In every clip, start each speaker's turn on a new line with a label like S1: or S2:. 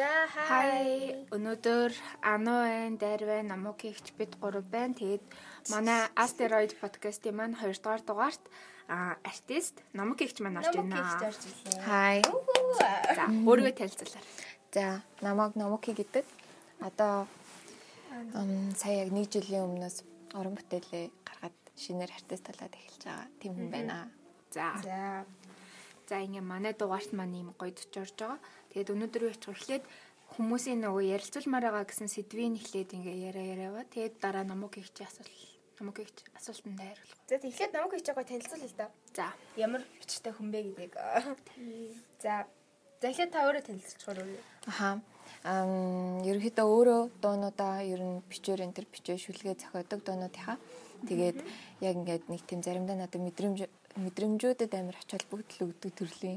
S1: Хай өнөөдөр Ану байн, Дайр байн, Намок ихч бид гурав байна. Тэгээд манай Asteroid podcast-ийн маань 2 дугаар дугаарт а артист Намок ихч маань орж байна.
S2: Хай.
S1: За, өөрийгөө танилцуулаарай.
S2: За, намайг Номоки гэдэг. Одоо ам, сая яг 1 жилийн өмнөөс орон бүтээлээ гаргаад шинээр артист болоод эхэлж байгаа тийм хүн байна.
S1: За.
S3: За.
S1: За, ингээ манай дугаарт маань ийм гоё төч орж байгаа. Тэгээд өнөөдөр юу хийчих эхлээд хүмүүсийн нөгөө ярилцуулмаар байгаа гэсэн сэдвийн эхлээд ингээ яриа яриава. Тэгээд дараа Намок ихч асуулт Намок ихч асуултанд хариулах.
S3: За тэгэхээр намайг хийж байгааг танилцуул л да.
S1: За.
S3: Ямар хүчтэй хүн бэ гэдэг. За. За эхлээд та өөрөө танилцуулчихвар үү?
S2: Аха. Ам, ерөнхийдөө өөрөө дуунуудаа ер нь бичээр энэ төр бичээ шүлгээ зохиодог дуунуудынхаа. Тэгээд яг ингээд нэг тийм заримдаа надад мэдрэмж мэдрэмжүүдэд амар ач холбогдол өгдөг төрлийн.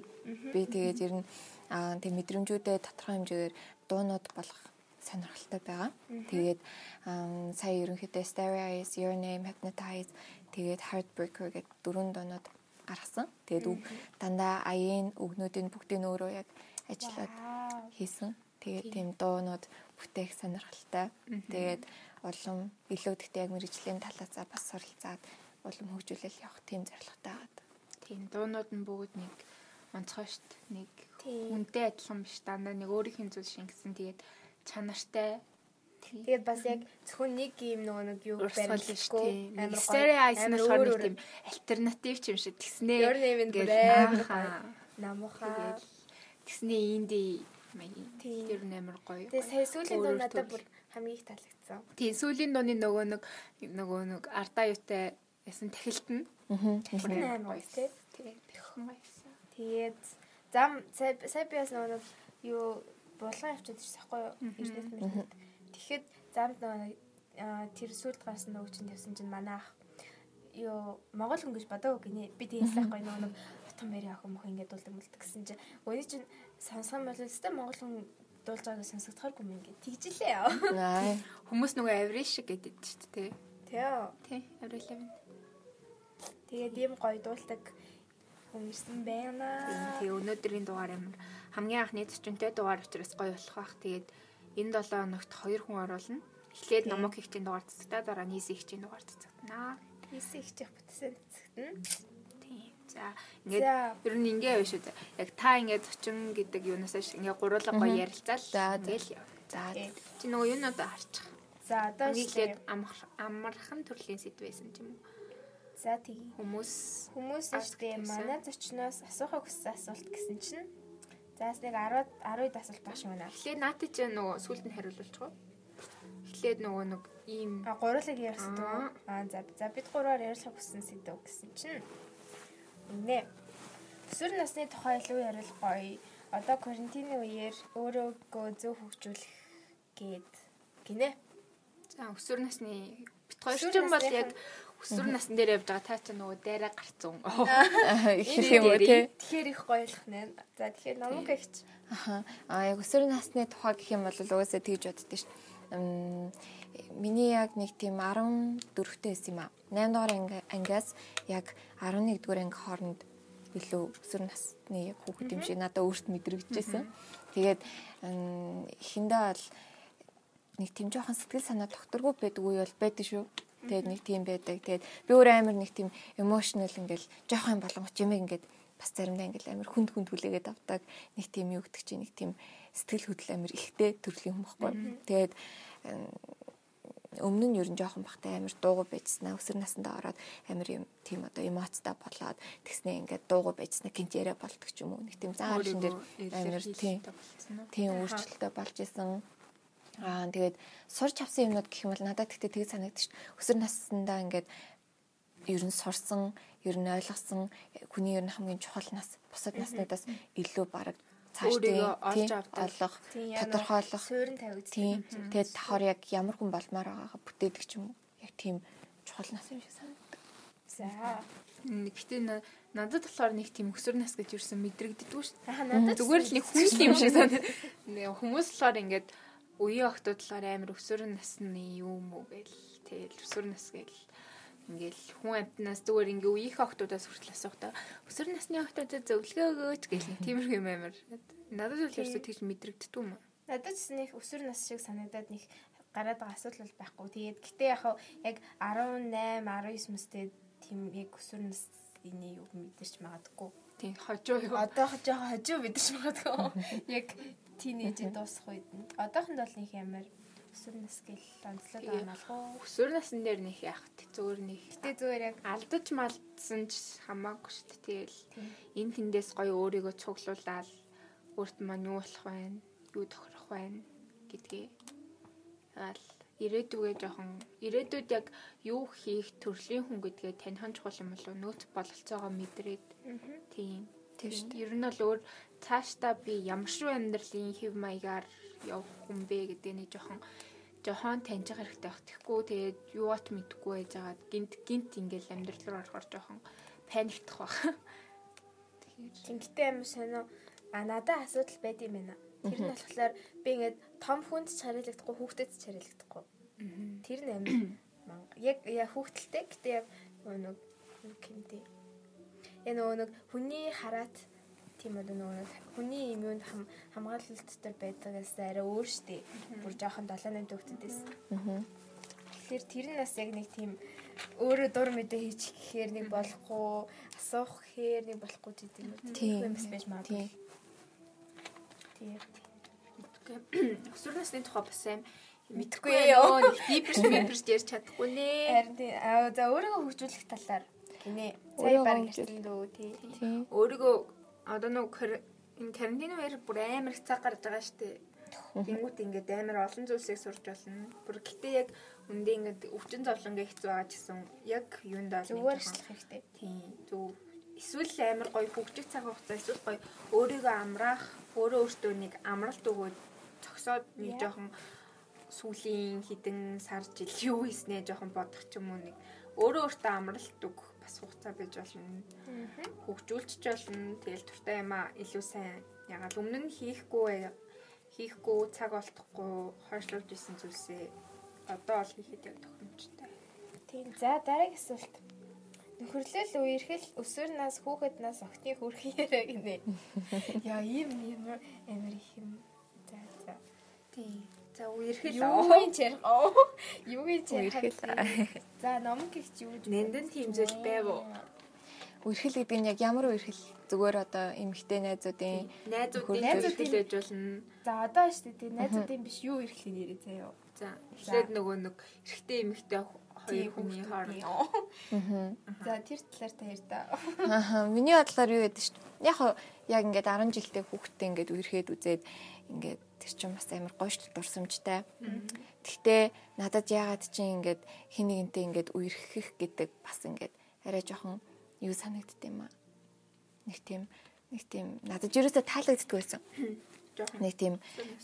S2: Би тэгээд ер нь аа, тийм мэдрэмжүүдэд тодорхой хэмжээгээр дуунууд болох сонирхолтой байгаа. Тэгээд ам, сая ерөнхийдөө Stereo Eyes, Your Name, Hypnotize тэгээд Heartbreaker гэдэг дөрвөн дуунууд гаргасан. Тэгээд үг дандаа аяын өгнүүдийн бүгдийг нь өөрөө яг ажиллаад хийсэн. Тэгээд тийм дуунууд бүтээх сонирхолтой. Тэгээд улам илүү дэхтэй яг мэрэгжлийн талаасаа бас суралцаад улам хөгжүүлэл явах тийм зорилготой байгаад.
S1: Тийм дуунууд нь бүгд нэг онцгой штт нэг
S3: Тийм.
S1: үнтэй адилхан биш дандаа нэг өөрийнх нь зүйл шингэсэн тэгээд чанартай
S3: Тэгээд бас яг зөвхөн нэг юм нөгөө нэг юу
S1: урсгал биш тийм
S3: амар гоё.
S1: стере айснаар
S3: Амар
S1: шор
S3: өөр
S1: нэг
S3: өөр.
S1: тийм альтернатив ч юм шиг тэгснээ
S3: Your name нь
S1: Гэл
S3: бүр амар
S1: наахан.
S3: гоё. Намухаа.
S1: Тэгэл тэгснээ инди маягийн
S3: Тийм.
S1: тэр нь амар гоё
S3: Тэгээд
S1: гоё.
S3: сая сүүлийн
S1: Өөр
S3: дуу
S1: өөр
S3: надад
S1: төрөл.
S3: бүр хамгийн их таалагдсан.
S1: тийм сүүлийн дууны нөгөө нэг нөгөө нэг ардаа юутай ясан тахилт нь
S2: Аа.
S1: Бүр
S3: Амар
S1: амар
S3: гоё тийм.
S1: тийм бэхэн гоёсан
S3: Тэгээд зам сая сая би бас нөгөө нэг юу булган явчихад ирсэн байхгүй юу? Ирнэс мэт. Тэгэхэд замд нөгөө нэг, аа, тэр сүлд гарсан нөгөө чинь явсан чинь манай ах юу монгол хүн гэж бодоагүй гинэ. Би тэгээс байхгүй нөгөө нэг утан бэрийн ах хүмүүс ингэ дуулдаг мэлдэг гэсэн чинь өөний чинь сонсгон болов өстэй монгол хүн дуулж байгааг сонсогдохооргүй юм ингэ. Тэгжилээ.
S1: хүмүүс нөгөө аврил шиг гэдэг чинь тийм
S3: Тэ.
S1: тийм аврил авна
S3: Тэгээд ийм гоё дуулдаг хүн ирсэн байна.
S1: Тэгээ өнөөдрийн дугаар юм. Хамгийн анхны 40-тэй дугаар учраас гоё болох бах. Тэгээд энэ 7 өнөгт 2 хүн оруулна. Эхлээд номок ихтийн дугаар цэцэгтээ дараа нийс ихтийн дугаар цэцэгтэнаа.
S3: Хийсэн их чих бүтсэн цэцгэн.
S1: Тийм. За ингээд
S3: За.
S1: ер нь ингээ яваа шүү дээ. Яг та ингээ 40 гэдэг юунаас ш- ингээ гуруулга гоё ярилцаал.
S2: За, за.
S1: Тэгэл яв.
S2: За.
S3: Окей.
S1: Чи нөгөө юу надад харчих.
S3: За одоо
S1: Нийлээд
S3: ишлээ.
S1: амарх- амархан төрлийн сэдв байсан ч юм уу.
S3: За тэгье.
S1: Хүмүүс
S3: Хүмүүс
S1: Асуулт
S3: ихтэй
S1: гэсэн.
S3: манай зочноос асуухыг хүссэн асуулт гэсэн чинь заас нэг 10 10-д асуулт багш юм аа.
S1: эхлээд наатай чи нөгөө сүлд нь хариулуулчихгүй. Эхлээд нөгөө нэг ийм
S3: А гуралыг ярьсан
S1: Аа.
S3: дөө. Аа за за бид гураар ярилцах хүссэн сэдв гэсэн чинь нэ. Өсвөр насны тухай илүү ярих гоё. Одоо карантины үеэр өөрөөгөө зөв хөгжүүлэх гээд гинэ.
S1: За өсвөр насны бит хоёр
S3: Өсвөр
S1: ч юм бол
S3: насныхан-
S1: яг өсвөр насн дээр явж байгаа та ч нөгөө дайраа гарцсан.
S2: Их юм уу те?
S3: Тэгэхээр их гоёлох нэ. За тэгэхээр номог ихч.
S2: Аха. А яг өсвөр насны тухай гэх юм бол угаасаа тэгж боддөө шүү. Ам, Миний яг нэг тийм 14-тэй байсан юм аа. 8 дугаар анги- ангиас яг 11 дугаар анги хооронд илүү өсвөр насны яг хүүхэд юм шиг надад өөрт мэдрэгдэжсэн. Тэгээд ам, эхэндээ бол нэг тийм жоохон сэтгэл санаа докторгүй байдгүй бол байдаг шүү. Тэгээд нэг тийм байдаг. Тэгээд би өөр амар нэг тийм emotional ингээл жоохон юм болгоч юм ингээд бас заримдаа ингээл амар хүнд хүнд хүлээгээд авдаг нэг тийм юу гэдэг чинь нэг тийм сэтгэл хөдлөл амар ихтэй төрлийн юм баггүй. Тэгээд ам, өмнө нь ер нь жоохон бахтай амар дуугүй байжснаа өсөр насндаа ороод амар юм тийм одоо эмоцтой болоод тэгснээ ингээд дуугүй байжснаа гинт яриа бол ตก ч юм уу нэг тийм зааж энэ дэр амар тийм тийм өөрчлөлттэй болж исэн. Аа тэгээд сурч авсан юмнууд гэх юм бол надад тэгтээ тэг санагдчих. Өсөр насндаа ингээд ер нь сурсан, ер нь ойлгосон хүний ер нь хамгийн чухал нас бусад наснуудаас илүү бараг
S1: Өөрийгөө
S2: цаашдаа
S1: олж
S2: тийм,
S1: авдаг.
S2: олох,
S3: Тийм, яг нэг
S2: тодорхойлох.
S3: суурин тавигддаг.
S2: Тийм. Тэгээд давхар яг ямар хүн болмоор байгаагаа бүтээдэг ч юм уу. Яг тийм чухал нас юм шиг санагддаг.
S3: За.
S1: Гэтэ на- надад болохоор нэг тийм өсвөр нас гэж юусэн мэдрэгддэггүй шүү.
S3: Аха надад
S1: Зүгээр л нэг хүн юм шиг санагдав. Хүмүүс болохоор ингээд үеийн охтууд болохоор амар өсвөр насны юм уу гээл тэгэл өсвөр нас гээл ингээл хүн амтнаас зүгээр ингээ үеийнх охтуудаас хүртэл асуухтаа өсвөр насны охтуудад зөвлөгөө өгөөч гээл нэг тиймэрхүү юм амар. Надад бол ерөөсөө тэгж мэдрэгддэг юм.
S3: Надад ч нэг өсвөр нас шиг санагдаад нэг гараад байгаа асуудал бол байхгүй. Тэгээд гэтээ яг хав яг 18, 19 настай тийм яг өсвөр насны юг мэдэрч магадгүй.
S1: Тийм хожуу юу.
S3: Одоох жоохон хожуу мэдэрч магадгүй. Яг тийнейжэд дуусах үед нь. Одоохонд бол нэг ямар өсвөр нас гэл онцлог
S1: Тийм.
S3: анаалгүй.
S1: Өсвөр насн дээр нэг яах вэ? Зөөр нэг
S3: Гэтэ зүгээр яг
S1: алдаж малдсан ч хамаагүй шүү дээ. Тэгэл
S3: Тийм.
S1: энэ тэндээс гоё өөрийгөө цуглуулаад өөрт маань юу болох вэ? Юу тохирох вэ гэдгээ. Аал ирээдүгээ жоохон ирээдүйд яг юу хийх төрлийн хүн гэдгээ танихан чухал юм болов нөөц бололцоогоо мэдрээд тийм
S2: Тийм шүү
S1: Ер нь бол өөр цаашдаа би ямар шиг амьдралын хэв маягаар явах юм бэ гэдэг нэг жоохон жохон таньж явах хэрэгтэй байх. Тэгэхгүй тэгээд юуат мэдхгүй байж байгаад гинт гинт ингээл амьдрал руу орохоор жоохон паниктах байх. Тэгэхээр
S3: Тингтэй юм сонио. А надад асуудал байд юм байна. Тэр нь болохоор би ингээд том хүнд ч хариулагдахгүй, хүүхдэд ч хариулагдахгүй. Тэр нь амир манга. Яг я хүүхдэлтэй гэтээ яг нөгөө юу гэмтэй. Яг Э, нөгөө нэг хүний хараат тийм үү нөгөө нэг хүний юм юунд хам- хамгаалалт дотор байдагаас арай өөр штэ. Бүр жоохон 7-8 хүүхдэдээс. Тэгэхээр тэр нь бас яг нэг тийм өөрөө дур мэдээ хийчих гэхээр нэг болохгүй, асуух гэхээр нэг болохгүй гэдэг юм үү?
S2: Тийм.
S3: юм бас байж магадгүй. Тийм.
S2: Тийм.
S1: мэдхгүй. Өсвөр насны тухай бас аим
S3: Мэдхгүй
S1: мэдхгүй
S3: ёо.
S1: ёо. Дипрш дипрш ярьж чадахгүй нэ.
S3: Харин тийм аа за өөрийгөө хөгжүүлэх талаар гинэ. Зай
S2: Өөрийгөө
S3: баг
S2: хөгжүүл-
S3: гэртэн дөө тий.
S2: Тийм.
S1: Өөрийгөө одоо нэг кар- энэ карантин үеэр бүр амар их цаг гарч байгаа шүү дээ. Тэнгүүт ингээд амар олон зүйлсийг сурч болно. Бүр гэтээ яг үндэ ингээд өвчин зовлонгээ хэцүү байгаа ч гэсэн яг юунд бол нэг
S3: Зүгээр
S1: жоохон-
S3: ажиллах хэрэгтэй.
S1: Тийм зөв. Эсвэл амар гоё хөгжих цаг хугацаа эсвэл гоё өөрийгөө амраах, өөрөө өөртөө нэг амралт өгөөд цогсоод нэг
S3: Яа.
S1: жоохон сүүлийн хідэн сар жил юу хийснээ жоохон бодох ч юм уу нэг өөрөө өөртөө амралт өгөх бас хугацаа байж болно хөгжүүлж ч болно. Тэгэл туртай юм аа илүү сайн. Ягаад өмнө нь хийхгүй бай- хийхгүй цаг олдохгүй хойшлуулж исэн зүйлсээ одоо ол хийхэд яг тохиромжтой.
S3: Тийм. За дараагийн асуулт. Нөхөрлөл үерхэл өсвөр нас хүүхэд нас охтны хөрх яриа гинэ. Яа ийм юм амир их юм. За за.
S1: Тийм. За үерхэл
S3: Юугийн чарх оо. Юугийн чарх.
S2: Үерхэл.
S3: За номон гихч юу гэж
S1: Нэнтэн тийм зүйл байв уу?
S2: Үерхэл гэдэг нь яг ямар үерхэл зүгээр одоо эмэгтэй найзуудын
S1: Найзуудын
S2: Найзуудын-
S1: найзууд хэлж болно.
S3: За одоо штэ тий найзуудын биш юу ирэхлээр нэрээ заяа.
S1: За эхлээд нөгөө нэг эрэгтэй эмэгтэй хо- хоёр хүний хооронд
S3: За тэр талаар та ярьдаа.
S2: Аха, миний бодлоор юу гэдэг чинь яг хав- яг ингээд 10 жилдээ хүүхдтэй ингээд үерхэд үзээд ингээд тэр чинь бас амар гоёш дурсамжтай. Гэхдээ надад яагаад чи ингээд хин нэгэнтэй ингээд үерхэх гэдэг бас ингээд арай жоохон юу санагдд юм аа. Нэг тийм нэг тийм надад ерөөсө таалагддгүй байсан.
S1: жоохон
S2: Нэг тийм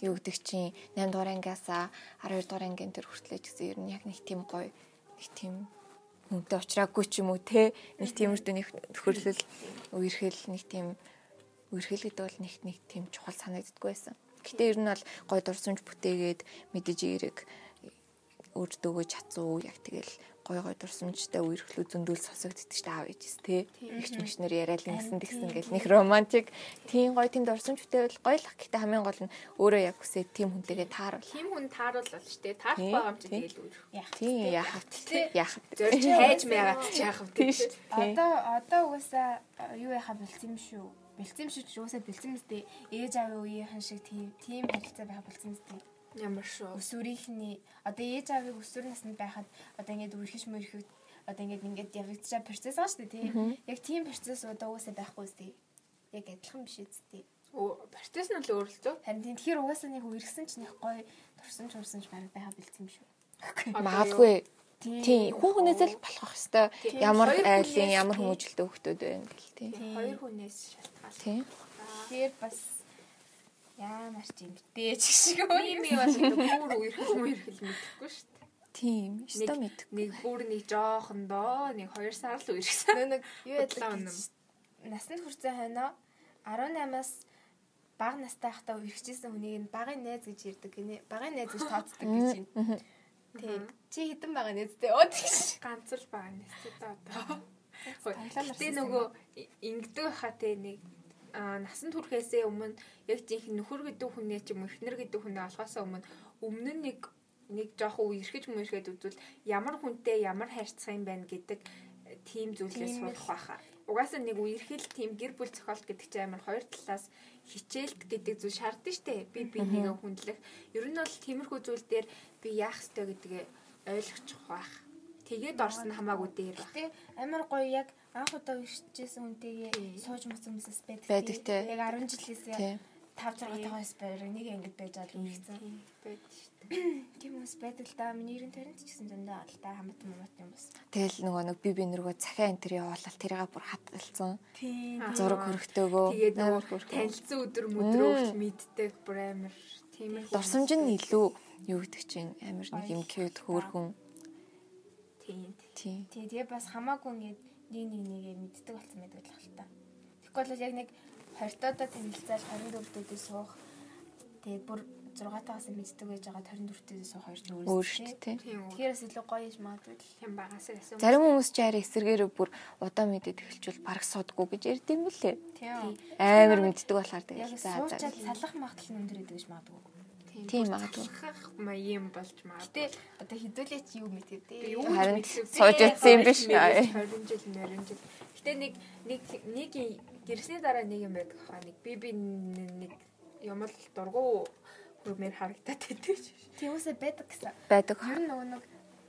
S2: юу гэдэг чинь 8 дугаар ангиас 12 дугаар ангийн төр хүртлээ ч гэсэн ер нь яг нэг тийм гоё нэг тийм хүнтэй уулзраагүй ч юм уу те нэг тиймэрдүү нэг төхөрлөл үерхэл нэг тийм үерхэл гэдэг бол нэг нэг тийм чухал санагддаггүй байсан. Гэтэ ер нь бол гой дурсамж бүтээгээд мэдээж эрэг өөртөөгөө чацуу яг тэгэл гой гой дурсамжтай үерхлүү зөндөл сосогддөг ч аав ээжс те. Игч мэгчнэр яриад ингэсэн тэгсэн гэл нэг романтик тийм гой тийм дурсамж бүтээл гоё л ах. гэтэ хамгийн гол нь өөрөө яг хүсээ тийм хүнтэйгээ тааруул.
S1: тийм хүн тааруул бол штэ таарах
S2: Тийм,
S1: байгаа юм чи
S2: тийм.
S1: тэгэл үер.
S2: Тийм яхав
S3: Тэ.
S2: те яхав.
S1: Зорж хайж маягаад яах вэ?
S2: Тийм шүү. Тийм.
S3: Одоо одоо угаасаа э, юу яхаа бэлцсэн юм шүү. Бэлцсэн юм шүү ч угаасаа бэлцсэн мэт ээж аавын үеийнхэн шиг тийм тийм харилцаа байх бэлцсэн мэт.
S1: Ямар шүү.
S3: Өсвөрийнхний одоо ээж аавыг өсвөр наснд байхад одоо ингэж үргэлж мөрөхөд одоо ингэж ингэж явагдчаа процесс байгаа шүү дээ тийм. Яг тийм процесс одоо угаасаа байхгүй үстэй. Яг адилхан биш үстэй.
S1: Өө, Процесс нь л өөрлөлтөө.
S3: Харин тийм тэгэхээр угаасаа нэг үерсэн ч нэг гоё турсан ч урсан ч баг байха бэлцсэн юм шүү.
S2: Магадгүй.
S3: Тийм.
S2: Тийм, хүн хүнээс л болох хэвээр
S1: Тийм,
S2: ямар
S1: хоёр
S2: айлын,
S1: хүнээс
S2: ямар
S1: тийм.
S2: хүмүүжлтэй хүмүүс байна гэл тийм.
S1: Хоёр хүнээс шалтгаалж.
S2: Тийм.
S3: Тэгэхээр бас яамар ч юм битээ ч шиг
S1: Ийм юм бас бүр үерхэл үерхэл мэдэхгүй шүү дээ.
S2: Тийм, өстө мэд.
S1: Нэг бүр нэг жоохон доо, нэг хоёр сар л үерхсэн.
S3: Нөө нэг юу
S1: Худлаа
S3: ядлаа
S1: өнөм.
S3: насанд хүрсэн хойно 18-аас бага настай хахта үргэжсэн хүнийг нь багын найз гэж ярддаг гинэ. Багын найз гэж тооцдог гэж юм. Тэг. Чи хитэн бага найзтэй оо тэгш.
S1: Ганц л байгаа нэстэй одоо.
S3: Таглаа марсан
S1: Тэ
S3: юм.
S1: нөгөө ингэдэг хаа те нэг аа, насан туршээсээ өмнө яг жинхэнэ нөхөр гэдэг хүнээ ч юм уу, эхнэр гэдэг хүнээ олохоосоо өмнө өмнө нь нэг нэг жоох үе эргэж мөршгэд үзвэл ямар хүнтэй ямар харьцах юм байна гэдэг э, тийм зүйлээс
S3: Тийм л.
S1: сурах байхаа. Угаасаа нэг үерхэл тийм гэр бүл зохиолт гэдэг чинь амар хоёр талаас хичээлт гэдэг зүйл шаардна штэ. Би бинийгээ хүндлэх. Ер нь бол тиймэрхүү зүйл дээр би яах ёстой гэдгээ ойлгочих байх. Тэгээд орсон хамаагүй дээр байх.
S3: Гэтэ амар гоё яг анх удаа ирчихсэн
S1: Тийм.
S3: үнтэйгээ сууж мөсөн мөсөөс байдаг.
S2: Байдаг
S3: тий.
S2: тий.
S3: Яг 10 жилээс
S2: Тийм.
S3: 5 6 тахаас байр нэг ангид байж байгаа юм хэрэгцээ.
S1: Тийм байд штэ.
S3: Тийм хүмүүс байдаг л да. Миний 90 таринд ч гэсэн зөндөө алдаа хамт муут юм бас.
S2: Тэгэл нөгөө нэг би би нэргөө цахиа энэ төр явуулаад тэрийг бүр хатгалцсан.
S3: Тийм.
S1: Аа.
S2: Зураг хөргтөөгөө.
S1: Тэгээд
S2: амар
S1: нөгөө танилцсан өдөр мөдрөө
S2: Мм.
S1: л мэддэг бүр амар тиймэрхүү.
S2: Дурсамж нь илүү юу гэдэг чинь амар нэг юм кьют хөөрхөн.
S1: Тийм.
S2: Тийм.
S3: Тий, тэгээ бас хамаагүй ингээд нэг нэг нэгээ мэддэг болсон байдаг л хэлтэ. Тэгэхгүй бол яг нэг 20 тоотой танилцал 24 дээдээ суух. Тэгээ бүр 6 таас мэддэг байж байгаа 24 дээдээ суух хоёр нь
S2: Өөр шүү дээ, тий.
S1: Тийм. үү.
S3: Тэгэхээрээс илүү гоё юм магадгүй л.
S1: Тийм багаас л асуу.
S2: Зарим хүмүүс ч арай эсэргээр бүр удаа мэдээд эхэлчихвэл баг суудгүй гэж ярьд юм бэлээ.
S3: Тийм.
S2: Амар мэддэг болохоор
S3: Яг
S2: тэгэл за за.
S3: суучаад салах магадлал нь өндөр байдаг гэж магадгүй.
S2: Тийм магадгүй.
S1: Хах маяим болж магадгүй.
S3: Гэтэ одоо хідүүлээч юу мэдээ.
S1: Би юу
S2: Харин
S1: ч мэдгүй.
S2: сууж
S1: Би
S2: ядсан юм биш.
S1: 20 жил, 20 жил. Гэтэ нэг нэг нэг юм- гэрсний дараа нэг юм байдаг хаа нэг би би нэг юм л дургу хөрмөр харагдаад байдаг шээ.
S3: Тэмүүсээ байдаг гэсэн.
S2: Байдаг.
S3: Ер нь нөгөө нэг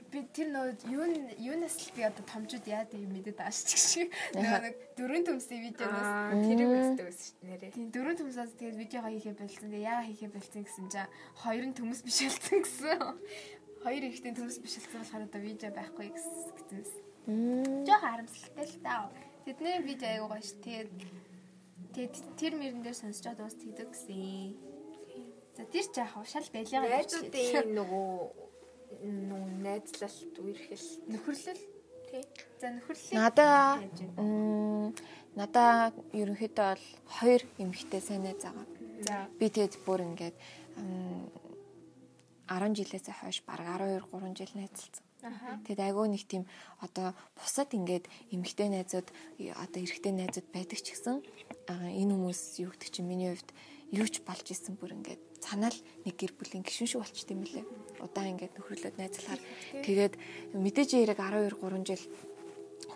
S3: би тэр нөгөө юу н- юунаас л би одоо томчууд яа гэдэг мэдээд аашчих шиг. Нөгөө нэг дөрөв төмсний видеоноос
S1: Аа тэр юм өстэй ус шүү дээ нэрээ.
S3: Тийм дөрөв төмсөөс тэгээд видеогоо хийхээ болцсон. Тэгээд яага хийхээ болцсон гэсэн чинь хоёр нь төмс биш болсон гэсэн. Хоёр ихтэй төмс биш болсон болохоор одоо видео байхгүй гэсэн гэсэн.
S2: Мм.
S3: Жохоо харамсалтай л таа. Тэдний видео аягүй гоё шүү. Тэгээд тэгээд тэр мөрөн дээр сонсчод уус тэгдэг гэсэн. За тэр ч яах вэ? Шал байлигаа
S1: Найзуудын нөгөө нөгөө найзлалт үерхэл
S3: нөхөрлөл тий. За нөхөрлөл.
S2: Надаа мм, надаа ерөнхийдөө бол хоёр эмэгтэй сайн найз байгаа.
S3: За
S2: Би тэгэд бүр ингээд ам, 10 жилээс хойш баг 12 3 жил найзалцсан.
S3: Аха.
S2: Тэгэд айгүй нэг тийм одоо бусад ингээд эмэгтэй найзууд э, одоо эрэгтэй найзууд байдаг ч гэсэн аа, энэ хүмүүс юу гэдэг чинь миний хувьд юу ч болж исэн бүр ингээд цанаал нэг гэр бүлийн гишүүн шиг болчт юм лээ. Удаан ингээд нөхрөлөд найзлахаар тэгээд мэдээж яг 12 3 жил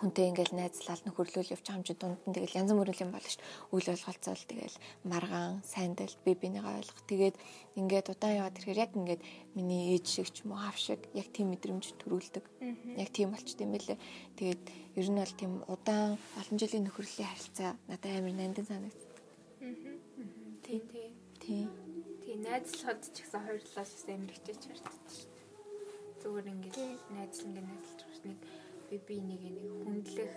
S2: хүнтэй ингээл найзлал нөхөрлөл явж хамжид дунд нь тэгэл янз бүрийн юм болно шүү дээ. Үйл ойлголцол тэгэл маргаан, сайндал би бинийг ойлгох. Тэгээд ингээд удаан яваад ирэхээр яг ингээд миний ээж шиг ч юм уу ав шиг яг тийм мэдрэмж төрүүлдэг. Яг тийм болчтой юм байлээ. Тэгээд ер нь бол тийм удаан олон жилийн нөхөрлөлийн харилцаа надад амар нандин санагддаг.
S1: тий тий.
S2: Тийм.
S1: Тий найзлахад ч гэсэн хоёр талаас бас амар хичээж харддаг шүү дээ. Зүгээр ингээд найзлан гээ найзлж байгаа нэг би би нэг нэг хүндлэх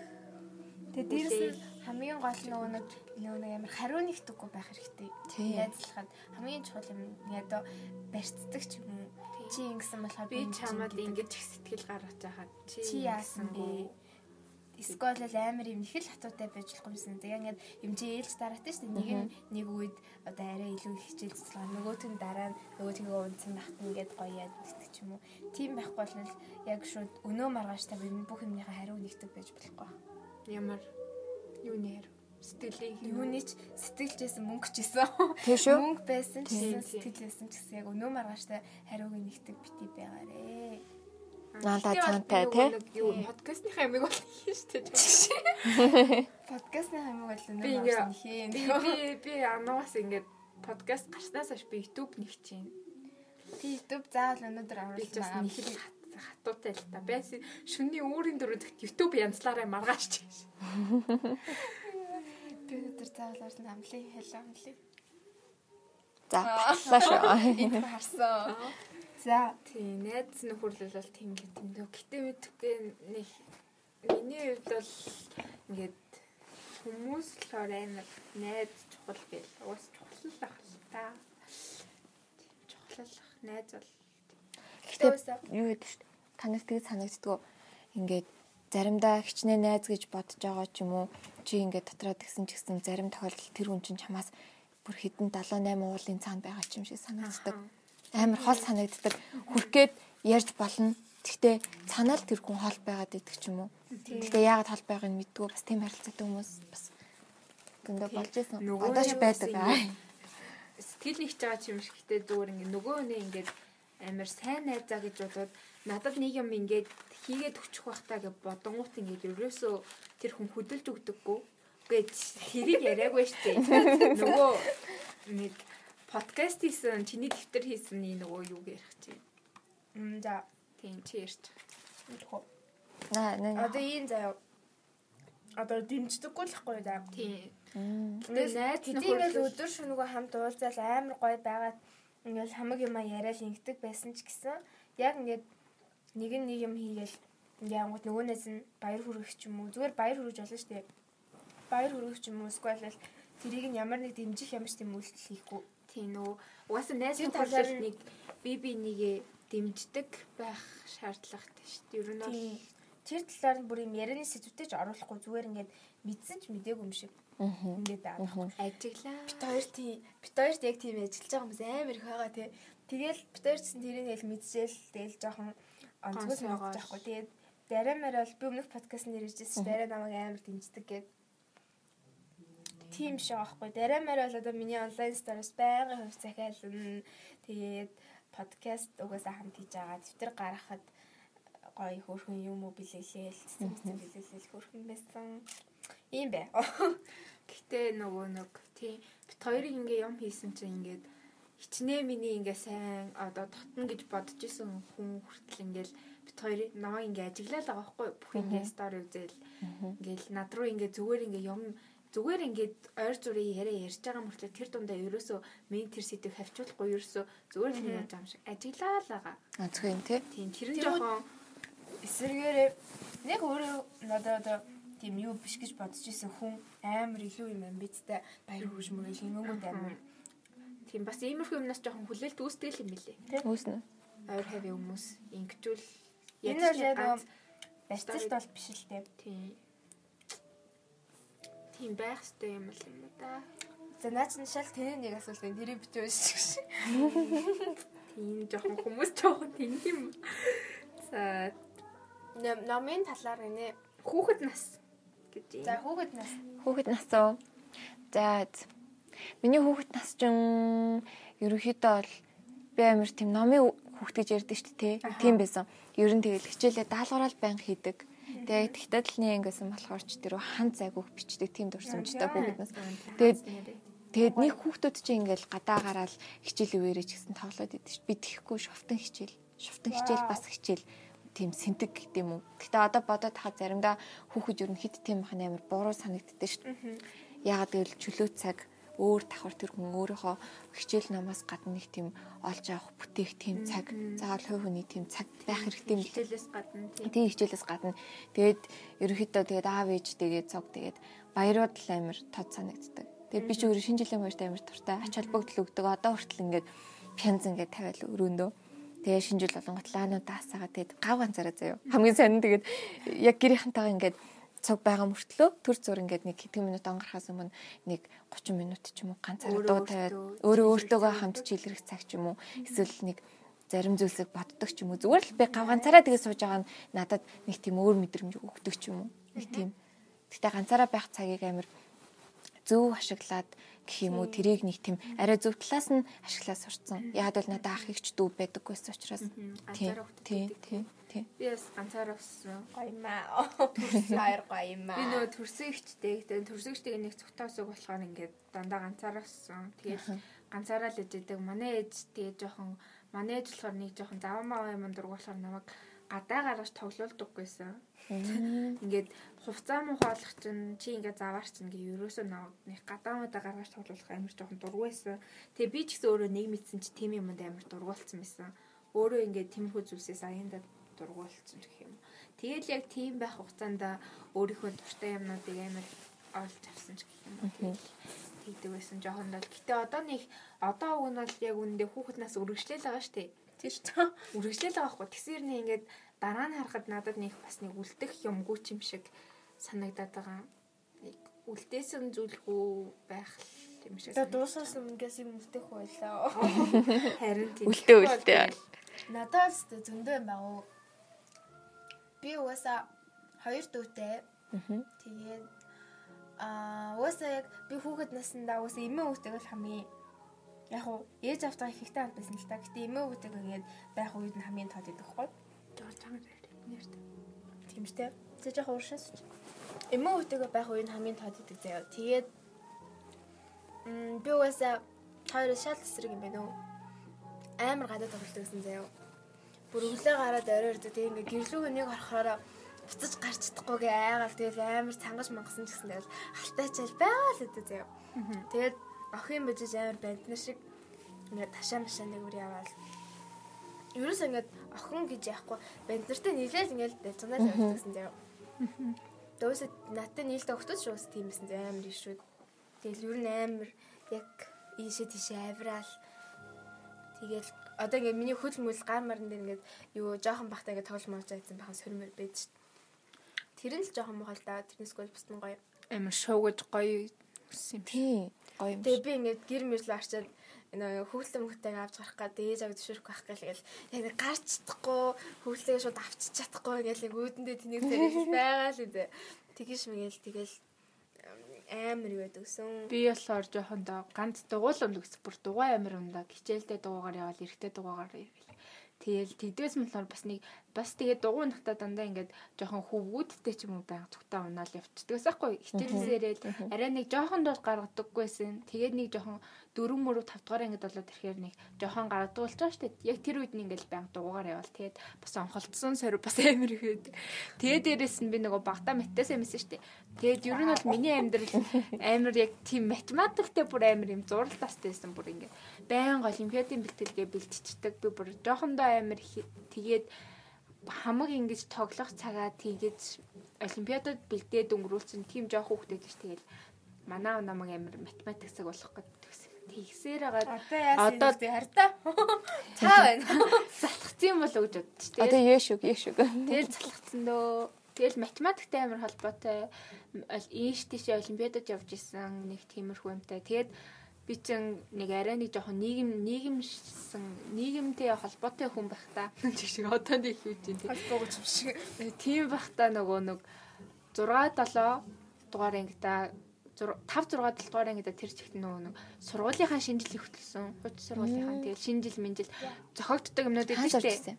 S3: Тэгээ дээрээс нь хамгийн гол нь нөгөө нэг нөгөө нэг амар хариу нэгтгэхгүй байх хэрэгтэй.
S2: Тийм.
S3: Найзлахад хамгийн чухал юм яг одоо барьцдаг ч юм уу. Чи ингэсэн болохоор
S1: би
S3: би чинь
S1: чамд
S3: гэдэг.
S1: ингэж их сэтгэл гаргаж байхад
S3: чи яасан бэ? Эсвэл л амар юм их л хатуутай байж болох юмсан. Тэгээ ингээд юмжээ ээлж дараатай шүү дээ. Нэг нь нэг үед одоо арай илүү их хичээл цэцлэг нөгөөт нь дараа нь нөгөөтгөө унтсан дахт ингээд гоё яд гэдэг ч юм уу. Тийм байхгүй бол л яг шууд өнөө маргааш та бим- бүх юмныхаа хариу нэгтгэх байж болохгүй.
S1: Ямар юу нэр сэтгэлийн хэм-
S3: юунич сэтгэлжсэн мөнгө ч исэн.
S2: Тийм шүү.
S3: Мөнгө байсан ч
S1: Тийм.
S3: исэн сэтгэлжсэн ч гэсэн яг өнөө маргааштай хариугийн нэгтэг бити байгаарэ.
S1: Аа, гэтээ
S2: Надад
S1: бол
S2: цаантай,
S1: би
S2: тий?
S1: нөгөө нэг юу подкастныхаа амиг бол хийн шүү дээ.
S3: Подкастны хамиг бол өнөө
S1: Би
S3: маргааш
S1: ингээ-
S3: нэхээ.
S1: Би би би анаас ингээд подкаст гарснаас хойш би YouTube нэгчээн.
S3: Ти YouTube заавал өнөөдөр
S1: Би ч бас
S3: оруулах
S1: нэг л хат- хатуутай л та. Би бас шөнийн өөрийн дөрөвдөд YouTube янзлаараа маргааш чи.
S3: Би өнөөдөр заавал оруулах амлын хэлээ амлын.
S2: За батлаа шүү.
S3: Энд харсан. За
S1: Тий, найз нөхөрлөл бол тийм л тэмдэг. Гэтэ мэдхгүй нэг миний хувьд бол ингээд хүмүүс болохоор амар найз чухал гэл. Уус чухал л ах л та. Тийм, Чухал л ах найз бол
S3: гэхдээ үсээ
S2: юу гэдэг шүү дээ. Танаас тэгээд санагддгүй. Ингээд заримдаа хичнээн найз гэж бодож байгаа ч юм уу. Чи ингээд дотроо тгсэн ч гэсэн зарим тохиолдолд тэр хүн чинь чамаас бүр хэдэн 78 уулын цаанд байгаа ч юм шиг санагддаг. Амар хол санагддаг. Хүрхгээд ярьж болно. Гэхдээ цанаал тэр хүн хол байгаад идэх ч юм уу. Гэхдээ яагаад хол байгааг нь мэдгүй бас тийм харилцаатай хүмүүс бас зөндөө болж исэн.
S1: Нөгөө
S2: Одооч
S1: нь
S2: байдаг
S1: бас
S2: аа.
S1: ингэ Сэтгэл нэгж байгаа ч юм шиг гэдэг зүгээр ингээ нөгөө өнөө ингээд амар сайн найзаа гэж бодоод надад нэг юм ингээд хийгээд өчөх байх таа гэж бодонгууд ингээд ерөөсөө тэр хүн хөдөлж өгдөггүй. Үгээд тэрийг яриаггүй штеп. Нөгөө нэг подкаст хийсэн, чиний дэвтэр хийсэн нэг нөгөө юу ярих чинь.
S3: Мм, За.
S1: Тийм чи ярьж.
S3: Мэдхгүй.
S2: Наа наа.
S3: Одоо ийм заяа. Одоо дэмждэггүй л хгүй заяа.
S1: Тийм.
S2: Мм.
S1: Тэгэл найз
S3: Тэгээл
S1: нөхөрлөл-
S3: өдөр шөнөгөө хамт уулзаал амар гоё байгаад ингээл хамаг юм яриад ингэдэг байсан ч гэсэн яг ингээд нэг нь нэг юм хийгээл ингээд ангууд нөгөөнээс нь баяр хүргэх ч юм уу зүгээр баяр хүргэж болно шүү дээ. Баяр хүргэх ч юм уу эсвэл л тэрийг нь ямар нэг дэмжих юм шиг юм үйлдэл хийхгүй.
S1: Тийм нөө. Угаасаа найз
S3: Тэр
S1: нөхөрлөл
S3: талаар нь-
S1: нэг би би нэгэ дэмждэг байх шаардлагатай шүү дээ. Ер нь бол
S3: Тийм. Тэр талаар нь бүр юм ярианы сэдвтэй ч оруулахгүй зүгээр ингээд мэдсэн ч мдээгүй юм шиг
S2: Мгм.
S3: ингээд байгаа.
S1: ажиглаа.
S3: Бит хоёр тийм бит хоёрт яг тийм ажиллаж байгаа хүмүүс амар их байгаа тий. Тэгэл бит хоёр чинь тэрийг л мэдсэл тэгэл жоохон онцгой
S1: Гонсоогоо.
S3: санагдаж байхгүй. Тэгээд дараа маар бол би өмнөх подкаст нэр иржсэн чинь дараа намайг амар дэмждэг гэд. Тийм шиг аахгүй. Дараа маар бол одоо миний онлайн сторис байнгын хөв захиална. Тэгээд подкаст угаасаа хамт хийж байгаа. Дэвтэр гаргахад гоё хөөрхөн юм уу билэлээ л цэцэн цэцэн билэлээ л хөөрхөн байсан. Ийм бай.
S1: Гэтэ нөгөө нэг тийм бит хоёрыг ингээ юм хийсэн чинь ингээд хичнээн миний ингээ сайн одоо татна гэж бодож исэн хүн хүртэл ингээл бит хоёрыг намайг ингээ ажиглаад байгаа байхгүй юу? бүх ингээ стори үзэл ингээл над руу ингээ зүгээр ингээ юм зүгээр ингээд ойр зүрийн яриа ярьж байгаа мөртлөө тэр дундаа ерөөсөө миний тэр сэдвийг хавчуулахгүй ерөөсөө зүгээр л нэг юм шиг ажиглаа л байгаа.
S2: Онцгой юм тий.
S1: Тийм тэр нь
S3: Тэр үү-
S1: жоохон
S3: эсэргээрээ нэг өөрөө надад одоо тийм юу биш гэж бодож исэн хүн амар илүү юм амбицтай баяр хөшмөрөл хингүүд амар
S1: тийм бас иймэрхүү юмнаас жоохон хүлээлт үүсдэг юм билээ.
S2: Үүснэ.
S1: Ойр хавийн хүмүүс ингэжүүл
S3: энэ бол яг
S1: ганц
S3: барьцалт бол биш л дээ.
S1: Тийм. Тийм байх хэрэгтэй юм л юм да.
S3: За наач нь шал тэний нэг асуулт энэ тэрийг битүү шүү.
S1: Тийм жоохон хүмүүс жоохон тийм юм. За
S3: Номын талаар гинэ.
S1: хүүхэд нас гэж
S3: За
S1: юм.
S3: хүүхэд нас.
S2: Хүүхэд нас уу? За. з- Миний хүүхэд нас чинь ерөнхийдөө бол би амар тийм номын ү- хүүхэд гэж ярьдаг шүү дээ тий. Тийм байсан. Ер нь тэгэл хичээлээ даалгавраал байнг хийдэг. Тэгээд тэгтэл нэг ингэсэн болохоор ч тэр хан цаг үг бичдэг тийм дурсамжтай хүүхэд нас. Тэгээд Тэгэд нэг хүүхдүүд чинь ингээл гадаа гараал хичээл үеэрээ ч гэсэн тоглоод идэв ш. Би тэхгүй шовтон хичээл. Шовтон хичээл бас хичээл тийм сэнтэг гэдэг юм уу. Гэтэ одоо бодоод хаа заримдаа хүүхэд ер нь хит тийм хан амар буруу санагддаг ш. Ягаад гэвэл чөлөө цаг өөр давхар тэр хүн өөрийнхөө хичээл намаас гадна нэг тийм олж авах бүтээх тийм цаг заавал хувь хүний тийм цаг байх хэрэгтэй юм л
S1: хичээлээс гадна тийм.
S2: Тэгээ хичээлээс гадна тэгээд ерөнхийдөө тэгээд аав ээж тэгээд цог тэгээд баярууд л амар тод санагддаг. Тэгээд би ч өөр шинэ жилийн баярт амар туртай ач холбогдол өгдөг. Одоо хүртэл ингээд пянз ингээд тавиал өрөөндөө. Тэгээ шинэ жил болонгот лаануудаа хасаага тэгээд гав ганцаараа заяа. Хамгийн сайн нь тэгээд яг гэрийнхэнтэйгээ ингээд цог байгаа мөртлөө төр зур ингээд нэг хэдэн минут онгорхоос өмнө нэг 30 минут ч юм уу ганцаараа
S1: Өөрөө
S2: дуу тавиад
S1: өөртөө
S2: өөрөө
S1: чиглэх
S2: өөртөөгөө
S1: цаг.
S2: хамт чилрэх цаг ч юм уу эсвэл нэг зарим зүйлсийг боддог ч юм уу зүгээр л би гав ганцаараа тэгээ сууж байгаа нь надад нэг тийм өөр мэдрэмж өгдөг ч юм уу нэг тийм гэхдээ ганцаараа байх цагийг амар зөв ашиглаад гэх юм уу тэрийг нэг тийм арай зөв талаас нь ашиглаад сурцсан яад бол надад ах ихч дүү байдаггүйс учраас
S1: Мгм.
S2: тийм
S1: Ганцаараа хөтлөдөг
S2: тийм
S1: гэдэг.
S2: тийм тийм
S1: Би бас ганцаараа өссөн.
S3: Гоё юм аа. Баяр гоё юм
S1: Би
S3: аа.
S1: нөгөө төрсөгчтэй гэдэг төрсөгчтэйг нэг цогтоосог болохоор ингээд дандаа ганцаараа өссөн. Тэгээд ганцаараа л ижидэг. Манай ээж тэгээд жоохон манай ээж болохоор нэг жоохон завмаа юм дург болохоор намайг гадаа гараж тоглоулдаггүйсэн. Ингээд хувцаа мухаалах чинь чи ингээд заваар чинь гээ ерөөсөө наваад нэг гадаамуудаа гаргаж тоглох амар жоохон дургуйсэн. Тэгээ би ч гэсэн өөрөө нэг мэдсэн чи тийм юмд амар дургуулсан байсан. Өөрөө ингээд тиймэрхүү зүйлсээс аяндаа дургуулсан гэх юм. Тэгэл яг тийм байх хугацаанда өөрийнхөө дуртай юмнуудыг амар олж авсан ч гэх юм. уу. Тэгэл тэгдэг байсан жоохон бол. Гэтэ одоо нэг одоо уг нь бол яг үндэ хүүхэд нас өргөжлөл байгаа штеп
S3: Тийш таа.
S1: үргэлжлэл байгаа хгүй. Тэгсэр нэг ингээд дараа нь харахад надад нэг бас нэг үлдэх юмгүй ч юм шиг санагдаад байгаа. Нэг үлдээсэн зүйлгүй байх л юм шиг. санагдаж
S3: Одоо дуусаас өмнөөс юм үлдэх байлаа.
S1: байна. Харин тийм.
S2: үлдээ үлдээ
S3: Надад л зөндөө зөндөө юм байгаа. уу. Би угаасаа хоёр дүүтэй. Тэгээд Аа, уусаа яг би хүүхэд насндаа уусаа эмээ хүүтэй бол хамгийн яг уу ээж автаа ихтэй хамт байсан л та. Гэтэ эмээ хүүтэй ингээд байх үед нь хамгийн тод идэх байхгүй.
S1: Жорж чамд нэрт.
S3: Тэмчтэй. Тэ яг ууршин сүч. Эмээ хүүтэйгээ байх үед нь хамгийн тод идэх заяа. Тэгээд м би уусаа хоёр шал эсрэг юм байна уу. Амар гадаа тоглолт гэсэн заяа. Бүр өглөө гараад орой ирдэг. Тэгээ ингээд гэрлүүг нэг орохороо буцаж гарч чадахгүйгээ айгаал тэгэл амар цангаж мангасан ч гэсэн тэгэл алтайчаал байгаа л үүдээ заяа. Тэгээд охин бижиж амар бандна шиг ингээд ташаа машаа нэг үр яваал. Юурээс ингээд охин гэж яахгүй банднартай нийлээл ингээд дайцанаа л явдаг гэсэн заяа. Дөөсөд надтай нийлдэг өгтөд шүүс тиймсэн заяа амар их шүү. Тэгэл юу н амар яг ийшээ тийшээ авираал Тэгэл одоо ингээд миний хөл мөл гар марн дээр ингээд юу жоохон бахтай ингээд тоглож муулж байсан бахан сөрмөр байж шít. Тэр нь л жоохон мохол та тэрнэсгүй бус нь гоё.
S1: Амар шоугаж гоё юм шиг.
S2: Тий. Гоё юм шиг.
S3: Тэгээ би ингээд гэр мэрлө арчаад нөгөө хөвгөлтэй мөхтэйг авч гарах гад дээж авч төшөрөх байх гээл яг нэг гарч чадахгүй хөвгөлтэйгээ шууд авчиж чадахгүй ингээд яг үүдэндээ тэнийг зэрэг байгаа л үү. Тэгэж мэгэл тэгэл амар юу байдаг гэсэн.
S1: Би болохоор жоохондоо ганц дугуул өнгөс бүр дугаа амир ундаа хичээлдээ дугаагаар явал эрэгтэй дугаагаар ирэл. Тэгэл тэгдээс нь болохоор бас нэг бас тэгээ дугуй нутаа дандаа ингээд жоохон хөвгүүдтэй ч юм уу байнг цугтаа унаал явчихдагс байхгүй. Хичээлсээрэл арай нэг жоохон дуус гаргадаггүйсэн. Тэгээд нэг жоохон 4 мөрөв 5 дугаар ингээд болоод ирэхээр нэг жоохон гаргадаг болчихоо штэ. Яг тэр үед нь ингээд байнг дугуугаар явал тэгээд бас онхолцсон сорив бас амир ихэд. Тэгээд дээрэс нь би нөгөө багтаа математикээс юмсэн штэ. Тэгээд ер нь бол миний амьдрал амир яг тийм математиктэй бүр амир юм зурал тастайсэн бүр ингээд баян олимпиадын бэлтгэлгээ бэлтчихдэг. Би бүр жоохондоо амир хи- тэгээд хамаг ингэж тоглох цагаа тэгэж олимпиадад бэлдээд өнгөрүүлсэн тийм жоох хүүхдтэй гэж тэгэл манаа намаг амир математиксаг болох гэж төгсөн. Тэгсээр байгаа
S3: Одоо яасан
S1: Одоо-
S3: юм бэ? Хартай. Цаа байна.
S1: залхацсан юм болов гэж бодчих.
S2: Одоо
S1: Тэгэл
S2: яаш үг яаш үг.
S1: тэгэл залхацсан дөө. Тэгэл математиктэй амир холбоотой ол- ийш тийш олимпиадад явж исэн нэг тиймэрхүү юмтай. Тэгэд би чин нэг арай нэг жоохон нийгэм нийгэмсэн нийгэмтэй холбоотой хүн байх та. Чиг шиг одоо нэг хийж байна.
S3: Хол буугач юм шиг.
S1: Э, Тийм бахта нөгөө нэг 6 7 дугаар ангида 5 6 7 дугаар ангида тэр чигт нөгөө нэг сургуулийнхаа шинжил хөтлсөн. Хуч сургуулийнхаа тэгэл шинжил минжил зохиогддог юмнууд
S2: Хаан
S1: идэв
S2: сурч
S1: штэ.
S2: ирсэн.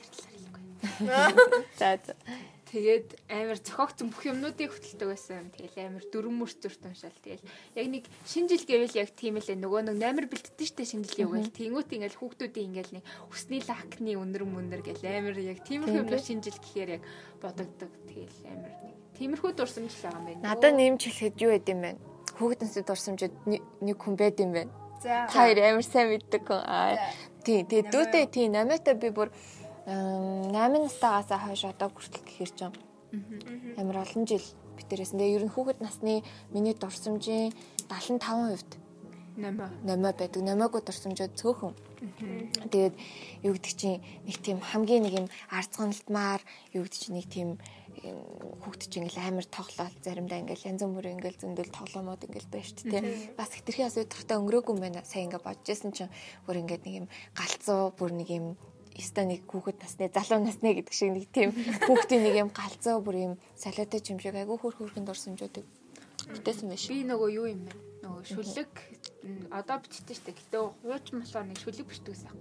S1: Тэр талаар хэлэхгүй.
S2: За за.
S1: Тэгээд амар зохиогдсон бүх юмнуудыг хөтэлдэг байсан. Тэгэл амар дөрөн мөр зөрт уншаал. Тэгэл яг нэг шинжил гэвэл яг тийм л нөгөө нэг номер бэлддэж штэ шинжил яваал. Тэнгүүт ингээл хүүхдүүдийн ингээл нэг хүсний лакны өнөр мөнөр гэл амар яг тиймэрхүү
S2: Тийм
S1: юмнууд
S2: дээ.
S1: шинжил гэхээр яг бодогддог. Тэгэл амар нэг тиймэрхүү дурсамж л байгаа юм байна.
S2: Надад нэмж хэлэхэд юу гэдэм бэ? Хүүхдэнсээ дурсамжид нэг- нэг хүн байд юм байна.
S3: За.
S2: Та хоёр амар сайн мэддэг хүн. Аа.
S3: За.
S2: Тий,
S3: Намайг-
S2: тэгээ дүүтэй тий, намайтай би бүр 8 настайгаасаа хойш одоо хүртэл гэхэр ч юм. Амар олон жил битэрсэн. Тэгээ ер нь хүүхэд насны миний дурсамжийн 75%-д
S1: Намаа.
S2: номоо байдаг. Номоогүй дурсамжууд цөөхөн. Тэгээд юу гэдэг чинь нэг тийм хамгийн нэг юм арцганалтмаар юу гэдэг чинь нэг тийм эм, хүүхд чинь ингээл амар тоглоал заримдаа ингээл янз бүрийн ингээл зөндөл тоглоомод ингээл байж ч тийм бас хитрхи асуу тахтай өнгөрөөгүй юм байна. Сайн ингээл бодож исэн чинь бүр ингээд нэг юм галзуу бүр нэг юм эсвэл нэг хүүхэд насны залуу насны гэдэг шиг нэг тийм хүүхдийн нэг юм галзуу бүр юм солиотой юм шиг айгүй хөр хөрхөн дурсамжуудыг бүтээсэн байж.
S1: Би нөгөө юу юм бэ? Нөгөө шүлэг м, одоо бичдэг штэ. Гэтэ хууч болохоор нэг шүлэг бичдэгсэн юм.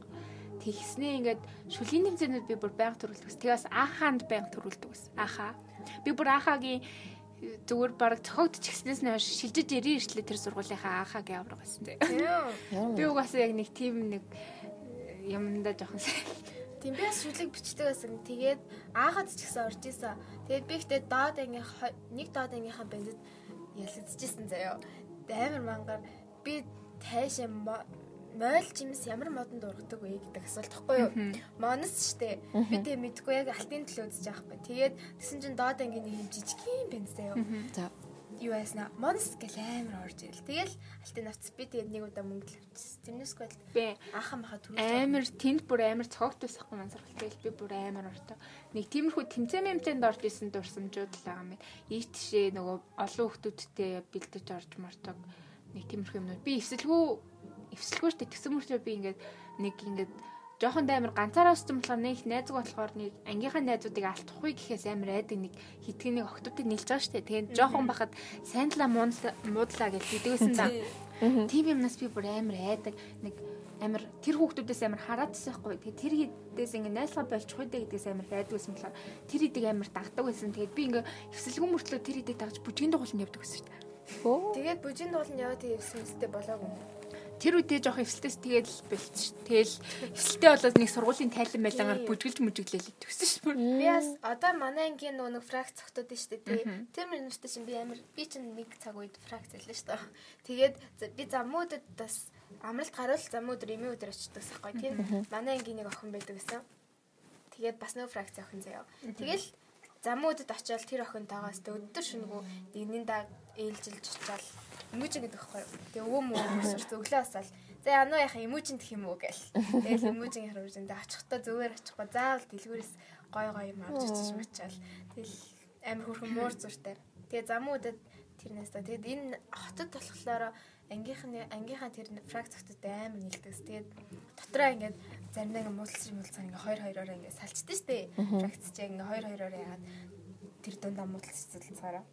S1: Тэгснээ ингээд шүлийн тэмцээнд би бүр байнга төрүүлдэг ус. Тэгээс ахаанд байнга төрүүлдэг ус. Ахаа. Би бүр ахаагийн э, зүгээр баг цохогдчихснээс нь хойш шилжиж ирээ ирчлээ тэр сургуулийнхаа ахаагийн авраг гэсэн тийм. Би угаасаа яг нэг тийм нэг э, юмдаа жоохон сайн.
S3: Тийм би бас шүлэг бичдэг байсан. Тэгээд аахад ч гэсэн орж исэн. Тэгээд би ихтэй доод анги хо- нэг доод ангийнхаа бэндэд ялагдчихсэн заяо. Амар мангаар би тайшаа мо- мойл жимс ямар модон дургадаг вэ гэдэг асуулт тахгүй юу? Монос штэ. Би тэг мэдгүй яг алтын төлөө үзэж байхгүй. Тэгээд тэгсэн чинь доод ангийн нэг юм жижигхэн бэнд заяо
S2: За.
S3: юу яснаа монс гэл амар орж ирэл. Тэгэл алтын авц би тэгээд нэг удаа мөнгө л авчихсан. Тэрнээсгүй бол
S1: Би
S3: анхан баха түрүү.
S1: амар тэнд бүр амар цогтойсахгүй маань сургалтай би бүр амар ортой. Нэг тиймэрхүү тэмцээний юмтэнд орж исэн дурсамжууд л байгаа юм. Ийт шээ нөгөө олон хүмүүсттэй бэлдэж орж мартаг нэг тиймэрхүү юмнууд. Би эвсэлгүй эвсэлгүй штэ тэгсэн мөрчөө би ингээд нэг ингээд Жохон даамир ганцаараа өссөн болохоор нэг их найзг болохоор нэг ангийнхаа найзуудыг алдахгүй гэхээс амар айдаг нэг хитгэн нэг октодтой нийлж байгаа штэ. Тэгээд жохон бахад сайн талаа муунла- муудлаа гэж бидгэсэн даа. Тийм юмнаас би бүр амар айдаг нэг амар тэр хүүхдүүдээс амар хараадсан байхгүй. Тэгээ тэр хідээс ингээ найлгаа болчих үү гэдгээс амар байдаг байсан болохоор тэр хідийг амар дагдаг байсан. Тэгээд би ингээ эвсэлгүй мөртлөө тэр хідийг дагж бүжгийн дугууланд явдаг гэсэн шүү дээ.
S2: Оо.
S3: Тэгээд бүжийн дууланд яваад ирсэн үстэй болоогүй.
S1: тэр үедээ жоох эвсэлтээс тэгээд л бэлтсэн шүү. Тэгэл эвсэлтээ болоод нэг сургуулийн тайлан байлгаар
S3: Тийм.
S1: бүжгэлж мүжгэлээл төгсөн шүү.
S3: Би бас одоо манай ангийн нөгөө нэг фракц цогтод нь штэ тий. Тэр мөрөстэй чинь би амар би чинь нэг цаг үед фракц хэлсэн штэ. Тэгээд за- би замуудад бас амралт гарвал замууд эмээ өдөр очдог байхгүй тий. Манай ангийн нэг охин байдаг гэсэн. Тэгээд бас нөгөө фракц охин заяа. Тэгэл замуудад очиод тэр охинтойгоос тэ өдөр шүнгүү нэгний даа ээлжилж очиод эмүүжин гэдэг байхгүй. Тэгээ өвөө мөө өсөрт өглөө асаал. За януу яха эмүүжин гэх юм уу гээл. Тэгэл эмүүжин яхаар үрэндээ очихдоо зүгээр очихгүй заавал дэлгүүрээс гой гой юм авч очиж мочаал. Тэгэл амар хөрхөн муур зуртай. Тэгээ замуудад тэрнээс та тэгэд энэ хотод болохоор ангийнхны ангийнхаа тэр фракц хотод амар нэлдэгс. Тэгээд дотроо ингээд заримдаа ингээд муулсч муулцаа ингээд хоёр хоёроор ингээд салчдээ штэ. Фракц чаа ингээд хоёр хоёроор яагаад тэр дундаа муулсч цэлцгаараа.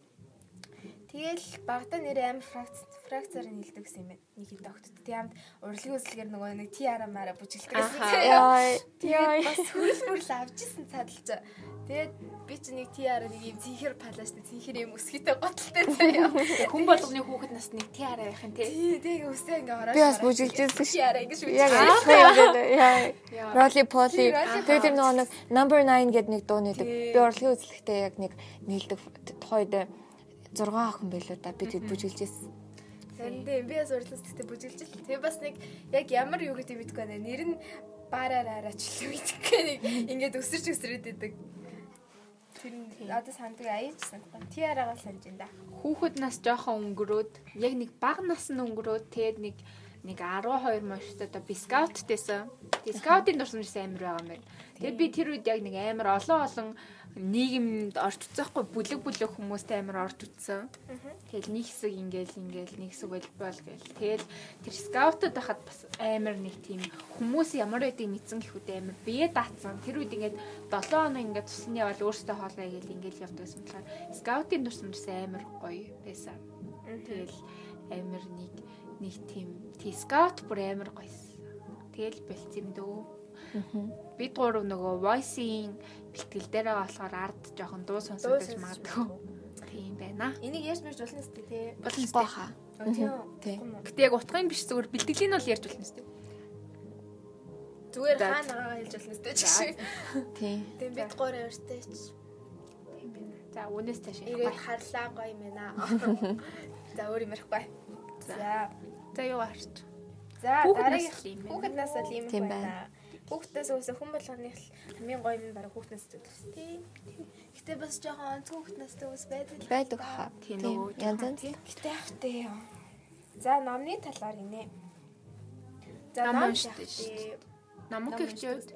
S3: Тэгэл багада нэр амар фракц фракцаар нэлдэг гэсэн юм байна. Нэг хэд огтд. Тэг юмд урлагийн үслэгээр нөгөө нэг ти арамаараа бүжиглдэг гэсэн.
S2: Яй.
S3: Тэгээд бас хөрөл хөрөл авчихсан цадалж. Тэгээд би чи нэг ти араа нэг юм цэнхэр палаастай цэнхэр юм өсгөтэй готалтай заяа.
S1: Хүн болгоны хүүхэд нас нэг тий араа байх нь тий.
S3: Тий, тэгээ өсөө ингээ ороо.
S2: Би бас бүжиглэжсэн
S3: Ти араа гэж
S2: Яг
S3: үгүй.
S2: ихтэй юм гэдэг. Яй.
S1: Яа.
S2: Rolly Polly.
S3: Тийм, Rolly
S2: Тэгээд тэр нөгөө нэг number 9 гэдэг нэг дуу нэлдэг.
S3: Тийм.
S2: Би урлагийн үзлэгтээ яг нэг нэлдэг тухайд 6 охин байлоо да. Би тэд бүжиглэжсэн.
S3: Тэндээ би бас урьдлаас тэгтээ бүжиглж л. Тэгээ бас нэг яг ямар юу гэдэг мэдгүй байна. Нэр нь бараараач л мэдгүй нэг ингээд өсөрч өсрөөд идэг. Тэр нь надад санддаг аяач санагдана. Ти араагаа санджин да.
S1: Хүүхэд нас жоохон өнгөрөөд яг нэг бага нас нь өнгөрөөд тэгээд нэг нэг 12 моштой одоо бискаут дэсэн. Бискаутын дурсамж амар байгаа юм байна. Тэгээд би тэр үед яг нэг амар олон олон нийгэмд орчихсоохгүй бүлэг бүлэг хүмүүстэй амар орчихсон. Тэгэл нэг хэсэг ингээл ингээл нэг хэсэг волейбол гээл. Тэгэл тэр скаутад байхад бас амар нэг тийм хүмүүс ямар байдгийг мэдсэн гэхүүд амар бие даацсан. Тэр үед ингээд 7 хоног ингээд тусны явал өөртөө хоолой гээл ингээл явдаг гэсэн болохоор скаутын дурсамжс амар гоё байсан. Тэгэл амар нэг нэг тийм тий скаут бүр амар гоёсэн. Тэгэл бэлцэн дөө. Бид гурав нөгөө voice-ийн бэлтгэл дээр байгаа болохоор ард жоохон дуу
S3: Дуу
S1: сонсож
S3: сонсож
S1: магадгүй. Тийм байна.
S3: Энийг яаж мэрж болно сте те.
S1: Болно сте.
S2: Баха.
S3: Оо, Тийм. үү?
S2: Тий.
S3: Гом уу?
S1: Гэтэ яг утгын биш зүгээр бэлтгэлийн нь бол ярьж болно шүү дээ.
S3: Зүгээр
S1: За.
S3: хаа нагаа хэлж болно сте чи.
S2: Тий.
S3: Тэг бид гурай өртэй чи.
S1: Тийм байна. За үүнээс цааш
S3: Ирээд
S1: явах.
S3: харлаа гоё мэнэ. За өөр юм ярихгүй. За.
S1: За юу гарч.
S3: За
S1: Хүүхэд нас л юм байна.
S3: дараагийн хүүхэд нас бол юм
S2: Тийм
S3: байна. Хүүхдээс өсө хүн болгоны л хамгийн гоё нь баг хүүхднээс төлөс тийм. Гэтэ бас жоохон онц хүүхднээс төс байдаг. л
S2: Байдаг
S3: хаа.
S2: хаа.
S1: Тийм нөгөө
S2: Янз янз.
S1: тий.
S3: Гэтэ хтэй. За номны талаар гинэ. За
S1: Ном
S3: ном
S1: уншдаг шүү
S3: шахтыг.
S1: дээ. Намаг гихчүүд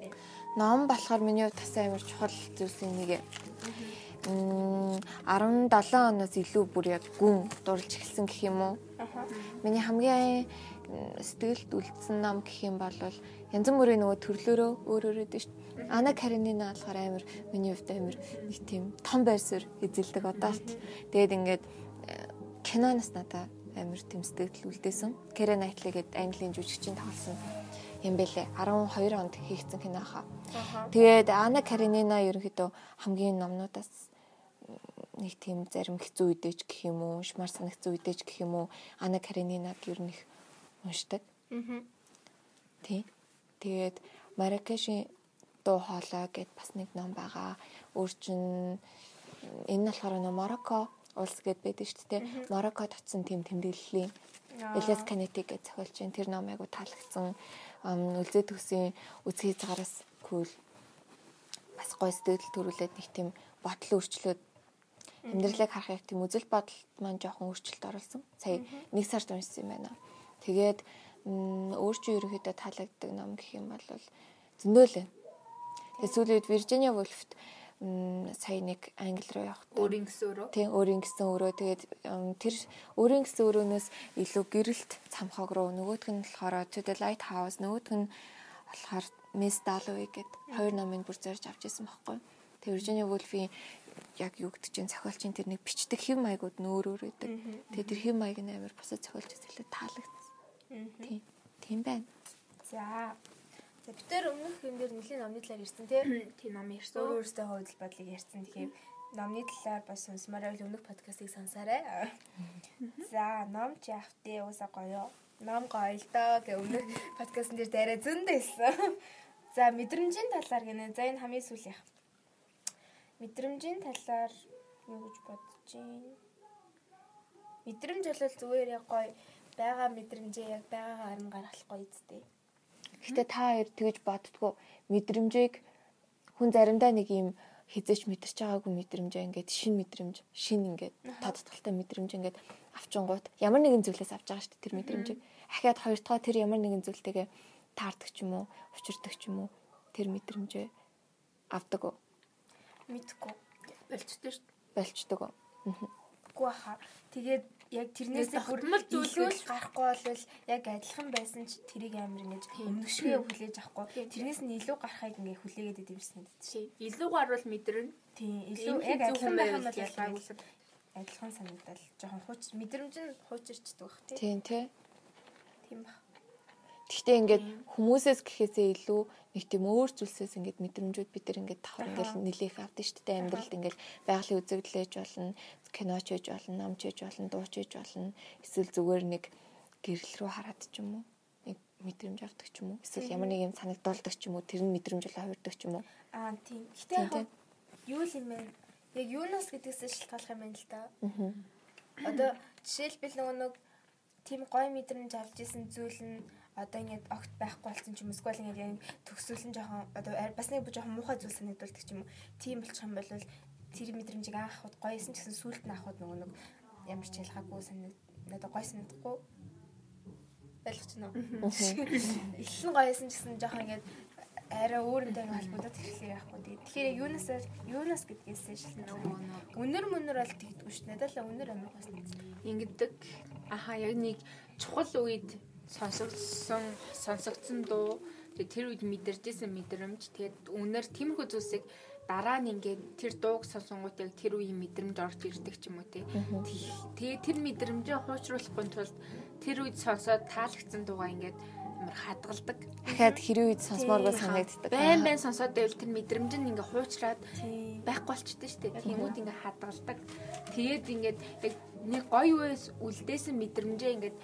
S2: Ном болохоор миний хувьд тасаа амар чухал зүйлсийн нэг юм. 17 оноос илүү бүр яг гүн дурлж эхэлсэн гэх юм уу?
S3: Аха.
S2: Миний хамгийн м, сэтгэлд үлдсэн ном гэх юм бол янз бүрийн нөгөө төрлөөрөө өөр өөрөд шүү дээ. Ана Каренина болохоор амар миний хувьд амар нэг тийм том байр суурь эзэлдэг одоолт. Тэгээд ингээд э, киноноос надаа амар тийм сэтгэл үлдээсэн. Кэрэ Найтли гэдэг Английн жүжигчин тоглосон юм бэлээ. 12 онд хийгдсэн кино хаа.
S3: Аха.
S2: Тэгээд Ана Каренина ерөнхийдөө хамгийн номнуудаас нэг тийм зарим хэцүү үедээч гэх юм уу, шмар санах хэцүү үедээч гэх юм уу, Ана Каренинаг ер нь их уншдаг.
S3: Мгм.
S2: Тий. Тэгээд Маракешийн дуу хоолой гэд бас нэг ном байгаа. Өөрчн энэ нь болохоор нөө Марокко улс гэд байдаг шүү дээ. Мароккод очсон тийм тэмдэглэлийн Элис Канетиг гэж зохиолч энэ тэр ном айгу таалагдсан. Ам, Үлзий төсийн үзхий цагаараас кул бас гой сэтгэл төрүүлээд нэг тийм бодол өөрчлөөд амьдралыг харах яг тийм үзэл бодолд маань жоохон өөрчлөлт оруулсан. Сая нэг сард уншсан юм байна. Тэгээд өөрчөө ерөөхдөө таалагддаг ном гэх юм бол зөндөөлөн. Тэгээд сүүлийн үед Virginia Woolf-т м, сая нэг англи руу явахдаа
S1: өөрийн гэсөөрөө.
S2: Тийм өөрийн гэсэн өрөө тэгээд ам, тэр өөрийн гэсэн өрөөнөөс илүү гэрэлт цамхаг руу нөгөөх нь болохоор To the Lighthouse нөгөөх нь болохоор Miss Dalloway гэд хоёр номыг бүр зорж авч ирсэн байхгүй. Тэг Virginia Woolf-ийн яг юу гэдэг чинь зохиолчийн тэр нэг бичдэг хэв маягууд нь өөр өөр байдаг. Тэгээ тэр хэв маяг нь амар бусад зохиолчдээс илүү таалагдсан. Тийм. Тийм байна.
S3: За. За битэр өмнөх юм дээр нэлийн номны талаар ярьсан тийм.
S1: Тийм ном
S3: Өөр
S1: ярьсан.
S3: өөртөө хувьдал бодлыг ярьсан. Тэгэхээр номны талаар бас сонсомоор байл өмнөх подкастыг сонсоорой. За, ном ч яах вэ? Уусаа гоё. Ном гоё л доо гэх өмнөх подкастн дээр дээрээ зөндөөсэн. За, мэдрэмжийн талаар гинэ. За, энэ хамгийн сүүл яах. Мэдрэмжийн талаар юу гэж бодож байна? Мэдрэмж бол зүгээр яг гоё байгаа мэдрэмжээ яг байгаагаар нь гаргах гоё зүтэй.
S2: Гэхдээ та хоёр тэгж боддгоо мэдрэмжийг хүн заримдаа нэг юм хизэж мэдэрч байгаагүй мэдрэмжээ ингээд шин мэдрэмж, шин ингээд тодтолтой мэдрэмж ингээд авчингууд ямар нэгэн зүйлээс авч байгаа шүү дээ тэр мэдрэмжийг. Ахиад хоёр дахь тэр ямар нэгэн зүйлтэйгээ таардаг ч юм уу, учирдаг ч юм уу тэр мэдрэмжээ авдаг уу,
S3: Мэдхгүй.
S1: Болчтой шүү.
S2: болчдөг үү.
S3: гоо хаа. Тэгээд яг тэрнээс
S1: Тэгээд
S3: бүр
S1: тогтмол зүйл
S3: илүү
S1: биш.
S3: л гарахгүй болвол яг адилхан байсан ч тэрийг амир ингэж өмнөшгөө хүлээж авахгүй. Тэрнээс нь илүү гарахыг ингээ хүлээгээд идэмсэн гэдэг чинь.
S1: Тийм. Илүү гарвал мэдэрнэ.
S3: Тийм, илүү
S1: Илүү
S3: яг адилхан байх юм бол ялгаагүй.
S1: ялгаагүйсэн.
S3: Адилхан санагдал жоохон хууч мэдрэмж нь хуучирчдаг бах тий.
S2: Тийм тий.
S3: Тийм бах.
S2: Гэхдээ ингээд хүмүүсээс гэхээсээ илүү нэг тийм өөр зүйлсээс ингээд мэдрэмжүүд бид нар ингээд давхар ингээд нилээх авдаг шүү дээ амьдралд ингээд байгалийн үзэгдлээж болно, киноч хийж болно, намч хийж болно, дууч хийж болно. Эсвэл зүгээр нэг гэрэл рүү хараад ч юм уу нэг мэдрэмж авдаг ч юм уу. Эсвэл ямар нэг юм санагдуулдаг ч юм уу, тэр нь мэдрэмж л хувирдаг ч юм уу.
S3: Аа тийм. Гэтэ
S2: Тийм,
S3: яг юу л юм бэ? Яг юунаас гэдгээс шалтгаалх юм байна л да. Аа. Одоо жишээлбэл нөгөө нэг тийм гой мэдрэмж авч исэн зүйл нь одоо ингээд огт байхгүй болсон ч юм уу эсвэл ингээд яг төгсүүлэн жоохон одоо ар- бас нэг жоохон муухай зүйл санагдуулдаг ч юм уу. Тийм болчих юм бол тэр мэдрэмжийг анх хад гойсэн ч гэсэн сүулт нь ахад нөгөө нэг ямар ч ялгаагүй санагд одоо гой санагдахгүй ойлгож байна уу? Эхлэн гоёсэн гэсэн жоохон ингээд арай өөрөнтэй ингээд холбогдоод эхлэх байхгүй тийм. Тэгэхээр яг юунаас юунаас гэдгээс шалтгаална.
S1: Нөгөө нэг
S3: Үнэр мөнөр бол тэгдэггүй ш. Надад л үнэр амир бас тэгдэг.
S1: ингэдэг. Аха яг нэг чухал үед сонсогдсон сонсогдсон дуу тэгээ тэр үед мэдэрчсэн мэдрэмж тэгээд үнээр тиймэрхүү зүйлсийг дараа нь ингээд тэр дууг сонсонгууд яг тэр үеийн мэдрэмж орж ирдэг ч юм уу те. Тэгээ тэр мэдрэмжээ хуучруулахын тулд тэр үед сонсоод таалагдсан дуугаа ингээд амар хадгалдаг.
S2: Дахиад хэрэг үед сонсомооргүй санагддаг.
S1: Байн байн сонсоод байвал тэр мэдрэмж нь ингээ хуучраад
S3: Тийм.
S1: байхгүй болчихдээ шүү дээ. Тэнгүүд ингээ хадгалдаг. Тэгээд ингээд яг нэг гоё үес үлдээсэн мэдрэмжээ ингээд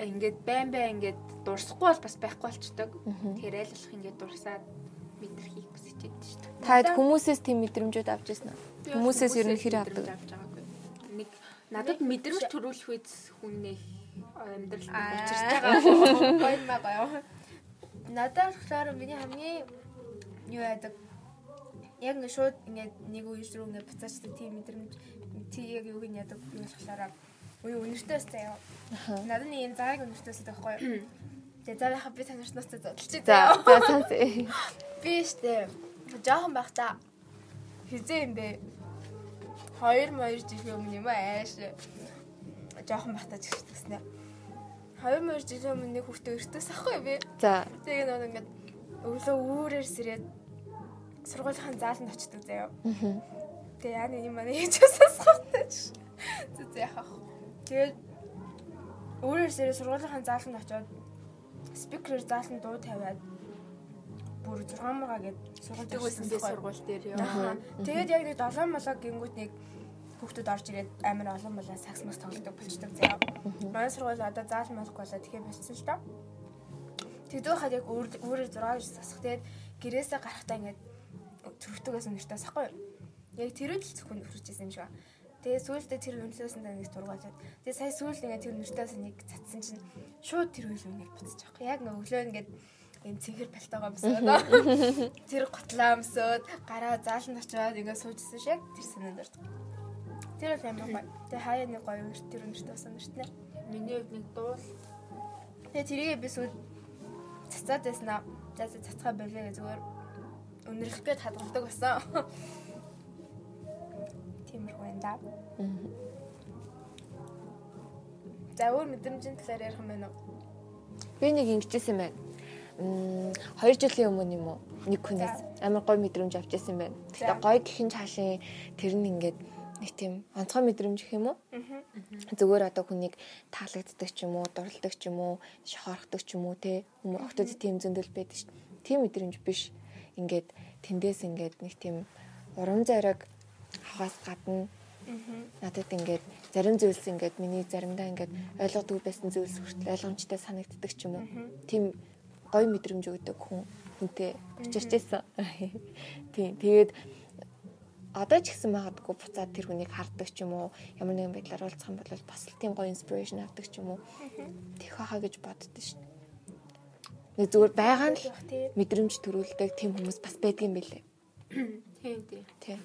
S1: ингээд байн байн ингээд дурсахгүй бол бас байхгүй болчдаг. Тэгэхээр аль болох ингээд дурсаад мэдрэхийг хүсэж байдаг шүү дээ.
S2: Таад хүмүүсээс тийм мэдрэмжүүд авч ирсэн үү?
S1: Би бол
S2: Хүмүүсээс ер нь
S1: хүмүүсээс
S2: хэрэг
S1: мэдрэмж
S2: авдаг.
S1: авч байгаагүй. Нэг надад мэдрэмж төрүүлэх үед хүнээ амьдралд учирч
S3: Учиртай
S1: байгаа.
S3: гоё маа гоё. Надад болохоор миний хамгийн юу яадаг яг ингээд шууд ингээд нэг үеэс рүү ингээд буцаачдаг тийм мэдрэмж тий яг юу гин яадаг юм болохоор үе үнэртээс заяа. Надад нэг юм зааг үнэртээс л байхгүй. юу? Тэгээ заахаа би танарснаас зодтолчих
S2: За,
S3: заяа.
S2: за санс.
S3: Би штэ жоохон байхдаа хизээ юм бэ? 2 моёр жилийн өмнө юм аа ааш. Жоохон байхдаа ч гэсэн ээ. 2 моёр жилийн өмнө нэг хүүхдээ өртөөс ахгүй би.
S2: За.
S3: Тэгээ нөө ингээд өглөө үүрээр сэрээд сургуулийн зааланд очдөг заяа. Тэгээ яа нэг юм аа хийж асаасахтай ч. Зү зэ яах. Тэгээд өөрөөр сэрээ сургуулийн зааланд очиод спикерээр зааланд дуу тавиад бүр 6 мурга гээд сургуульд
S1: Тэгсэн би сургууль дээр яваа.
S3: Аха. Тэгээд яг нэг долоо молоо гингүүд нэг хүүхдүүд орж ирээд амар олон молоо сакс мас тоглодог болчдаг заяа. Манай сургууль одоо заал малхгүй болоо тэгэхээр болсон л доо. Тэдөө хаад яг өөр- өөрөөр зураг гэж засах тэгээд гэрээсээ гарахтаа ингээд зүрхтгээс өнөртэй сахгүй. Яг тэр үед л зөвхөн өрчихсэн юм шиг байна. Тэгээ сүүлдээ тэр өнөртөөс нь нэг дургуулаад. Тэгээ сая сүүлд ингээд тэр өнөртөөс нэг цацсан чинь шууд тэр үйл үнийг буцаж авахгүй. Яг ингээд өглөө ингээд энэ цэнхэр палтаагаа босоод тэр готлаа өмсөд гараа зааланд очиод ингээд суужсэн шиг тэр санаанд ордог. Тэр бол амар гоё. Тэгээ хаяа нэг гоё өрт тэр өнөртөө бас өнөртнэ.
S1: Миний хувьд нэг дуул
S3: Тэгээ тэрийг би сүүл цацаад байсан аа. За за цацгаа байлаа гэж зүгээр өнөрлөх гээд хадгалдаг байсан. Тиймэрхүү юм да. За өөр мэдрэмжийн талаар ярих юм байна уу?
S2: Би нэг ингэжсэн байна. 2 жилийн өмнө юм уу? Нэг хүнээс амар гой мэдрэмж авчихсан байна.
S3: За.
S2: Тэгтээ гой гэхин чаашийн тэр нь ингээд нэг тийм онцгой мэдрэмж гэх юм уу?
S3: Мгм.
S2: Зүгээр одоо хүнийг таалагддаг ч юм уу, дурладаг ч юм уу, шохорхдаг ч юм уу те. Хүмүүс октод тийм зөндөл байдаг шүү дээ. Тийм мэдрэмж биш. Ингээд тэндээс ингээд нэг тийм урам зориг авахаас гадна
S3: Мгм.
S2: надад ингээд зарим зүйлс ингээд миний заримдаа ингээд ойлгодгүй байсан зүйлс хүртэл ойлгомжтой санагддаг ч юм уу. Тийм гоё мэдрэмж өгдөг хүн хүнтэй очирч байсан. Тийм. Тэгээд одоо ч гэсэн магадгүй буцаад тэр хүнийг хардаг ч юм уу. Ямар нэгэн байдлаар уулзсан бол бас л тийм гоё инспирэшн авдаг ч юм уу. Тэх хаа гэж боддоо шүү дээ. Нэг зүгээр байгаа нь л
S3: Бах тий.
S2: мэдрэмж төрүүлдэг тийм хүмүүс бас байдгийн бэлээ.
S1: Тийм тийм.
S2: Тийм.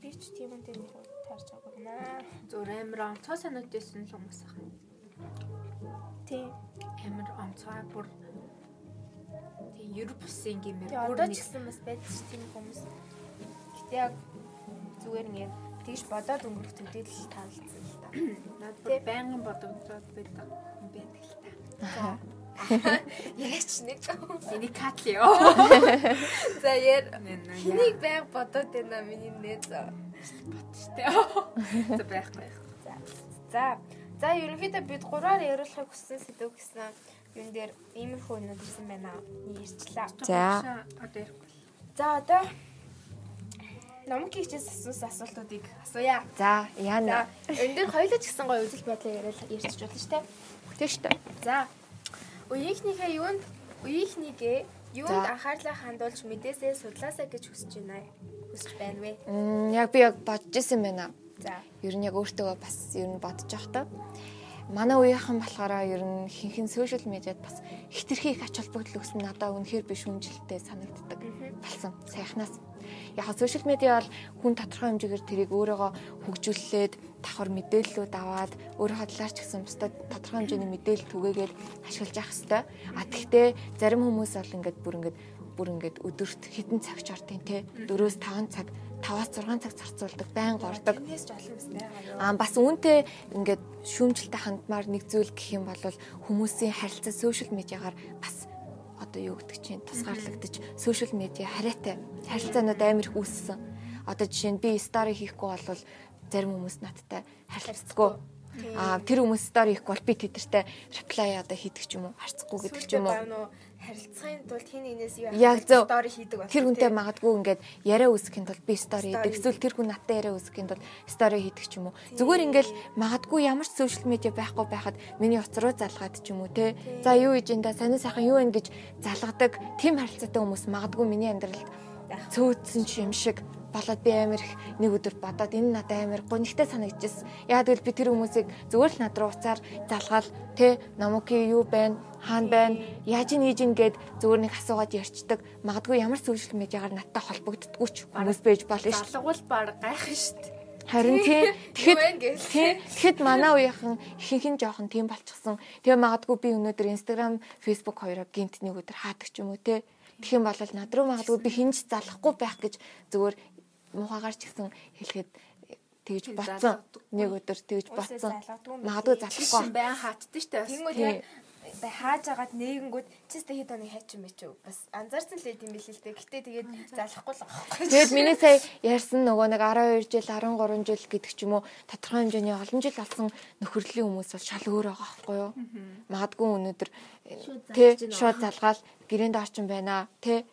S3: Би ч тийм юм дээр нэг удаа таарч байгаа юм аа.
S1: Зүгээр амар онцгой санагдсан л хүмүүс ах.
S3: Тий.
S1: Амар онцгой бүр тийм Европ улсын гэмээр
S3: Тий, одоо ч гэсэн бас байдаг ш тийм хүмүүс. Гэтэ яг зүгээр ингээд тэгж бодоод өнгөрөх төдийл л таалагдсан л та.
S1: Наад
S3: Тий.
S1: бүр байнгын бодогдоод байдаг юм байдаг л та.
S3: Яач нэг юм.
S1: Миний кат л ёо.
S3: За яар.
S1: Нэ, нэ,
S3: Энийг байг бодоод байна миний нээз.
S1: Ботчтэй. За байхгүй.
S3: За. За. За ерөнхийдөө бид гураар яриулахыг хүссэн сэдв гэсэн юм дээр иймэрхүү юмнууд ирсэн байна. Ярьчлаа.
S2: За.
S1: Одоо ярихгүй.
S3: За одоо номгийн хичээс асуусан асуултуудыг асууя.
S2: За,
S3: За
S2: яана.
S3: энэ дээр хоёулаа ч гэсэн гоё үзэл бодлоо яриад ярьж болно шүү дээ.
S2: Тэгштэй.
S3: За. Үеийнхнийхээ юунд үеийнхнийгээ юунд
S2: За.
S3: анхаарлаа хандуулж мэдээсээ судлаасаа гэж хүсэж байна. Хүсэж байна вэ?
S2: Мм, яг би яг бодож исэн байна.
S3: За.
S2: Ер нь яг өөртөө бас ер нь бодож явах та. Манай үеийнхэн болохоор ер нь хинхэн сошиал медиад бас хитрхи их ач холбогдол өгсөн надад үнэхээр би шүмжилтэй санагддаг болсон. Саяхнаас яг сошиал медиа бол хүн тодорхой хэмжээгээр тэрийг өөрөөгөө хөгжүүллээд давхар мэдээллүүд аваад өөрийнхөө талаар ч гэсэн бусдад тодорхой хэмжээний мэдээлэл түгээгээд ашиглаж явах хэрэгтэй. А тэгтээ зарим хүмүүс бол ингээд бүр ингээд бүр ингээд өдөрт хэдэн цаг ч ортын те 4-5 цаг 5-6 цаг зарцуулдаг, байн гордог.
S3: Тэнээс ч олон юм байгаа юу?
S2: Аа бас үүнтэй ингээд шүүмжлэлтэй хандмаар нэг зүйл гэх юм бол хүмүүсийн харилцаа сошиал медиагаар бас одоо юу гэдэг чинь тусгаарлагдаж сошиал медиа хараатай харилцаанууд амар их үүссэн. Одоо жишээ нь би стори хийхгүй бол зарим хүмүүс надтай харилцахгүй. Аа тэр хүмүүс стори хийхгүй бол би тэдэртэй reply одоо хийдэг ч юм уу, харцахгүй гэдэг ч юм уу.
S3: Нуу харилцааны тулд хин нэгнээс юу
S2: Яг зөв.
S3: стори хийдэг бол
S2: Тэр хүнтэй магадгүй ингээд яриа үүсгэхийн тулд би стори
S3: Стори.
S2: хийдэг. Эсвэл тэр хүн надтай яриа үүсгэхийн тулд стори хийдэг ч юм уу. Зүгээр ингээл магадгүй ямар ч сошиал медиа байхгүй байхад миний уцруу залгаад ч юм уу те. За юу хийж энэ да сонир сайхан юу вэ гэж залгадаг тийм харилцаатай хүмүүс магадгүй миний амьдралд цөөдсөн ч юм шиг болоод би амар их нэг өдөр бодоод энэ надад амар гонхтой санагдчихсэн. Яг тэгэл би тэр хүмүүсийг зүгээр л над руу уцаар залгаал те намууки юу байна хаана байна яаж нээж ингээд зүгээр нэг асуугаад ярьцдаг. Магадгүй ямар сошиал медиагаар надтай холбогддгүй ч хүмүүс байж болно шүү. дээ.
S1: Залгуул баг гайх нь штт.
S2: Харин тий
S3: Юу
S2: тэгэхэд
S3: вэ гэх.
S2: тий тэгэхэд манай уухийн ихэнх нь жоохон тийм болчихсон. Тэгээ магадгүй би өнөөдөр Instagram, Facebook хоёроо гинт нэг өдөр хаадаг ч юм уу те. Тэгэх юм бол над руу магадгүй би хинж залахгүй байх гэж зүгээр мухагаар ч гэсэн хэлэхэд тэгж
S1: Хин
S2: ботсон.
S1: залгадаггүй.
S2: Нэг өдөр тэгж
S3: Үсээ
S2: ботсон.
S3: залгадаггүй мэт.
S2: Магадгүй
S1: Шин
S2: залахгүй.
S1: байн хаатдаг штт.
S3: Тэнгүүд
S2: Тий.
S3: яг бай- хааж агаад нээгэнгүүд чистэ хэд оныг хайчих юм бэ чи бас анзаарсан л байт юм билээ л дээ. Гэтэ тэгээд залахгүй л аахгүй.
S2: Тэгээд миний сая ярьсан нөгөө нэг 12 жил, 13 жил гэдэг ч юм уу тодорхой хэмжээний олон жил болсон нөхөрлөлийн хүмүүс бол шал өөр байгаа байхгүй юу? Магадгүй өнөөдөр э, тий шууд залгаал гэрээнд орчин байна тий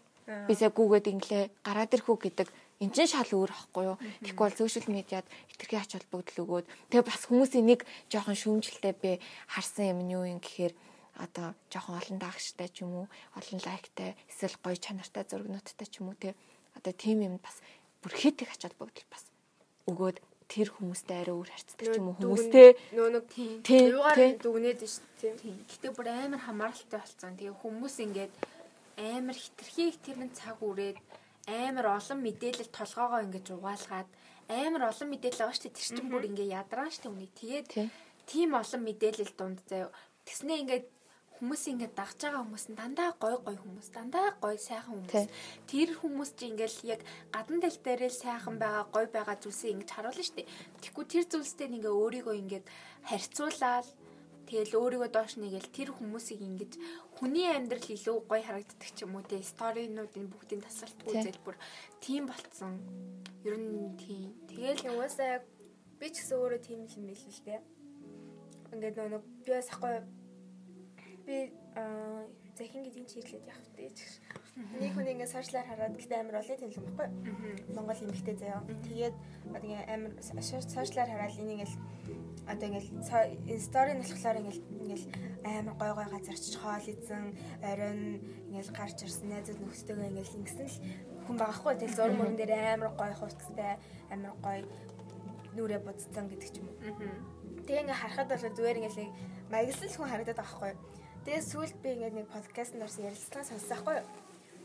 S2: бисаа гүгээд инглээ гараад ирэхүү гэдэг эн чинь шал өөр байхгүй юу? Тэгэхгүй бол сошиал медиад хэтэрхий ач холбогдол өгөөд тэгээ бас хүмүүсийн нэг жоохон шүүмжэлтэй би харсан юм нь юу юм гэхээр одоо жоохон олон даагчтай ч юм уу, олон лайктай, эсвэл гоё чанартай зургнуудтай ч юм уу те. Одоо тийм юм бас бүр хит их ачаал бүгдл бас өгөөд тэр хүмүүстэй арай өөр харцдаг ч юм уу хүмүүстэй
S3: нөө нэг
S1: Тийм.
S2: тий тий
S3: юугаар дүгнээд нь шүү дээ.
S1: Тийм. Гэтэ бүр амар хамааралтай болсон. Тэгээ хүмүүс ингээд амар хитрхийг тэрэн цаг үрээд амар олон мэдээлэл толгоогоо ингэж угаалгаад амар олон мэдээлэл байгаа штэ тэр чинь бүр ингээ ядраа штэ үний.
S2: Тий.
S1: Тэгээд тийм олон мэдээлэл дунд заяа. Тэснэ ингээд хүмүүс ингээд дагж байгаа хүмүүс нь дандаа гой гой хүмүүс, дандаа гой сайхан
S2: Тий.
S1: хүмүүс. Тэр хүмүүс чинь ингээл яг гадна тал дээр л сайхан байгаа, гой байгаа зүйлсээ ингэж харуулна шүү дээ. Тэгэхгүй тэр зүйлстэй нэгээ өөрийгөө ингээд харьцуулаад Тэгэл өөрийгөө доош нэгэл тэр хүмүүсийг ингэж хүний амьдрал илүү гоё харагддаг ч юм уу те сторинуудын бүгдийн тасалтгүй
S2: Тий.
S1: зэл бүр тийм болцсон. Ер нь тийм. Тэгэл
S3: Угаасаа яг би ч гэсэн өөрөө тийм л юм биш л дээ. Ингээд нөгөө нэг би бас ахгүй би аа захин гэдэг нь чиглэлд явах дээ. ч гэсэн. Нэг хүн ингээд сошиалар хараад гэдэг амар олон тэнэл юм баггүй. Монгол эмэгтэй заяа. Тэгээд одоо ингээд амар сош- сошиалар хараад энэ ингээд одоо ингээд со- ин- сторийн болохоор ингээд ингээд амар гой гой газар чиж хоол идсэн, оройн ингээд гарч ирсэн найзууд нөхдөдөө ингээд ингэсэн л хүн багахгүй. Тэгэл зурм мөрөн дээр амар гой хувцастай, амар гой нүрэ бодцсон гэдэг ч юм уу. Тэгээ ингээ харахад бол зүгээр ингээ л нэг маягсан л хүн харагдаад байгаа байхгүй. юу. Тэгээ сүүлд би ингээ нэг подкастт орсон ярилцлага сонссон байхгүй. юу.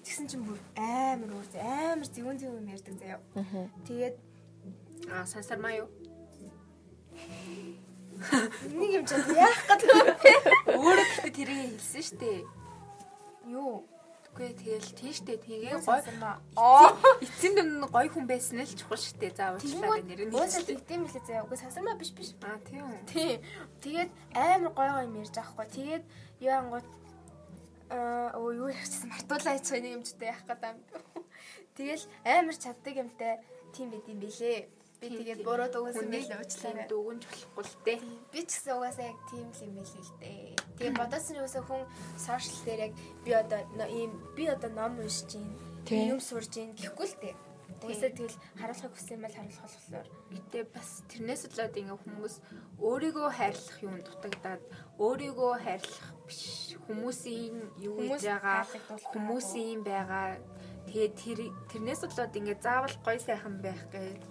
S3: Тэгсэн чинь бүр амар өөр зэ- амар зөвөн зөвөн юм ярьдаг заяа. Тэгээд
S1: аа сансар маа юу?
S3: нэг юм чинь яах гэдэг вэ?
S1: Өөрөө гэхдээ тэрийг хэлсэн шүү дээ.
S3: Юу?
S1: Тэгвэл тэгэл тийштэй тэгээ гоё.
S3: Сонсон ба. Аа.
S1: Эцсийн дүн нь гоё хүн байсан л чухал шүү дээ. За уучлаарай нэр нь.
S3: Өөсөө тэгдэм билээ заяа. Уг сансармаа биш биш.
S1: Аа тийм.
S3: Тийм. Тэгээд амар гой гой юм ярьж байгаа хгүй. Тэгээд юу ангууд аа оо юу ярьчихсан мартуулаа яцгаа нэг юмчтэй яах гэдэг юм. Тэгэл амар чаддаг юмтай тийм байд юм бэлээ. Би тэгээд буруу дугуйсан байлээ уучлаарай.
S1: Дүгүнж болохгүй л дээ.
S3: Би ч гэсэн угаасаа яг тийм л юм байл л дээ. Тэгээд бодосон нь угаасаа хүн сошиал дээр яг би одоо но- ийм би одоо ном уншиж гин,
S2: Тийм.
S3: юм сурж гин гэхгүй л дээ. Угаасаа тэгэл харуулахыг хүссэн юм бол харуулах болохоор.
S1: Гэтэ бас тэрнээс болоод ингээ хүмүүс өөрийгөө хайрлах юм дутагдаад өөрийгөө хайрлах биш хүмүүсийн юу
S3: Хүмүүс
S1: гэж байгаа
S3: таалагдуулах
S1: хүмүүсийн байгаа тэгээ тэр тэрнээс болоод ингээ заавал гой сайхан байх гэж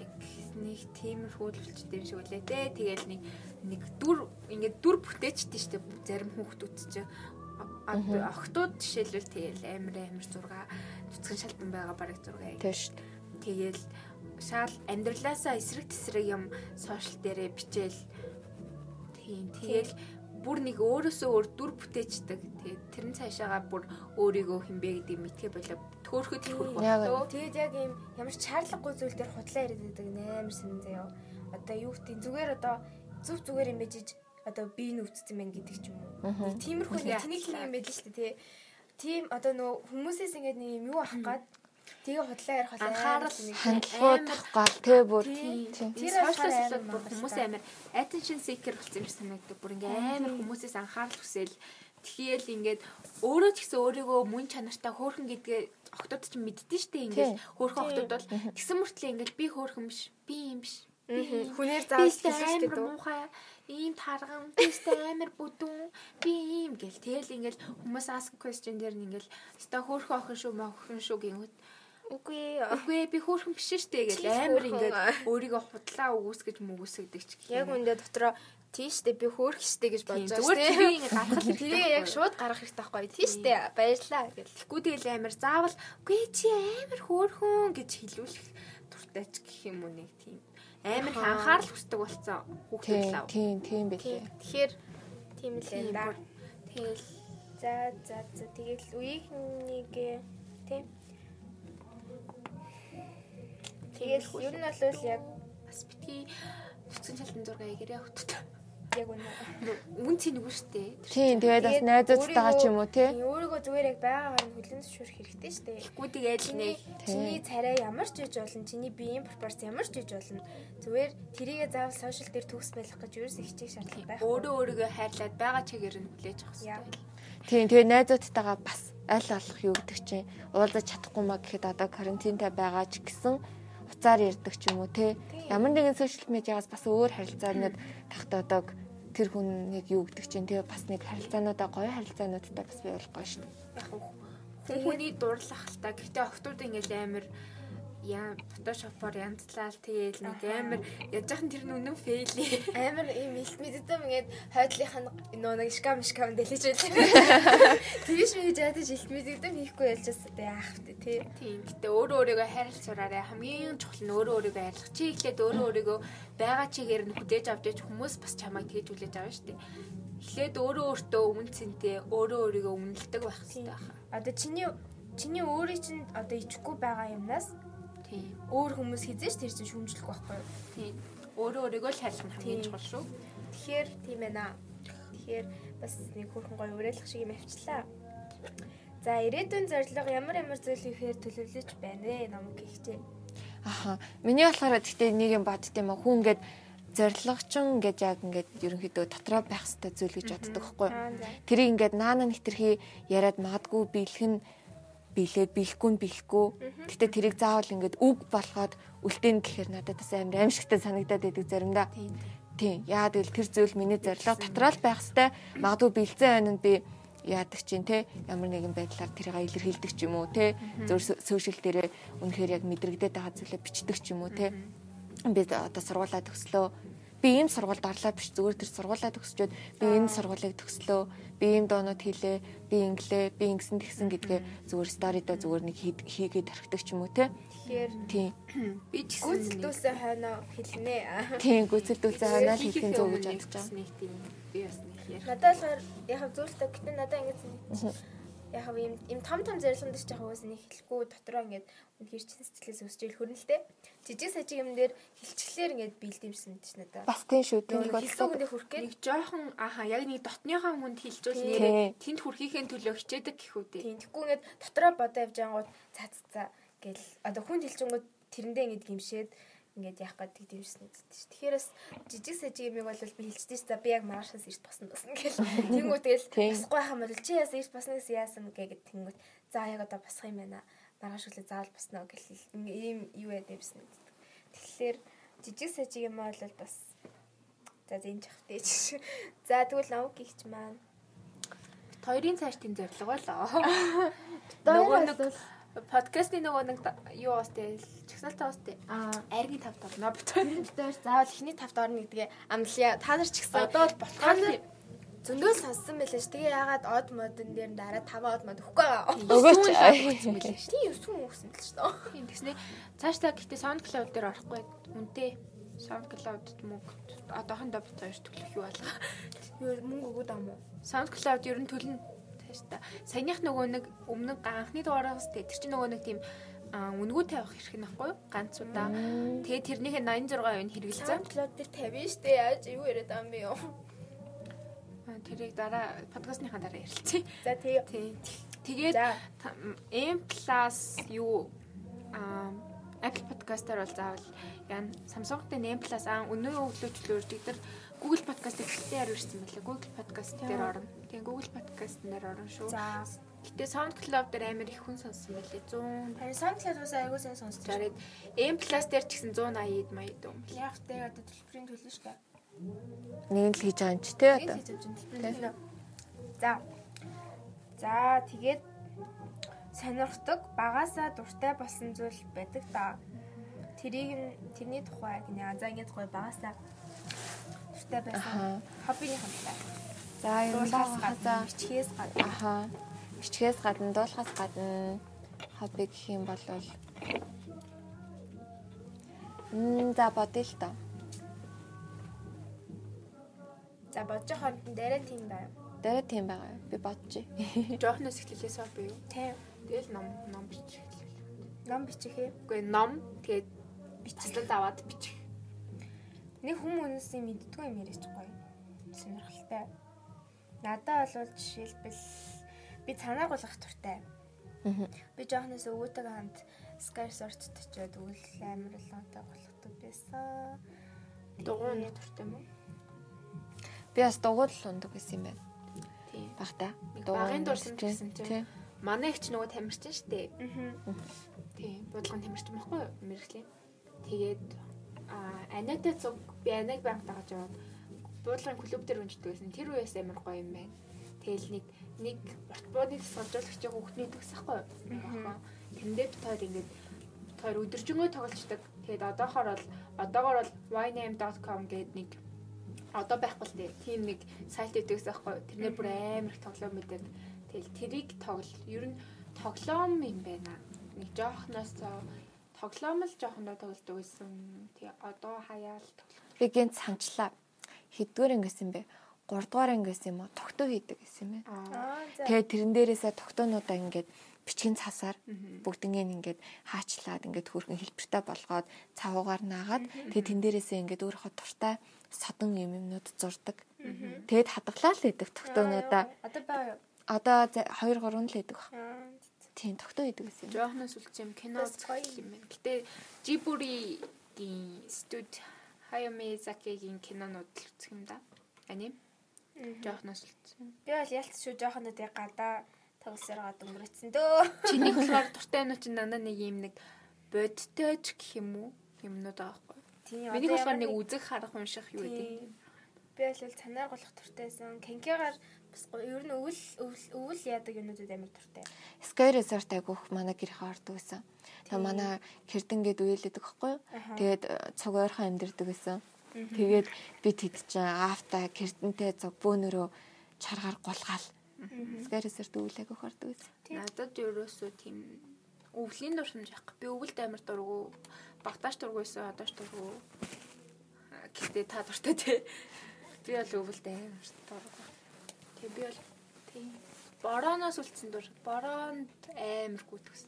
S1: нэг нэг тиймэрхүү л болчтой юм шиг үлээ тэ тэгээл нэг нэг дүр ингээ дүр бүтээчтэй штэ зарим хүүхдүүд чинь А- а- охтууд жишээлбэл тэгэл амар амар зурга цэцгэн шалтан байгаа бараг зурга
S2: тийм шүү дээ.
S1: Тэгэл шал амьдралаасаа эсрэг тесрэг юм сошиал дээрээ бичээл. Тийм. Тэгэл бүр нэг өөрөөсөө өөр дүр бүтээчдэг. Тэгээд тэрэн цаашаагаа бүр өөрийгөө хинбэ гэдэг мэдхий болоо төөрхөд хөрөх
S2: Яг
S1: болтоо.
S3: Тэгээд яг юм ямар ч шаарлаггүй зүйл дээр худлаа яриад байдаг нээр сэн заяа. Одоо юу гэдэг зүгээр одоо зүв зүгээр юм бижиж одоо би нүцсэн байна гэдэг ч юм уу. Нэг Тиймэрхүү нэг
S1: Үгүй
S3: тэнэг
S1: яачлаа.
S3: юм байл л дээ тий. Тийм одоо нөө хүмүүсээс ингэдэг нэг юм юу авах гад тэгээ худлаа ярих бол
S1: Анхаарал
S2: Хандлагууд гал тэ бүр тийм.
S1: Тэр
S3: Тэр
S1: сошиал
S3: болохоор
S1: сошиал
S3: амар
S1: бүр
S3: мангастай.
S1: хүмүүс амар attention seeker болсон юм шиг санагддаг. Бүр ингээ амар хүмүүсээс анхаарал хүсэл тхийл ингээд өөрөө ч гэсэн өөрийгөө мөн чанартай хөөрхөн гэдгээ охтууд ч мэддэн штэ ингээд
S2: Тийм.
S1: хөөрхөн
S3: Тийм.
S1: охтууд бол тэгсэн мөртлөө ингээд би хөөрхөн биш би юм биш
S3: Мгм. Хүнээр
S1: Би
S3: заавал
S1: ихтэй
S3: хэлсэн
S1: амар
S3: гэдэг. үү?
S1: муухай, ийм тарган, бистэй амар бүдүүн, би ийм гэл тэгэл ингээл хүмүүс ask question дээр нь ингээл өстой хөөрхөн охин шүү, мохин шүү гингүүт.
S3: Үгүй.
S1: Үгүй ээ, би хөөрхөн биш штэ гэл
S3: Чи
S1: амар
S3: хөөрхөн.
S1: ингээд өөрийгөө худлаа өгөөсгэж мөгөөсгдөг ч гэх
S3: Яг
S1: юм.
S3: үндэ дотроо тийштэй би хөөх штэ гэж
S1: Тийм,
S3: бодож
S1: Зүгээр
S3: тий.
S1: тэрийг ингээд гаргах
S3: Тэрийг яг шууд гаргах хэрэгтэй байхгүй тийштэй баярлаа гэл.
S1: Тэгэхгүй тэгэл амар заавал үгүй ээ, чи амар хөөрхөн гэж хэлүүлэх дуртай ч гэх юм уу нэг тийм. Амар их
S3: Ахаа.
S1: анхаарал хүсдэг болсон хүүхдүүд
S2: Тийм
S1: лав.
S2: тийм тийм билээ.
S3: Тэгэхээр тийм л юм да.
S1: Тэгэл
S3: За за за тэгэл үеийнхнийг тийм. Тэгэл ер нь бол яг
S1: бас битгий цэцгэн шалтан зургаа эгэрээ хөтөт.
S3: яг үнэ.
S1: Үн чинь үгүй шүү дээ.
S2: Тийм тэгээд бас найзуудтайгаа ч юм уу тий.
S3: Өөрийгөө зүгээр яг байгаагаар нь хүлэн зөвшөөрөх хэрэгтэй шүү дээ.
S1: Гүү тэгээд л
S3: Чиний
S1: нэг
S3: чиний царай ямар ч иж болно, чиний биеийн пропорц ямар ч иж болно. Зүгээр тэрийгээ заавал сошиал дээр төгс байх гэж ерөөс ихтэй шаардлага байх.
S1: өөрөө өөрийгөө хайрлаад байгаа чигээр нь хүлээж авах
S3: Яа.
S1: хэрэгтэй.
S2: Тийм тэгээд найзуудтайгаа бас аль болох юу гэдэг чинь уулзаж чадахгүй маа гэхэд одоо карантинтай байгаа ч гэсэн уцаар ярддаг ч юм уу тий. Ямар нэгэн сошиал медиагаас бас өөр харилцаанууд тагтаадаг тэр хүн нэг юу гэдэг чинь тэгээ бас нэг харилцаануудаа гоё харилцаануудтай бас бий болох гоё шүү. дээ.
S1: Яг хөө- хүн хүний дурлахтай. Гэхдээ охтууд ингээл амар яа фотошопоор янзлал тэгээл нэг амар яж ахын тэр нь үнэн фейл.
S3: Амар юм хэлт мэддэм ингээд хойдлынх нь нөө нэг шкам шкам дэлж байлаа. Тэгвш мэдэж яадаж хэлт мэддэм хийхгүй ялчаас тэ яах вэ тий.
S1: Тийм. Гэтэ өөрөө өөрийгөө хайрлах сураарай. Хамгийн чухал нь өөрөө өөрийгөө хайрлах. Чи ихлээд өөрөө өөрийгөө байгаа чигээр нь хүлээж авч яж хүмүүс бас чамайг тэгж хүлээж авна шүү дээ. Эхлээд өөрөө өөртөө өмнө цэнтэй өөрөө өөрийгөө үнэлдэг байх хэрэгтэй байна.
S3: Одоо чиний чиний өөрийн чинь одоо ичихгүй байгаа юмнаас
S1: Тийм.
S3: өөр хүмүүс хизээч тэр чинь шүүмжлэх байхгүй юу?
S1: Тийм. Өөрөө өөрийгөө л хайрлах нь хамгийн
S3: Тийм.
S1: чухал шүү.
S3: Тэгэхээр тийм ээ. Тэгэхээр бас нэг хөрхөн гоё уриалах шиг юм авчлаа. За ирээдүйн зорилго ямар ямар зүйл ихээр төлөвлөж байна вэ? Намайг гихчээ.
S2: Аха. Миний болохоор гэхдээ нэг юм бодд юм а хүн ингээд зорилгочин гэж яг ингээд ерөнхийдөө дотроо байх хэвээр зүйл гэж боддог хгүй юу?
S3: Аа за.
S2: Тэрийг ингээд наана нэхтерхий яриад магадгүй бэлхэн бэлээд бэлэхгүй нь бэлэхгүй. Гэтэ тэрийг заавал ингээд үг болгоод үлдээн гэхээр надад бас амар аимшигтай санагдаад байдаг заримдаа.
S1: Тийм.
S2: Тийм. Яагаад гэвэл тэр зүйл миний зорилго дотроо л байх хэвээр магадгүй бэлзэн байна нь би яадаг чинь те ямар нэгэн байдлаар тэрийг илэрхийлдэг ч юм уу те зөв сошиал дээрээ үнэхээр яг мэдрэгдээд байгаа зүйлээ бичдэг ч юм уу те би одоо сургуулаа төгслөө. Би ийм сургуульд орлоо биш зүгээр тэр сургуулаа төгсчөөд би энэ сургуулийг төгслөө. Би ийм доонууд хийлээ. Би инглээ. Би ингэсэн тэгсэн гэдгээ зүгээр сторидо зүгээр нэг хийд- хийгээд тархдаг ч юм уу те.
S3: Тэгэхээр
S2: Тийм.
S1: Би ч гэсэн
S3: гүйцэлдүүлсэн хойно хэлнэ. Аа.
S2: Тийм гүйцэлдүүлсэн хойно л
S1: хийх
S2: хийх нь зөв гэж бодож байгаа.
S1: Нэг тийм би бас нэг ярих.
S3: Надад л яг зүйлтэй гэтэн надад ингэж яг юм юм том том зэрлэгэн дээр ч яг уус нэг хэлэхгүй дотроо ингэж үнээр чин сэтгэлээс өсч ил хөрнөлтэй. Жижиг сажиг юм дээр хилчлэлээр ингэж биелдэмсэн гэж надад.
S2: Бас тийм шүү.
S3: Нэг
S2: Тэнийг
S3: хэлсэн
S2: бодсоо.
S3: хүндээ хүрхгээд
S1: Нэг жоохон аха яг нэг дотныхаа хүнд хилжүүл
S3: Тийм.
S1: нэрээ тэнд хүрхийхэн төлөө хичээдэг гэхүү дээ.
S3: тийм тэгэхгүй ингэж дотроо бодоо явж ангууд цаа цаа цаа гэл одоо хүн хилчэнгүүд тэрэндээ ингэж гимшээд ингээд яах гэдэг дэмжсэн үү шүү. Тэгэхээр бас жижиг сажиг юмыг бол би хилчдэж за би яг маргаашаас эрт босно басна гэл. Тэнгүү тэгэл
S2: Тийм.
S3: босгүй байх юм бол чи яасан эрт босно гэсэн яасан гэгээд тэнгүүд за яг одоо босох юм байна. Маргааш үлээ заавал босно гэл хэл- ийм юу яа дэмжсэн үү. Тэгэхээр жижиг сажиг юм бол бас за зинж явах дээ. За тэгвэл намайг гихч маань.
S1: Хоёрын цааш тийм зорилго болоо. Нөгөө нэг подкастны нөгөө нэг юу бастэй чагсаалтаа бастэй.
S3: Аа
S1: Аргийн тав тавнаа битэн.
S3: Дээр заавал эхний тавд орно гэдгээ амлая. Та нар ч гэсэн
S1: Одоо бол
S3: та
S1: болтгоо.
S3: нар зөндөө сонссон мэлээ ш. Тэгээ ягаад од модон дээр нь дараа 5 од мод өгөхгүй байгаа.
S2: Өгөөч.
S1: юм билээ шүү.
S3: Тийм юусэн үгсэн л ш.
S1: Тийм тэгснэ. Цаашдаа гэхдээ SoundCloud дээр орохгүй үнтэй SoundCloud-д мөнгө одоохондоо бит хоёр төлөх юу болго.
S3: Юу мөнгө өгөөд ам уу?
S1: SoundCloud ер нь төлнө цаашдаа. Саяных нөгөө нэг өмнө анхны дугаараас тэ тэр чинь нөгөө нэг тийм аа, үнгүү тавих хэрэг нэхгүй юу? Ганц удаа. Тэгээ тэрнийх нь 86% нь хэрэгэлцсэн.
S3: SoundCloud дээр 50 ш. Яаж юу яриад ам бэ юу?
S1: Аа, Тэрийг дараа подкастныхаа дараа ярилцъя.
S3: За тэгээ.
S1: Тий. Тэгээд
S3: За.
S1: та- м, M+ юу аа Apple Podcast-аар бол заавал яа Samsung-тэй M+ аа өнөө өглөөчлөөр тэгдэр Google Podcast-ыг хитэ хариурсан байлаа. Google Podcast дээр орно. Тэгээ Google Podcast-нээр орно шүү.
S3: За.
S1: Гэтэ SoundCloud дээр амар их хүн сонссон байлээ. 100
S3: Харин SoundCloud-аас айгуу сайн сонсож байгаа.
S1: жараад M+ дээр ч гэсэн 180-д маяд юм.
S3: Яг тэ одоо төлбөрийн төлнө ш.
S2: Нэг нь л хийж байгаа юм чи те
S3: Тэгээд
S2: одоо.
S3: хийж авч байна. За. За тэгээд сонирхдаг багасаа дуртай болсон зүйл байдаг та. Тэрийг нь тэрний тухай гинэ. За ингэ тухай багасаа дуртай байсан.
S2: Аха.
S3: Хоббиний хамтлаа.
S2: За юм
S3: Дуулаас
S2: баа.
S3: гадна, хичээс гадна.
S2: Аха. Хичгээс гадна, дуулахаас гадна хобби гэх юм бол Мм за бодъё л доо.
S3: За бодож хооронд нь дээрээ тийм байна.
S2: Дээрээ тийм байгаа юу? Би бодчих.
S1: Жоохноос эхлэлээс аа би юу?
S3: Тийм.
S1: Тэгэл ном ном бичих эхэллээ.
S3: Ном бичих ээ.
S1: Гэхдээ ном тэгээд бичлэл аваад бичих.
S3: Нэг хүмүүс мэддгүй юм яриач гоё. Сонирхолтой. Надаа бол жишээлбэл би цанааг болгох туртай.
S2: Мгм.
S3: Би жоохноос өвөтэйг хамт Sky Resort төчөөд өвөл амар лонтой болгохдаг байсан.
S1: Дугуй нь дуртай мөн.
S2: Би бас дугуул ундаг гэсэн юм байна.
S1: Тийм.
S2: Багтаа.
S1: Нэг багын дурсан
S2: ундаг
S1: гэсэн чинь.
S2: Тийм.
S1: Манай их ч нөгөө тамирчин шүү дээ.
S3: Мгм.
S1: Тийм. Буудлагын тамирчин байхгүй юу? Мэргэлийн. Тэгээд аа анатай цуг би анаг банк дагаж яваад буудлагын клуб дээр унждаг байсан. Тэр үеэс амар гоё юм байна. Тэгэл нэг нэг спортбооны тасгалжуулагчийн хүүхдний төгс ахгүй юу? Тэндээ бид хоёр ингэж хоёр өдөржингөө тоглолцдог. Тэгээд одоохоор бол одоогор бол yname.com гэдэг нэг одоо байхгүй л дээ. тийм нэг сайт өгсөн байхгүй. юу? Тэрнэр бүр амар их тоглоом мэдээд тэгэл тэрийг тоглол. Ер нь тоглоом юм байна. Нэг жоохноос тоглоом л жоохондоо тоглолдог байсан. Тэгээ одоо хаяал тоглох.
S2: Би гинц хамчлаа. Хэдгээр ингэсэн бэ? 3 дугаар анги гэсэн юм уу? Тогтоо хийдэг гэсэн юм байна.
S1: Аа.
S3: Аа за.
S2: Тэгээд тэрэн дээрээсээ тогтоонуудаа ингээд бичгийн цасаар бүгднийг ингээд хаачлаад ингээд хөрхөн хэлбэртэй болгоод цавуугаар наагаад тэгээд тэн дээрээсээ ингээд өөрийнхөө туртай содон юм юмнууд зурдаг. Тэгээд хадгалаа л гэдэг тогтоонуудаа.
S3: Аа, Одоо байгаа юу?
S2: Одоо 2 3 л гэдэг баг.
S3: Аа.
S2: Тийм тогтоо хийдэг гэсэн юм.
S1: Жохноос үлчим кино
S3: Бас гоё.
S1: үзэх юм байна. Гэтэ Жибуригийн студ Хаями Закегийн кинонууд л үзэх юм да. Аним. Жохноос үлчим.
S3: Би бол ялц шүү жоохонуудыг гадаа тоглосоор гад өнгөрөөцсөн дөө.
S1: Чиний болохоор дуртай нь чинь дандаа нэг юм нэг бодтой ч гэх юм уу? Юмнууд байгаа байхгүй.
S3: Тийм
S1: Миний
S3: одоо
S1: болохоор
S3: ямар
S1: нэг үзэх харах унших юу гэдэг.
S3: Тийм. Би бол санаар голох төртэйсэн. Канкегаар бас го- ер нь өвөл өвөл- өвөл яадаг юмнуудад амар төртэй.
S2: Sky Resort агуух манай гэрийн орд гэсэн. Тэгээ манай Кэрдэнгээд үйлээдэг байхгүй юу?
S3: Аха.
S2: Тэгээд э, цуг ойрхон амьдэрдэг гэсэн. Тэгээд би тэт чинь авта Кэрдэнтэй цуг бөөнөрөө чаргаар гулгаал. Sky Resort үйлээг өгөх орд гэсэн.
S3: Тийм.
S1: Надад ерөөсөө тийм өвлийн дурсамж яахгүй. Би өвөлд амар дургу, багтааш дургуйсэн, одоош дургу. Аа, Гэхдээ та дуртай тий. Би бол өвөлд амар дургу. Тэг би бол тий. Борооноос үлдсэн дур. Бороонд амар гүйтгсэн.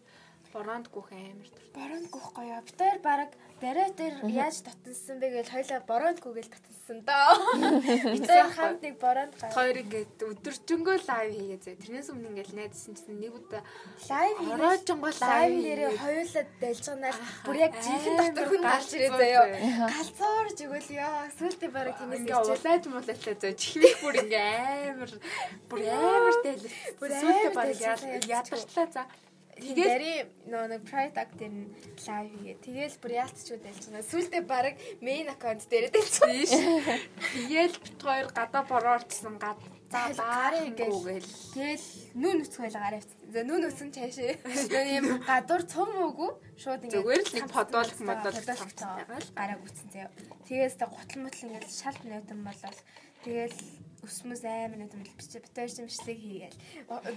S1: Бороонд гүөх амар дур.
S3: Боронд гүхгүй яа. Битээр баг дараа дээр яаж татсан бэ гэвэл хоёлаа боронд гүгээл татсан доо. Битээр хамт нэг боронд гай.
S1: Хоёр ингээд өдөржөнгөө лайв хийгээ зэ. Тэрнээс өмнө ингээд найдсан чинь нэг удаа
S3: Лайв
S1: ороод жонгоо
S3: лайв
S1: лайв
S3: нэрээ
S1: хийгээ.
S3: хоёулаа дэлжганаар бүр яг жинхэнэ
S1: Амар
S3: дотор хүн галж ирээ
S1: галзуу
S3: заяо.
S1: зэ.
S3: Галзуурж өгөөл ёо. Сүүлдээ баг тэнийс
S1: Ингээ улааж мулаатай зөө чихмих бүр ингээ амар бүр амар тайлбар.
S3: Бүр
S1: Бүр
S3: амар
S1: сүйдээ баг
S3: тайлбар
S1: ядарчлаа за.
S3: Тэгээд
S1: Тэгээд
S3: дари нөө нэг pride act дээр нь live хийгээ. Тэгэл бүр яалтчуд дэлжгэнэ. Сүүлдээ баг main account дээрээ дэлжгэнэ.
S1: тийш. Тэгээл бит хоёр гадаа бороорчсан гад. За
S3: Тэгэл гараа
S1: баарэ
S3: ингээл.
S1: ингээл.
S3: Тэгэл нүүн нүцгөл гараа авчихсан. За нүүн нүцэн цаашаа. Нөгөө юм гадуур цум уугүй шууд ингэ
S1: Зүгээр л нэг
S3: хамтсан
S1: подолог
S3: болцсон
S1: модолог
S3: байгаа.
S1: хамтсан байгаа л.
S3: гараа гүцсэн заяа. Тэгээс та гутал мутал ингэ шалт нөтөн болол. Тэгэл өсмөс аймаг нөтөн бол бичээ битэр чимшлиг хийгээл.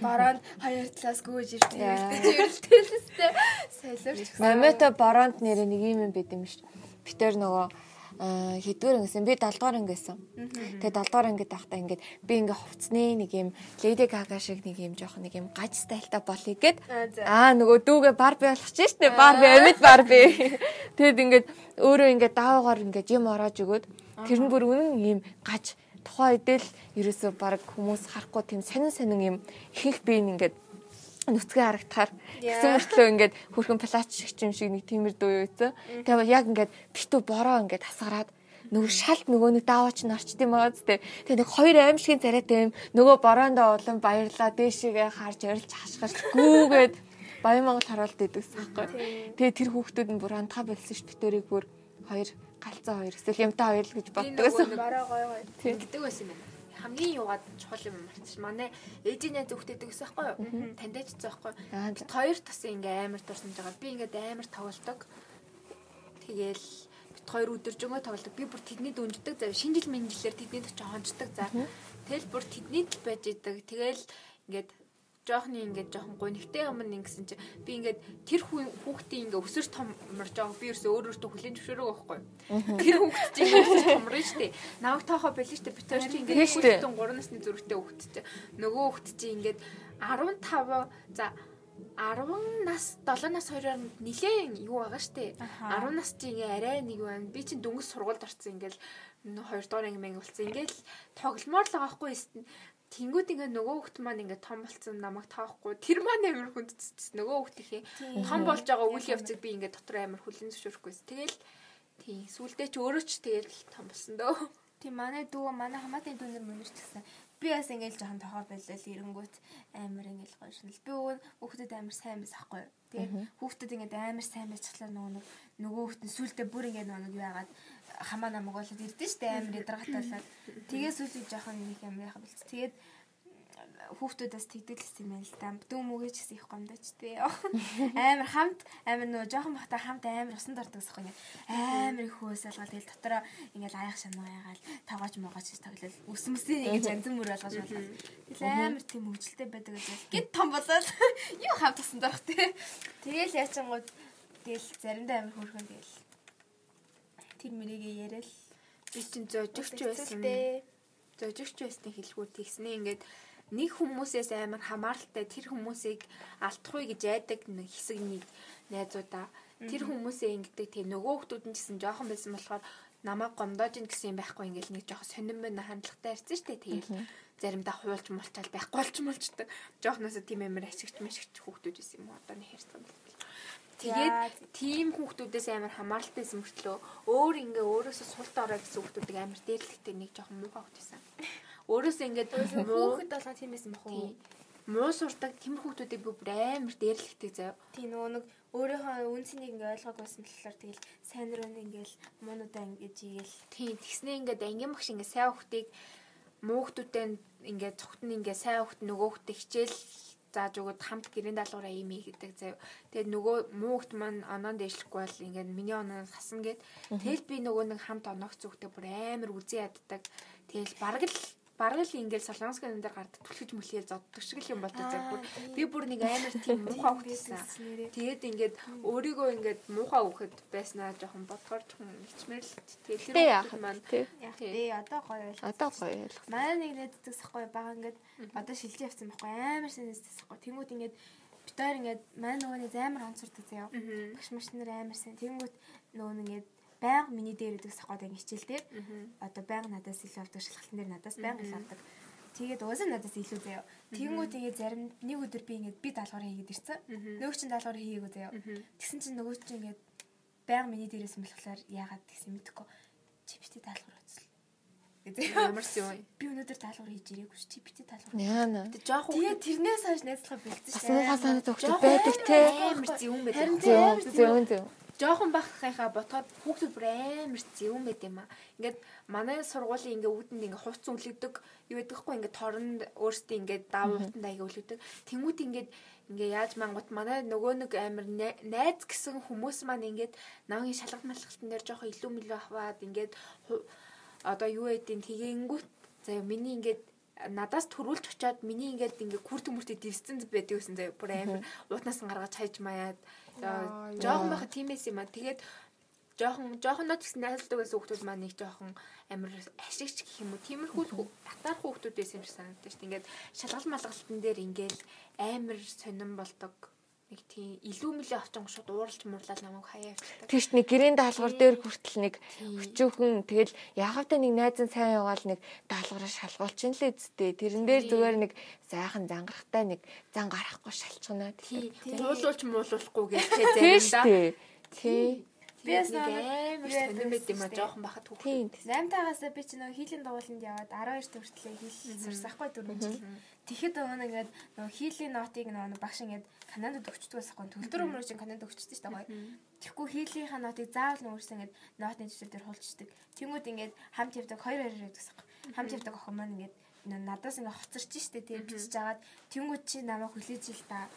S3: Бараанд хоёр талаас гүйж ирсэн.
S2: Яа.
S3: Ирдэж ирэлтэлстэй солиорч.
S2: Момето Боронд нэрээ нэг юм байд юм шүү. Битээр нөгөө аа, хэдгээр ингэсэн би 7 дугаар ингэсэн. Тэгээ 7 дугаар ингээд байхдаа ингээд би ингээд хувцсны нэг юм Lady Gaga шиг нэг юм жоох нэг юм гаж стайлтай болъё гэд
S3: Аа, за.
S2: аа нөгөө дүүгээ Барби болгочих шээ Барби амьд Барби. Тэгэд ингээд өөрөө ингээд даавуугаар ингээд юм ороож өгөөд тэр нь бүр үнэн юм гаж тухайн үед л ерөөсөө баг хүмүүс харахгүй тийм сонин сонин юм ихэнх би ингээд нүцгэн харагдахаар
S3: Яа.
S2: гэсэн мөртлөө ингээд хөрхөн плач шиг ч юм шиг нэг тиймэр дүү юу гэсэн. Тэгээ яг ингээд битүү бороо ингээд хасгараад нөгөө шалт нөгөө нэг даавач нь орчд юм аа зү. Тэгээ нэг хоёр аимшигын царайтай юм нөгөө бороондоо улам баярлаа дээшээгээ харж орилж хашгирч гүүгээд Баян Монгол харуулт идэвсэн байхгүй. Тэгээ тэр хүүхдүүд нь бүр антаа болсон ш битүүрийг бүр хоёр галзаа хоёр эсвэл юмтаа хоёр л гэж
S1: Би нөгөө
S2: боддог гэсэн.
S1: нэг
S3: Бараа гоё гоё.
S1: ингэдэг байсан юм байна. Хамгийн юугаад чухал юм мартчих. Манай ээжийн найз өгтөйдэг гэсэн байхгүй юу? Тандаж байгаа байхгүй юу?
S2: Аа, за.
S1: Бит хоёр тас ингээ амар дурсамж байгаа. Би ингээд амар тоглолдог. Тэгээл бит хоёр өдөржөнгөө тоглолдог. Би бүр тэдний дүнждэг зав. Шинэ жил мэнжилээр тэдний төч хонцдог зав. Тэгэл бүр тэдний л байж идэг. Тэгэл ингээд жоохны ингээд жоохон гонхтэй юм нэг гэсэн чи би ингээд тэр хүн хүүхдийн ингээд өсөр томрж байгаа би ерөөсөө өөр өөртөө хүлийн зөвшөөрөө байхгүй. Тэр хүүхд чинь ингээд өсөр томрно штэ. Наваг таахаа болоо штэ. Би тэр чинь
S2: Тийм
S1: ингээд
S2: штэ.
S1: хүүхдэн 3 насны зүрхтэй хүүхд чи нөгөө хүүхд чи ингээд 15 за 10 нас 7 нас 2-оор нилээн юу байгаа штэ. 10
S3: Аха.
S1: нас чи ингээ арай нэг юм байна. Би чинь дөнгөж сургуульд орсон ингээл 2 дугаар анги мэнг болсон. Ингээл тогломоор л байгаа хгүй эсвэл Тэнгүүд ингээ нөгөө хүүхд маань ингээ том болсон намайг таахгүй. Тэр маань амар хүндчихсэн. Нөгөө хүүхд их юм. том болж байгаа үйл явцыг би ингээ дотор амар хүлэн зөвшөөрөхгүйс. Тэгэл тий сүулдэ ч өөрөө ч тэгэл том болсон дөө.
S3: Тийм манай дүү манай хамаатын дүүнэр мөнөрч гисэн. Би бас ингээл жоохон тохоо болол эрэнгүүт амар ингээл гоё шинэл. Би өгөн хүүхдэд амар сайн байсан байхгүй юу? Тэгээд хүүхдэд ингээд амар сайн байцглаа нөгөө нэг нөгөө хүүхд нь сүултээ бүр ингээд нөгөө нэг юу яагаад хамаа намаг болоод ирдэн штэ амар ядаргат болоод. Тэгээд сүулийг жоохон нэг юм яхав билц. Тэгээд хүүхдүүдээс тэгдэлсэн юм байна л да. Дүү мөгөөч гэсэн их гомдож тээ. Амар хамт амар нөгөө жоохон бахтай хамт амар усан дурддагс ахгүй. Амар их хөөсөлгөл тэгэл дотроо ингээл аяг шанаа ягаал тавгаж могооч гэж тоглол. Үсмэсээ ингэж янзэн мөр болгож болол. Тэгэл амар тийм хөвчлөлтэй байдаг гэж бол. Гэт том болол. Юу хамт усан дурдах тээ. Тэгэл яачингууд тэгэл заримдаа амар хөөрхөн тэгэл. Тэр мөрийгээ яриад
S1: Би чинь зожигч байсан.
S3: Тэгтээ.
S1: зожигч байсны хэлгүүр тэгснээ ингээд нэг хүмүүсээс амар хамааралтай тэр хүмүүсийг алдахгүй гэж айдаг нэг хэсэг нэг найзуудаа тэр хүмүүсээ ингэдэг тийм нөгөө хүмүүс нь ч гэсэн жоохон байсан болохоор намайг гомдоож ин гэсэн юм байхгүй ингээл нэг жоохон сонирн байна хандлагатай ирсэн штэ тэгээл заримдаа хуульч мулчаал байхгүй болч мулчдаг жоохноос тийм амар ашигч мэшигч хүмүүс байсан юм уу одоо нэг хэрсэн бол Тэгээд тийм хүүхдүүдээс амар хамааралтай юм хөртлөө өөр ингээ өөрөөсөө султ ороо гэсэн хүүхдүүдийг амар дээрлэхтэй нэг жоохон муухай хөтсөн. Өөрөөсөө ингээд муу
S3: Хүүхэд болгоо тийм байсан бах уу?
S1: Тийм. муу сурдаг тийм хүүхдүүдийг би бүр амар дээрлэхтэй заяа.
S3: Тийм нөгөө нэг өөрийнхөө үнцнийг ингээ ойлгоог байсан болохоор тэгэл сайн руу нэг ингээл муунуудаа ингэж игээл
S1: Тийм тэгснээ ингээд ангин багш ингээд сайн хүүхдийг муу хүүхдүүдтэй ингээд цогт нь ингээд сайн хүүхд нөгөө хүүхд хичээл зааж өгöd хамт гэрийн даалгавраа ийм ий гэдэг заяа. Тэгээд нөгөө муу хүүхд маань оноонд дэвшлэхгүй бол ингээд миний оноос хасна гэд. Тэгэл би нөгөө нэг хамт оноогц хүүхдээ бүр амар үзий яддаг. Тэгэл бараг л бараг л ингээд солонгоскын энэ дээр гардаг түлхэж мөлхий зоддог шиг л юм болдог заяа. Бүр Би бүр нэг амар тийм муухай хүүхд байсан.
S3: нэрээ.
S1: Тэгээд ингээд өөрийгөө ингээд муухай өгөхөд байснаа жоохон бодгоор жоохон хичмээр л тэгээд
S2: Тэ яах
S1: хүүхдүүд
S2: маань тий.
S3: Яах
S1: Тийм.
S3: вэ? Одоо гоё байл.
S2: Одоо гоё ялах.
S3: Манай нэг найздаг сахгүй бага ингээд одоо шилжиж явсан байхгүй амар сэнэстэй сахгүй. Тэнгүүд ингээд битээр ингээд манай нөгөө нэг амар онцордог заяа.
S1: Мгм.
S3: Багш маш нар амар сэн. Тэнгүүд нөгөө нэг ингээд байнга миний дээр идэг сахгүй даа хичээлдээ. Одоо байнга надаас илүү авдаг шалгалтын дээр надаас байнга илүү авдаг. Тэгээд уусаа надаас илүү заяа. Тэнгүүд ингээд зарим нэг өдөр би ингээд би даалгавар хийгээд ирсэн. Нөгөө чинь даалгавар хийгээгүй заяа. Тэгсэн чинь нөгөө чинь ингээд байнга миний дээрээс мэлхлээр яагаад гэсэн мэдэхгүй. Чи битээ даалгавар үзэл. Гэдэг.
S1: Ямарс юм.
S3: би өнөөдөр даалгавар хийж ирээгүй шүү. Чи битээ даалгавар.
S2: Яана.
S1: Тэг жоох
S3: Тэгээ тэрнээс хойш найзлага бэлдсэн
S2: Бас
S3: шүү.
S2: муухай санаад
S1: Жохон
S2: хөгчд байдаг те.
S1: амар зөвөн байдаг.
S3: Харин тийм
S2: Зөв
S3: амар
S2: зөв зөв.
S1: жоохон бахахынхаа ботход хүүхдүүд бүр амар зөвөн байт юм аа. Ингээд манай сургуулийн ингээд үүдэнд ингээд хувц үлгдэг юу байдаг хгүй ингээд торнд өөрсдөө ингээд даав утанд аяга үлгдэг. Тэнгүүд ингээд ингээд яаж мангут манай нөгөө нэг амар най- найз гэсэн хүмүүс маань ингээд намгийн шалгалт малгалтын дээр жоохон илүү мөлөө аваад ингээд ху- одоо юу ядин тэгэнгүүт заяа миний ингээд надаас төрүүлж очиад миний ингээд ингээд күр төмөртөд дивсэн байдаг гэсэн заяа бүр амар уутнаас нь гаргаж хайж маяад За, жоохон байхад тиймээс юм аа. Тэгээд жоохон жоохнод гэсэн найзлдаг байсан хүмүүс маань нэг жоохон амар ашигч гэх юм уу. Тиймэрхүү хүү- татарх хүмүүсээс юм шиг санагдаж шүү. дээ. Ингээд шалгал малгалтын дээр ингээл амар сонирн болдог. Нэг тийм илүү мөлөө авчин шууд ууралж муурлал намайг хаяа явчихдаг.
S2: Тэгш нэг гэрийн даалгавар дээр хүртэл нэг
S1: Тийм.
S2: өчөөхөн тэгэл яхавтаа нэг найз нь сайн яваал нэг даалгавраа шалгуулчин л эцтэй. Тэрэн дээр
S1: Тийм.
S2: зүгээр нэг сайхан зангарахтай нэг зан гарахгүй шалчгана
S1: Тий,
S2: тий.
S1: туулуулж муулуулахгүй гэхдээ
S2: Тий
S1: заримдаа.
S2: штэ. Тий.
S1: Би бас нэг
S3: Нэг
S1: амар
S3: юу
S1: сонирн байт юм аа
S3: байсан
S1: жоохон байхад хүмүүс.
S2: Тий.
S3: 8 тагаас би чи нөгөө хийлийн дугууланд яваад 12-т хүртлээ хийл сурсахгүй дөрвөн жил. Тэгэхэд өгөн ингээд нөгөө хийлийн нотыг нөгөө багш ингээд Канадад өгчдөг байсан гоо. Төлдөр өмнө чинь Канадад өгчдөг шүү дээ гоё. Тэгэхгүй хийлийнхаа нотыг заавал нөөсөө ингээд нотны дэвтэр дээр хулждаг. Тэнгүүд ингээд хамт явдаг 2-2 явдаг байсан гоо. Хамт явдаг охин маань ингээд нөө надаас ингээд хоцорч штэ тэгээ бичиж агаад тэнгүүд чи намайг хүлээж ил та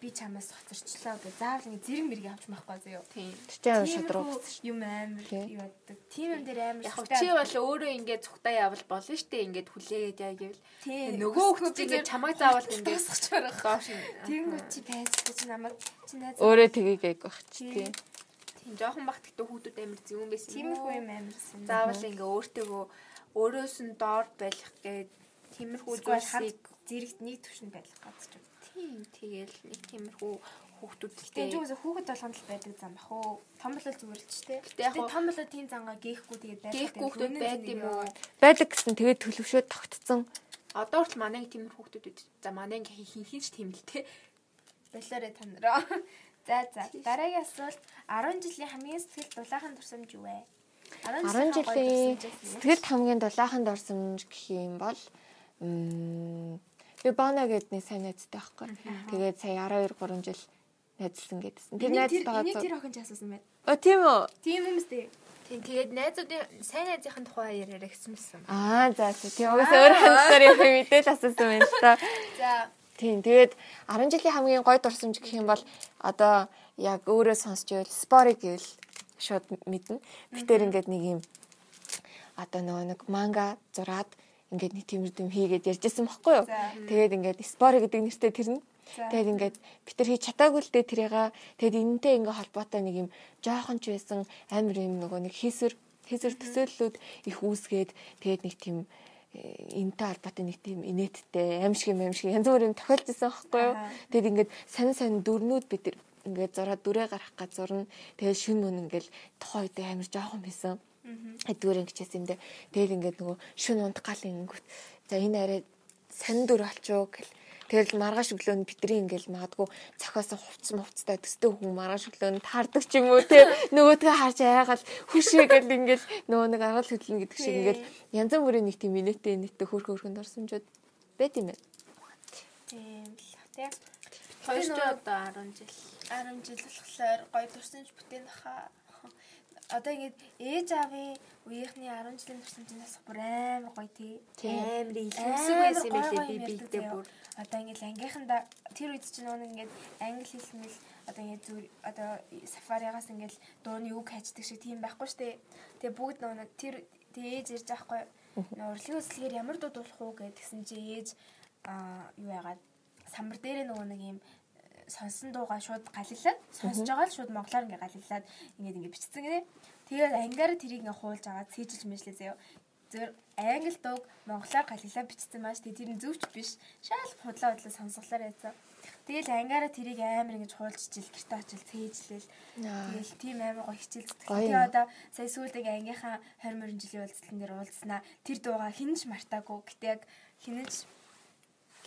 S3: би чамаас хоцорчлоо гэж заавал ингээд зэрэг мэрэг авч махгүй заяо.
S1: Тий.
S2: Тэгтээ шадруу.
S3: юм амар
S2: Тий.
S3: юу яддаг. Тим юм дээр амар
S1: Яг хөө
S3: сэтэ
S1: чи бол өөрөө ингээд цухтаа явал болно штэ ингээд хүлээгээд яа гэвэл
S3: Тий.
S1: нөгөө хүмүүс ингээд чамайг заавал ингээд
S3: тусахч барах.
S1: гоош нь.
S3: Тэнгүүд чи тайсчих чи намайг чи найз
S2: Өөрөө тгийгээг багч тий.
S3: Тийм.
S1: Тийм жоохон бахт гэдэг хүүхдүүд амар зөвөн байсан.
S3: тийм их
S1: Юу?
S3: юм амарсан.
S1: Заавал ингээ өөртөөгөө өөрөөс нь доор байх гээд тиймэрхүү
S3: зүгээр
S1: зүйлсийг
S3: хамт зэрэгт нэг төвшөнд байх гэж байна.
S1: тийм тэгэл нэг тиймэрхүү хүүхдүүдтэй
S3: Тэгээд зүгээс хүүхэд болгонд л байдаг зам бах уу? Том болол зүгээр л ч тээ.
S1: Гэтэ яг
S3: том болол тийм зангаа гээхгүй тэгээд байдаг.
S1: гээх хүүхдүүд байд юм уу?
S2: Байдаг гэсэн тэгээ төлөвшөө тогтцсон.
S1: Одоо хүртэл манай нэг тиймэр хүүхдүүд үү. За манай ингээ хин хинч тэмэлтэй.
S3: Болоорой танараа. За за. Дараагийн асуулт 10 жилийн хамгийн сэтгэл дулаахан турсамж юу вэ?
S2: 10
S3: гоё
S2: жилийн
S3: турсамжаас юу?
S2: сэтгэл хамгийн дулаахан дорсомж гэх юм бол м, би Бона гэдэг нэг сайн найзтай байхгүй. Тэгээд сая 12 3 жил найзлсан гэдсэн. Тэр
S3: Энийг Тэр
S2: найзтайгаа
S3: энийг
S2: зур-
S3: тэр охин ч асуусан байна.
S2: О тийм үү.
S3: Тийм юм зү?
S1: Тийм тэгээд найзуудын сайн найзынхын тухай яриараа гэсэн мэсэн.
S2: Аа за за. тийм угаас өөр хандсаар юм мэдээл асуусан юм л та.
S3: За.
S2: Тийм тэгээд 10 жилийн хамгийн гой дурсамж гэх юм бол одоо яг өөрөө сонсч байвал спори гэвэл шууд мэднэ. Битээр ингээд нэг юм одоо нөгөө нэг манга зураад ингээд нэг тиймэр юм хийгээд ярьжсэн баггүй юу.
S3: За.
S2: Тэгээд ингээд спори гэдэг нэртэй тэр нь.
S3: За.
S2: Тэгээд ингээд битэр хийж чатаагүй л дээ тэрийгээ. Тэгээд энэнтэй ингээд холбоотой нэг юм жоохон ч байсан амар юм нөгөө нэг хийсэр хийсэр төсөөллүүд их үүсгээд тэгээд нэг тийм энтэй албатай нэг тийм инээдтэй аимшиг юм аимшиг янз бүрийн тохиолж исэн байхгүй юу. Тэгэд ингээд сайн сайн дөрнүүд бид нар ингээд зураа дүрээ гарах гэж зурна. Тэгээд шүн мөн ингээд тохоо үед амар жоохон байсан. Эдгээр ингэчээс юм дээр тэгэл ингээд нөгөө шүн унт гал ингээд за энэ арай сайн дүр болчихоо гэл Тэгэл маргааш өглөө нь бидрий ингээл магадгүй цохиосон хувцс мувцтай төстэй хүн маргааш өглөө нь таардаг ч юм уу те нөгөөдгөө харж айгаал хүшээгээл ингээл нөгөө нэг аргал хөдлөн гэдэг шиг ингээл янз бүрийн нэг тийм минутэ нэттэй хөрх хөрхөнд орсомжууд байт юм байна.
S3: Тийм л тийм.
S1: Хоёр ч
S3: Хоёр
S1: одоо 10 жил.
S3: 10 жил болохоор гоё турсанч бүтээн баха. Одоо ингэж ээж аавын үеийнхний 10 жилийн турсан чинь бас бүр амар гоё тий.
S1: Амар
S3: Амар
S1: илүүсэг байсан юм билээ
S3: гоё гоё
S1: би
S3: юм
S1: бийдээ
S3: ярьдаг
S1: бүр.
S3: заяа. одоо ингэж ангийнхандаа тэр үед чинь нөгөө ингэж англи хэлнэл одоо ингэж зүр одоо сафаригаас ингэж дууны үг хайчдаг шиг тийм байхгүй штэ. Тэгээ бүгд нөгөө нэг тэр тэг ээж ирж байхгүй. Нөгөө урлагийн үслэгээр ямар дуу дуулах уу гэдгсэн чи ээж аа юу яагаад самбар дээрээ нөгөө нэг юм э, сонсон дуугаа шууд галилаад сонсож байгаа л шууд монголоор ингээ галилаад ингээд ингээ бичсэн гинэ. Тэгээд ангиараа тэрийг ингээ хуулж аваад сэжилж мэжлээ заяо. Зөв англи дууг монголоор галилаад бичсэн маш тэгээд тэр нь зөвч биш. Шал худлаа худлаа сонсголоор яцсан. Тэгэл ангиараа тэрийг амар ингэж хуулж чил гэрте очил цээжлээл.
S2: Аа.
S3: Тэгэл тийм амар гоё хичээл зүтгэл.
S2: Гоё
S3: Тэгээ
S2: юм.
S3: одоо сая сүүлд яг ангийнхаа 20 морин жилийн уулзалтан дээр уулзсанаа. Тэр дуугаа хинж мартаагүй. Гэтэ яг хинж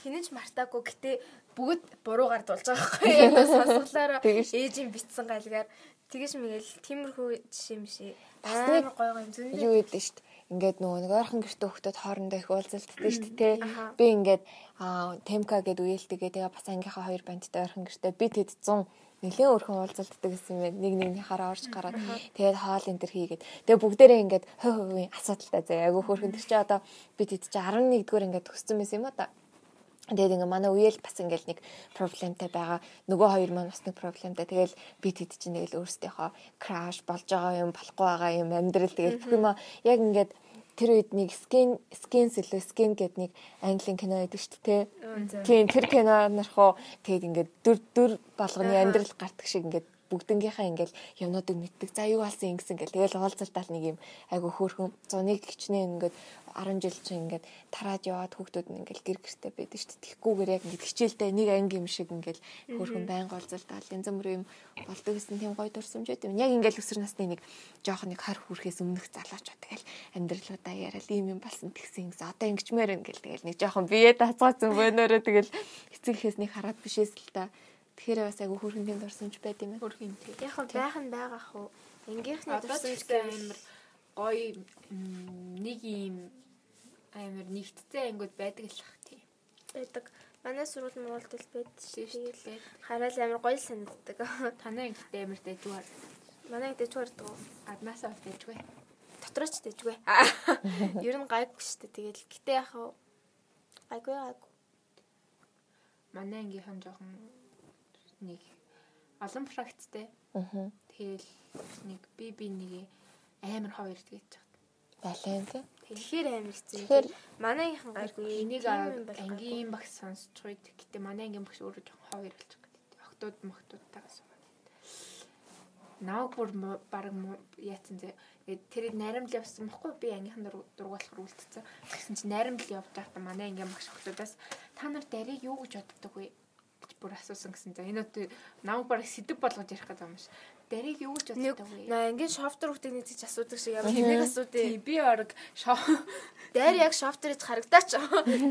S3: хинэж мартаагүй гэтээ бүгд буруугаар дулж байгаа байхгүй яг нь сонсголоороо
S2: Тэгэж.
S3: ээжийн битсэн галгаар тэгэж мэгэл тиймэрхүү жишээ юм шиг
S2: Бас нэг
S3: амар гоё гоё юм зөндөө
S2: юу гэдэг шүү дээ. Ингээд нөгөө нэг ойрхон гэрте хүүхдүүд хоорондоо их уулзалттай шүү дээ. тэ.
S3: Аха.
S2: Би ингээд аа, Темка гэд үйлдэггээ тэгээ бас ангийнхаа хоёр бандтай ойрхон гэрте би тэд 100 нэгэн өөрхөн уулзалтдаг гэсэн юм байна. Нэг нэгнийхаараа орж гараад тэгээд хоол энэ төр хийгээд тэгээ бүгдээрээ ингээд хой хойгийн асуудалтай заяа. Айгу хөөрхөн тэр чи одоо би тэд чи 11 дгээр ингээд төгссөн байсан юм аа та. Тэгээд ингээ манай үеэл бас ингээл нэг проблемтай байгаа. Нөгөө хоёр маань бас нэг проблемтай. Тэгэл би тэт чинь тэгэл өөрсдийнхөө краш болж байгаа юм, болохгүй байгаа юм, амьдрал тэгэл бүх юм аа яг ингээд тэр үед нэг skin skin сэлөө skin гэдэг нэг английн кино байдаг шүү дээ. тэ. Тийм тэр кинонорхоо тэгэд ингээд дүр дүр болгоны амьдрал гартаг шиг ингээд бүгднгийнхаа ингээл юмнуудыг мэддэг. За юу болсон юм гэсэн ингээл тэгэл уулзалтаал нэг юм айгу хөөрхөн 101 гихчний ингээд 10 жил чинь ингээд тараад яваад хүүхдүүд нь ингээл гэр гэртэй байдаг шүү дээ. Тэгхгүйгээр яг ингээд хичээлтэй нэг анги юм шиг ингээл хөөрхөн байнга уулзалтаал янз бүрийн юм болдог гэсэн тийм гоё дурсамжтай юм. Яг ингээл өсөр насны нэг жоох нэг 20 хүрхээс өмнөх залуучууд тэгэл амьдралуудаа яриад ийм юм болсон тэгсэн гэсэн. Одоо ингэчмээр ингээл тэгэл нэг жоохон бие дацгаа зөмбөнөөрөө тэгэл эцэг эхээснийг хараад бишээс л та. Тэгэхээр бас айгу хөөрхөн тийм дурсамж байд юм байна.
S1: Хөрхийн тий.
S4: Яг нь байх нь байгаа хөө. Энгийнхний
S1: Одоо ч
S4: дурсан
S1: гэсэн амар гоё м, нэг юм амар нэгттэй ангууд байдаг л хах тий.
S4: байдаг. Манай сургууль муулд л байд
S1: Тий
S4: шүү
S1: шүү
S4: дээ.
S1: дээ.
S4: Хараад амар гоё л санагддаг.
S1: Танай ихтэй амар дэжгүй.
S4: Манай дэжгүй гардаг. уу?
S1: Аднасаа бол дэжгүй.
S4: Дотроо ч дэжгүй. Ер нь гайгүй шүү дээ. Тэгэл гэтээ яг хөө гайгүй гайгүй.
S1: Манай ангийнхан жоохон нэг олон практиктэй.
S2: Аа.
S1: Тэгэл нэг би би нэг амар хоёр тэгэж чад.
S2: Бален тий.
S4: Тэгэхээр амар хэцүү.
S2: Тэгэхээр
S4: манайхан гайгүй.
S1: Энийг
S4: Тийм
S1: аа,
S4: юм бол гайгүй.
S1: ангийн багш сонсч байд. Гэтэ манай ангийн багш өөрөө жоохон хоёр болчих гэдэг. Охтууд мохтуудтайгаас байна. Наг бүр мо- баг мо- яатсан зэ. Тэгээд тэр наримл явсан бохгүй би ангийнхан дур- дургуулахар үлдсэн. Тэгсэн чинь наримл явж байхдаа манай ангийн багш охтуудаас та нар дарыг юу гэж боддог вэ? гэж бүр асуусан гэсэн. За энэ үед намайг бараг сэдв болгож ярих гэдэг юм шиг. Дарыг юу гэж
S4: Нэг
S1: боддог вэ?
S4: наа ангийн шофтер хүүхдийг нэг тийч асуудаг шиг ямар хэмиг
S1: Тий
S4: асуудээ.
S1: би орог шоо
S4: Дайр яг шофтер гэж харагдаач.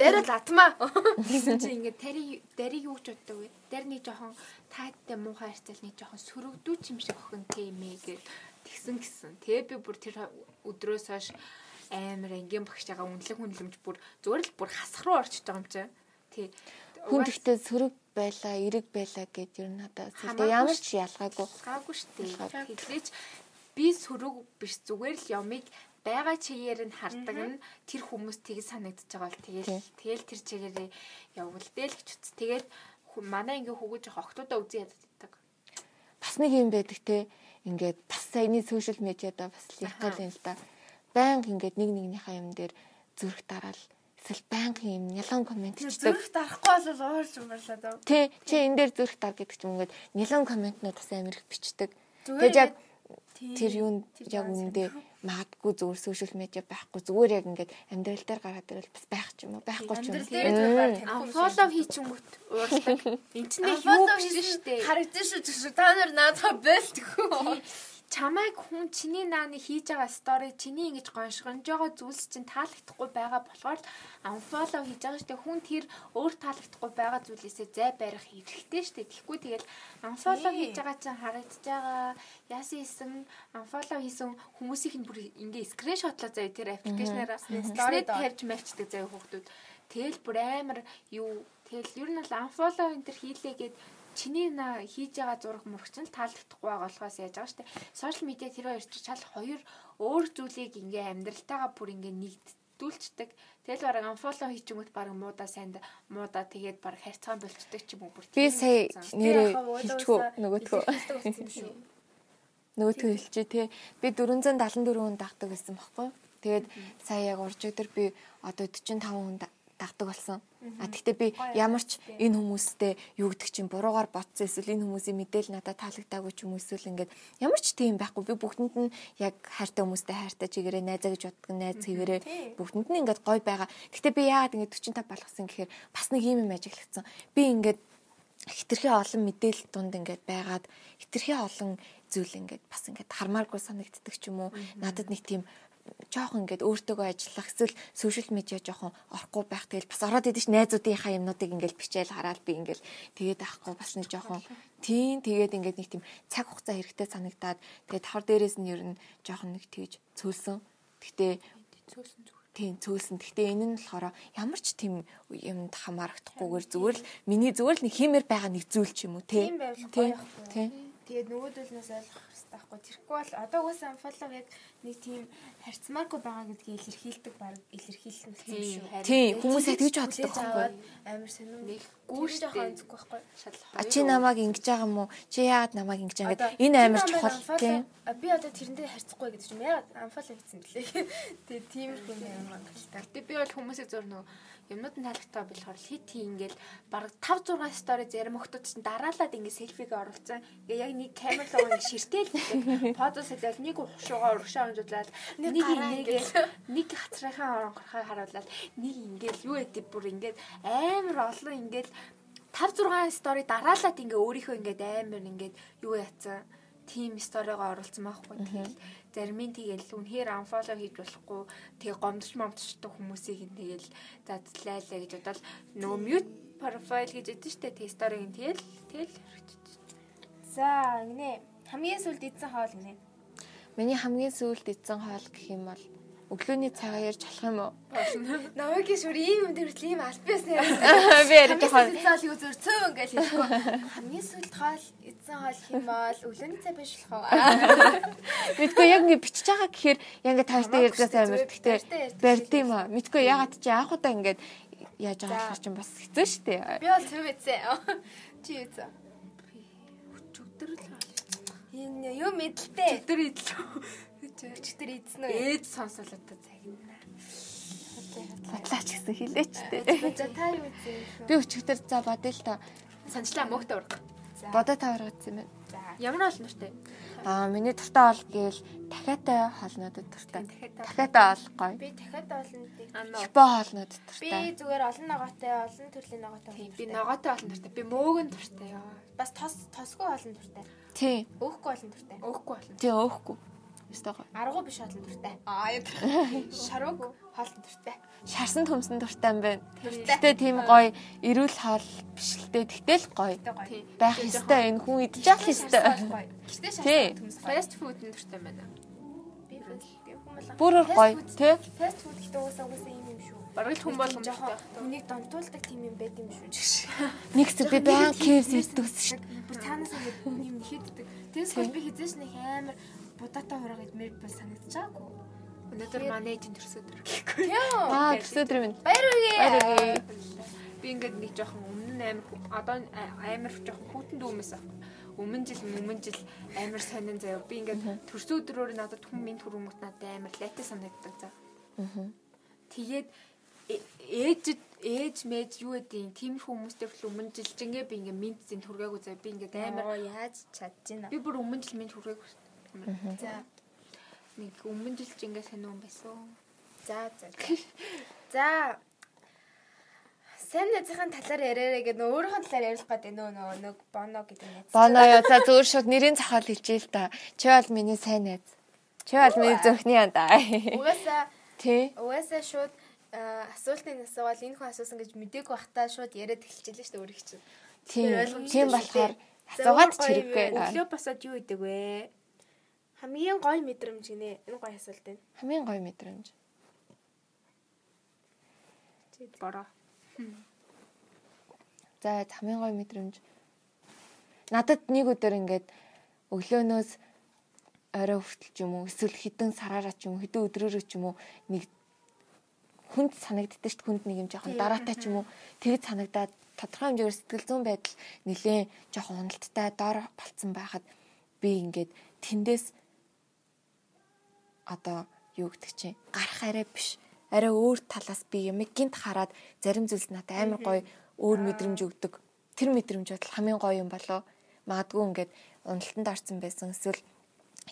S4: Дайр л атмаа.
S1: Тэгсэн чинь ингээд тари дари юу ч боддог вэ? Дари нэг жоохон тааттай муухай харьцал нэг жоохон сөрөгдүү ч юм шиг охин тэмээ гэд тэгсэн гисэн. Тэгээ би бүр тэр өдрөөс хойш амар ангийн багшаагаа үнэлэх үнэлэмж бүр зүгээр л бүр хасах руу орчиж байгаа юм чи. Тий.
S2: хүн гэхдээ сөрөг байла, эрэг байла гэд ер нь надад
S1: Хамаагүй
S2: сэтгэл ямар ч ялгаагүй.
S1: гаагүй штэ.
S2: Ялгаагүй.
S1: Тэглэж би сөрөг биш зүгээр л ямыг бага чигээр нь хардаг нь тэр хүмүүс тэг санагдчих байгаа бол
S2: Тийм.
S1: тэгэл тэгэл тэр чигээрээ явуулдээл гэж үз. Тэгэл хүү- манай ингээ хөгөөж их охтуудаа үзэн яддаг байдаг.
S2: Бас нэг юм байдаг те. Ингээд бас саяны сошиал медиада бас л их гол юм л да. Баян ингээд нэг нэгнийхээ юм дээр зүрх дараал эсвэл баянгийн юм нялан комент хийдэг.
S3: зүрх дарахгүй бол уурч умарлаа даа.
S2: Тэ чи энэ дээр зүрх дар гэдэг ч юм ингээд нэлен комментнууд бас амар их бичдэг.
S3: Зүгээр
S2: Тэгэж яг
S3: ингээд
S2: тэр юунд яг үнэндээ магадгүй зүгээр сошиал медиа байхгүй зүгээр яг ингээд амьдрал дээр гараад ирэл бас байх ч юм уу байхгүй ч юм
S3: Амьдрал
S2: уу.
S3: дээр зүгээр
S2: Мм.
S3: танихгүй юм шиг.
S1: Фоллоу хийчихэнгүүт уулдаг. Энд чинь юу
S4: Follow
S1: биш
S4: хийсэн
S1: шүү дээ.
S3: Харагдсан шүү дээ. Та нар надад бэлтгэв.
S1: чамайг хүн чиний нааны хийж байгаа стори чиний ингэж гоншгонж байгаа зүйлс чинь таалагдахгүй байгаа болохоор л unfollow хийж байгаа штеп хүн тэр өөр таалагдахгүй байгаа зүйлээсээ зай барих хэрэгтэй штеп тэгэхгүй тэгэл unfollow
S3: Тийм.
S1: хийж байгаа чинь харагдаж байгаа яасан хийсэн unfollow хийсэн хүмүүсийнх нь бүр ингээ скриншотлоо заяа тэр аппликейшнаараа стори
S3: Story доо.
S1: тавьж мавчдаг заяа хүүхдүүд тэгэл бүр амар юу тэгэл ер нь бол unfollow энэ төр хийлээ гэд чиний наа хийж байгаа зураг мурах чинь л таалагдахгүй байгаа болохоос яаж байгаа штэ сошиал медиа тэр хоёр чинь шал хоёр өөр зүйлийг ингээ амьдралтайгаа бүр ингээ нэгдүүлчдэг тэгэл бараг unfollow хийчихвэл бараг муудаа санд муудаа тэгээд бараг харьцаан болчихдаг ч юм уу бүр тийм
S2: Би сая
S1: болсон.
S2: нэрээ хэлчихв нөгөөдгөө. Нөгөөдгөө хэлчихэ тий. Би 474 хүн дагдаг байсан байхгүй. юу? Тэгээд сая яг урж өдөр би одоо 45 хүн да- дагдаг болсон. А тэгтээ би ямар ч энэ хүмүүстэй юу гэдэг чинь буруугаар ботсон эсвэл энэ хүмүүсийн мэдээл надад таалагдаагүй ч юм уу эсвэл ингээд ямар ч тийм байхгүй. Би бүгдэнд нь яг хайртай хүмүүстэй хайртай чигээрээ найзаа гэж боддог нь найз хэвээрээ бүгдэнд нь ингээд гой байгаа. Тэгтээ би яагаад ингээд 45 болгосон гэхээр бас нэг юм юм ажиглагдсан. Би ингээд хитрхээ олон мэдээлэл дунд ингээд байгаад хитрхээ олон зүйл ингээд бас ингээд хармааргүй санагддаг ч юм уу надад нэг тийм жоохон ингээд өөртөөгөө ажиллах эсвэл сошиал медиа жоохон орохгүй байх тэгэл бас ороод идэв чи найзуудынхаа юмнуудыг ингээд бичээл хараад би ингээд тэгээд авахгүй бас нэг жоохон тийм тэгээд ингээд нэг тийм цаг хугацаа хэрэгтэй санагдаад тэгээд хар дээрээс нь ер нь жоохон нэг тэгж цөөлсөн гэтээ
S1: Цөөсөн зүгээр.
S2: Тийм цөөлсөн. Гэхдээ энэ нь болохоор ямар ч тийм юмд хамаарахдахгүйгээр зүгээр л миний зүгээр л нэг хиймээр байгаа нэг зүйл ч юм уу тий.
S3: Тийм байвал
S2: Тий.
S3: гоёхгүй.
S2: Тий.
S3: Тэгээд нөгөөдөлнөөс ойлгох хэрэгтэй байхгүй. Тэрхгүй бол одоо угаасаа unfollow яг нэг тийм харьцмааргүй байгаа гэдгийг илэрхийлдэг баг илэрхийлсэн юм шүү.
S1: Харин
S2: Тий, хүмүүс яг тэгж боддог
S3: Хүлээж
S2: байхгүй.
S3: аваад Амар сонирм.
S1: Нэггүй
S3: Тэр нь
S1: штэ.
S3: жоохон онцгүй байхгүй.
S1: Шал
S2: А чи намайг ингэж байгаа юм уу? Чи яагаад намайг ингэж байгаа
S3: Одоо
S2: гэдэг. Энэ
S3: тэр
S2: амар
S3: намайг
S2: чухал
S3: unfollow-
S2: тий.
S3: а, Би одоо тэрэндээ харьцахгүй гэдэг юм. Яг unfollow хийсэн блээ. Тэгээд тиймэрхүү юм байна л та.
S1: Гэтэ би бол хүмүүсийн зур нөгөө юмнууд нь таалагтай болохоор л хит хий ингээл баг 5 6 стори зарим охтууд чинь дараалаад ингээд селфигээ оруулсан. Ингээ яг нэг камер руу ингээд ширтээл гэдэг. Позос хэлээл нэг ухшуугаа урагшаа хөндлөлөөл нэг
S3: гараа
S1: ингээд нэг хацрынхаа оронгорхой харуулаад нэг ингээд юу гэдэг бүр ингээд амар олон ингээд 5 6 стори дараалаад ингээ өөрийнхөө ингээд амар ингээд юу яцсан тим сторигоо оруулсан байхгүй тэгэл зарим нь тэгэл үнхээр unfollow хийж болохгүй тэгээ гомдч момдчдаг хүмүүсийг нь тэгэл задлайлаа гэж бодоод нөө mute profile гэж өгдөн штэ тэг сториг нь тэгэл тэгэл хэрэгжиж
S3: За, гинэ. Хамгийн сүлд идсэн хоол гинэ.
S2: Миний хамгийн сүүлд идсэн хоол гэх юм бол өглөөний цагаар ярьж болох юм уу?
S3: Намайгийн шүр ийм юм төрөл ийм альбиас нэр.
S2: Би
S3: Хамгийн
S2: ярьж байгаа.
S3: сүлд хоол юу зөр цөө ингээл хэлэхгүй. Хамгийн сүлд хоол идсэн хоол хэмээл өвлөн цай биш болох уу?
S2: Мэдгүй яг ингэ бичиж байгаа гэхээр яг ингэ таартай ярьж байгаа
S3: Хамаагүй
S2: амар.
S3: шүү дээ,
S2: Гэтэ
S3: зүгээр баяртай ярьдаг
S2: барьд
S3: шүү дээ.
S2: юм аа. Мэдгүй ягаад чи анх удаа ингэж яаж байгаа чинь бас хэцүү шттэ.
S3: Би бол цөө мэдсэн. Чи юу зөө?
S1: өчигдөрл
S3: Энэ юу мэдлээ?
S1: өдөр идэл
S3: Өчтөр идсэн үү?
S1: ээж сонсолоотой цагнаа
S2: Бодлаач гэсэн хэлээч тээ.
S3: За та юу үзсэн?
S2: Би өчигдөр за бодё л та.
S1: санчлаа мөхт урга
S2: Бодоо таваргацсан байна.
S1: ямар бол нуртай
S2: Аа миний туртаа ол гээл дахиатай холнуудад туртаа.
S1: дахиад ол.
S2: Дахиатай олгоё.
S3: Би дахиад олон нэг.
S1: ано
S2: Хипо холнууд
S3: Би
S2: туртаа.
S3: зүгээр олон ногоотой, олон төрлийн ногоотой. хүн
S1: би
S3: дуртай.
S1: ногоотой олон нуртай би мөөгөн туртай яа
S3: бас тос тосгүй олон төртэй.
S2: Тий.
S3: Өөхгүй олон төртэй.
S1: өөхгүй болно
S2: Тий өөхгүй. Өстой гоо.
S3: Аргу биш олон төртэй. Аа яг шарууг хоолн төртэй.
S2: Шарсан төмсөн туртаа юм байна.
S3: Туртаа.
S2: Гэтэ тийм гоё эрүүл хоол биш л дээ. Тэгтэл гоё.
S3: Тэ гоё.
S1: Тийм.
S2: Байх ёстой энэ хүн идчих ёстой.
S3: Шарсан гоё. Гэртээ
S2: Тий.
S3: шарсан төмс гоё.
S1: фаст фуд нь туртай байна
S3: Би би хүм болго.
S2: Бүр гоё тий.
S3: Фаст фуд гэдэг уусаа уусаа юм юм шүү.
S1: бараг л хүн болгомжтой
S3: жоохон үнийг донтуулдаг тийм юм байт юм шүү жишээ.
S2: Нэг зү би баян кевс иддэгс
S3: шиг. Бүр цаанаас ингэ юм нэхэддэг. Тэгээс би хизээш нэг амар будаатай хураг идмэр бол санагдчихаагүй.
S1: Өнөөдөр манай эжийн төрсөд төрөхгүй.
S3: Яа.
S2: Аа төсөөдөр минь.
S3: Баяр үгээ.
S2: Баяр үгээ.
S1: Би ингээд нэг жоохон өмнө нь амар хүү- одоо нь а- амар жоохон хүүтэн дүүмээс авах. Өмнө жил өмнө жил амар сонин заяа. Би ингээд төрсө өдрөөр надад хүн минь төрөмөт надад амар лайтаа санагддаг заа. Тэгээд э- ээж ээж мэж юу гэдэг юм тийм хүмүүстэй бол өмнө жил чингээ би ингээд минтсийн төргээгүй заяа. Би ингээд амар
S3: яаж чадчихна.
S1: би бүр өмнө жил минь төргээгүй. хэлмээр.
S3: За.
S1: Нэг өмнө жил ч ингээ сониун байсан.
S3: За за. За. Сайн нэзийн талаар яриараа гэдэг нөө өөрийнхөө талаар ярих гэдэг нөө нөө нэг боно гэдэг нэг.
S2: Боно яа за зөөр шууд нэрийн цахаал хэлчихээ л та. Чи бол миний сайн найз. Чи бол миний зөвхний андаа.
S3: Угаасаа
S2: Тэ.
S3: угаасаа шууд а, асуултын асуувал энэ хүн асуусан гэж мдэг байхдаа шууд яриад эхэлчихлээ шүү дээ өөрийг чинь.
S2: Тийм.
S3: ойлгомжтой
S2: Тийм
S3: шүү
S2: болохоор
S3: дээ.
S2: асуугаад
S3: Зөв
S2: ч
S3: гоё
S2: хэрэггүй.
S3: юм.
S2: Аа,
S1: Өглөө басаад юу идэг вэ?
S4: Хамгийн гой мэдрэмж гинэ. Энэ гой асуулт байна.
S2: Хамгийн гоё мэдрэмж.
S1: Бороо.
S2: За хамгийн гоё мэдрэмж. Надад нэг өдөр ингээд өглөөнөөс орой хүртэл ч юм уу эсвэл хідэн сараараа ч юм уу хідэн өдрөөрөө ч юм уу нэг хүнд санагддаг шүү дээ хүнд нэг юм жоохон дараатай ч юм уу тэгэд санагдаад тодорхой хэмжээгээр сэтгэл зүйн байдал нэлээд жоохон уналттай дор болцсон байхад би ингээд тэндээс одоо юу гэдэг чинь гарах арай биш арай өөр талаас би юм гинт хараад зарим зүйлс надад амар гоё өөр мэдрэмж өгдөг тэр мэдрэмж бодол хамгийн гоё юм болоо магадгүй ингээд уналтанд орсон байсан эсвэл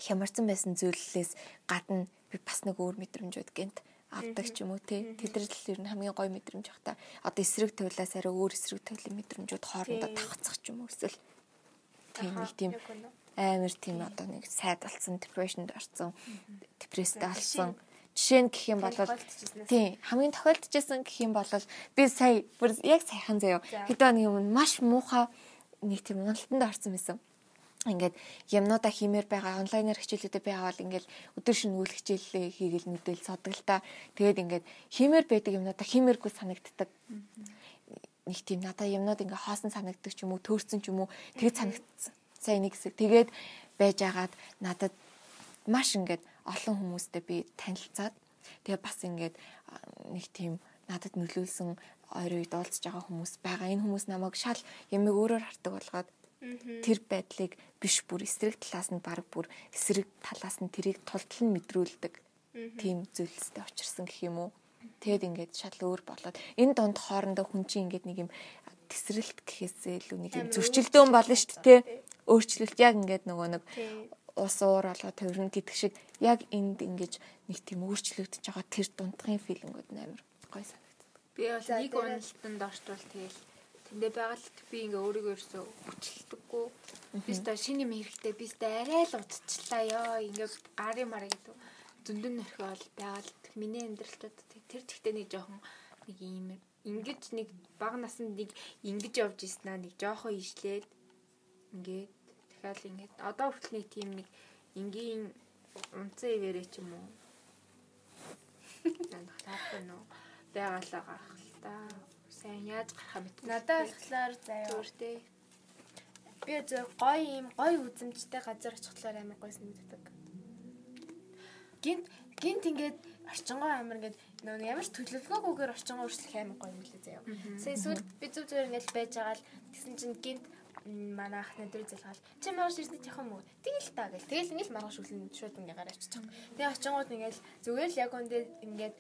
S2: хямарсан байсан зүйлээс гадна би бас нэг өөр мэдрэмж бод гинт авдаг ч юм уу те тэдрэл ер нь хамгийн гоё мэдрэмж ах та одоо эсрэг тавилаас арай өөр эсрэг тавилын мэдрэмжүүд хоорондоо
S4: Тийм.
S2: давхцах ч юм уу эсвэл тийм нэг
S4: Аха,
S2: тийм
S4: яг үнэ.
S2: амар тийм одоо нэг сайд болсон, depressionд орсон, депрессд алсан. Жишээ нь гэх юм бол
S3: Тохиолдчихснаас.
S2: тийм хамгийн тохиолдчихсан гэх юм бол би сая бүр яг саяхан заяа хэдэн өдрийн өмнө маш муухай нэг тийм уналтанд орсон байсан. Ингээд юмнуудаа хиймээр байгаа онлайнаар хичээлүүдэд би аваад ингээд өдөр шөнө үйл хичээлээ хийгээл мэдээлэл содог л та. Тэгээд ингээд хиймээр байдаг юмнуудаа хиймээргүй санагддаг нэг тийм надаа юмнууд ингээ хоосон санагддаг ч юм уу төөрсөн ч юм уу тэгээд санагдсан. Сайн нэг хэсэг. Тэгээд байж агаад надад маш ингээд олон хүмүүстэй би танилцаад тэгээд бас ингээд аа, нэг тийм надад нөлөөлсөн ойр үед уулзж байгаа хүмүүс байгаа. Энэ хүмүүс намайг шал ямиг өөрөөр хардаг болгоод тэр байдлыг биш бүр эсрэг талаас нь баг бүр эсрэг талаас нь тэрийг тултал нь мэдрүүлдэг. Тийм зүйлстэй очирсан гэх юм уу. Тэгэд ингээд шал өөр болоод энэ донд хоорондоо хүн чинь ингээд нэг юм тесрэлт гэхээсээ илүү нэг юм зөрчилдөөн болно шүү дээ. тэ. Өөрчлөлт яг ингээд нөгөө нэг ус уур болго төврөн гэдэг шиг яг энд ингэж нэг тийм өөрчлөгдөж байгаа тэр дундхын филингүүд нь амар гоё санагдав.
S1: Би бол
S3: За,
S1: нэг
S3: дээрээ-
S1: уналтанд орчвол тэгэл тэндээ байгаад л би ингээ өөрийгөө ерөөсөө хүчлдэггүй. Бистэ шинэ юм хэрэгтэй бистэ арай л удчлаа ёо. Ингээ гарын мар гэдэг зөндөн нөрхөөл байгаад л миний амьдралтад тэг- тэр тэгтээ нэг жоохон нэг юм ингэж нэг баг насанд нэг ингэж явж ирсэнаа нэг жоохон ижлээд ингээд дахиад ингээд одоо хүртэл нэг тийм нэг энгийн унцэн ивэрэ ч юм уу Надад таарахгүй нөө. Байгалаа гарах л та. Сайн яаж гарах мэт.
S3: Надад болохоор заяа.
S1: зүгээртэй.
S3: Би зөв гоё юм, гоё үзэмжтэй газар очихлоор амар гоё санагддаг. Гинт гинт ингээд орчингоо амар ингээд нөө нэг ямар ч төлөвлөгөөгүйгээр орчингоо өөрчлөх амар гоё юм лээ заяа. Сая сүүлд би зүг зүгээр ингээд байж байгаа л тэгсэн чинь гинт м, манай ах надруу залгаал чи маргаш ирсэн ч яхам уу тэгэл та гэл тэгэл ингээд маргаш үлэн шууд ингээд гараад очих. Тэгээ очингууд ингээд зүгээр л яг үндэ ингээд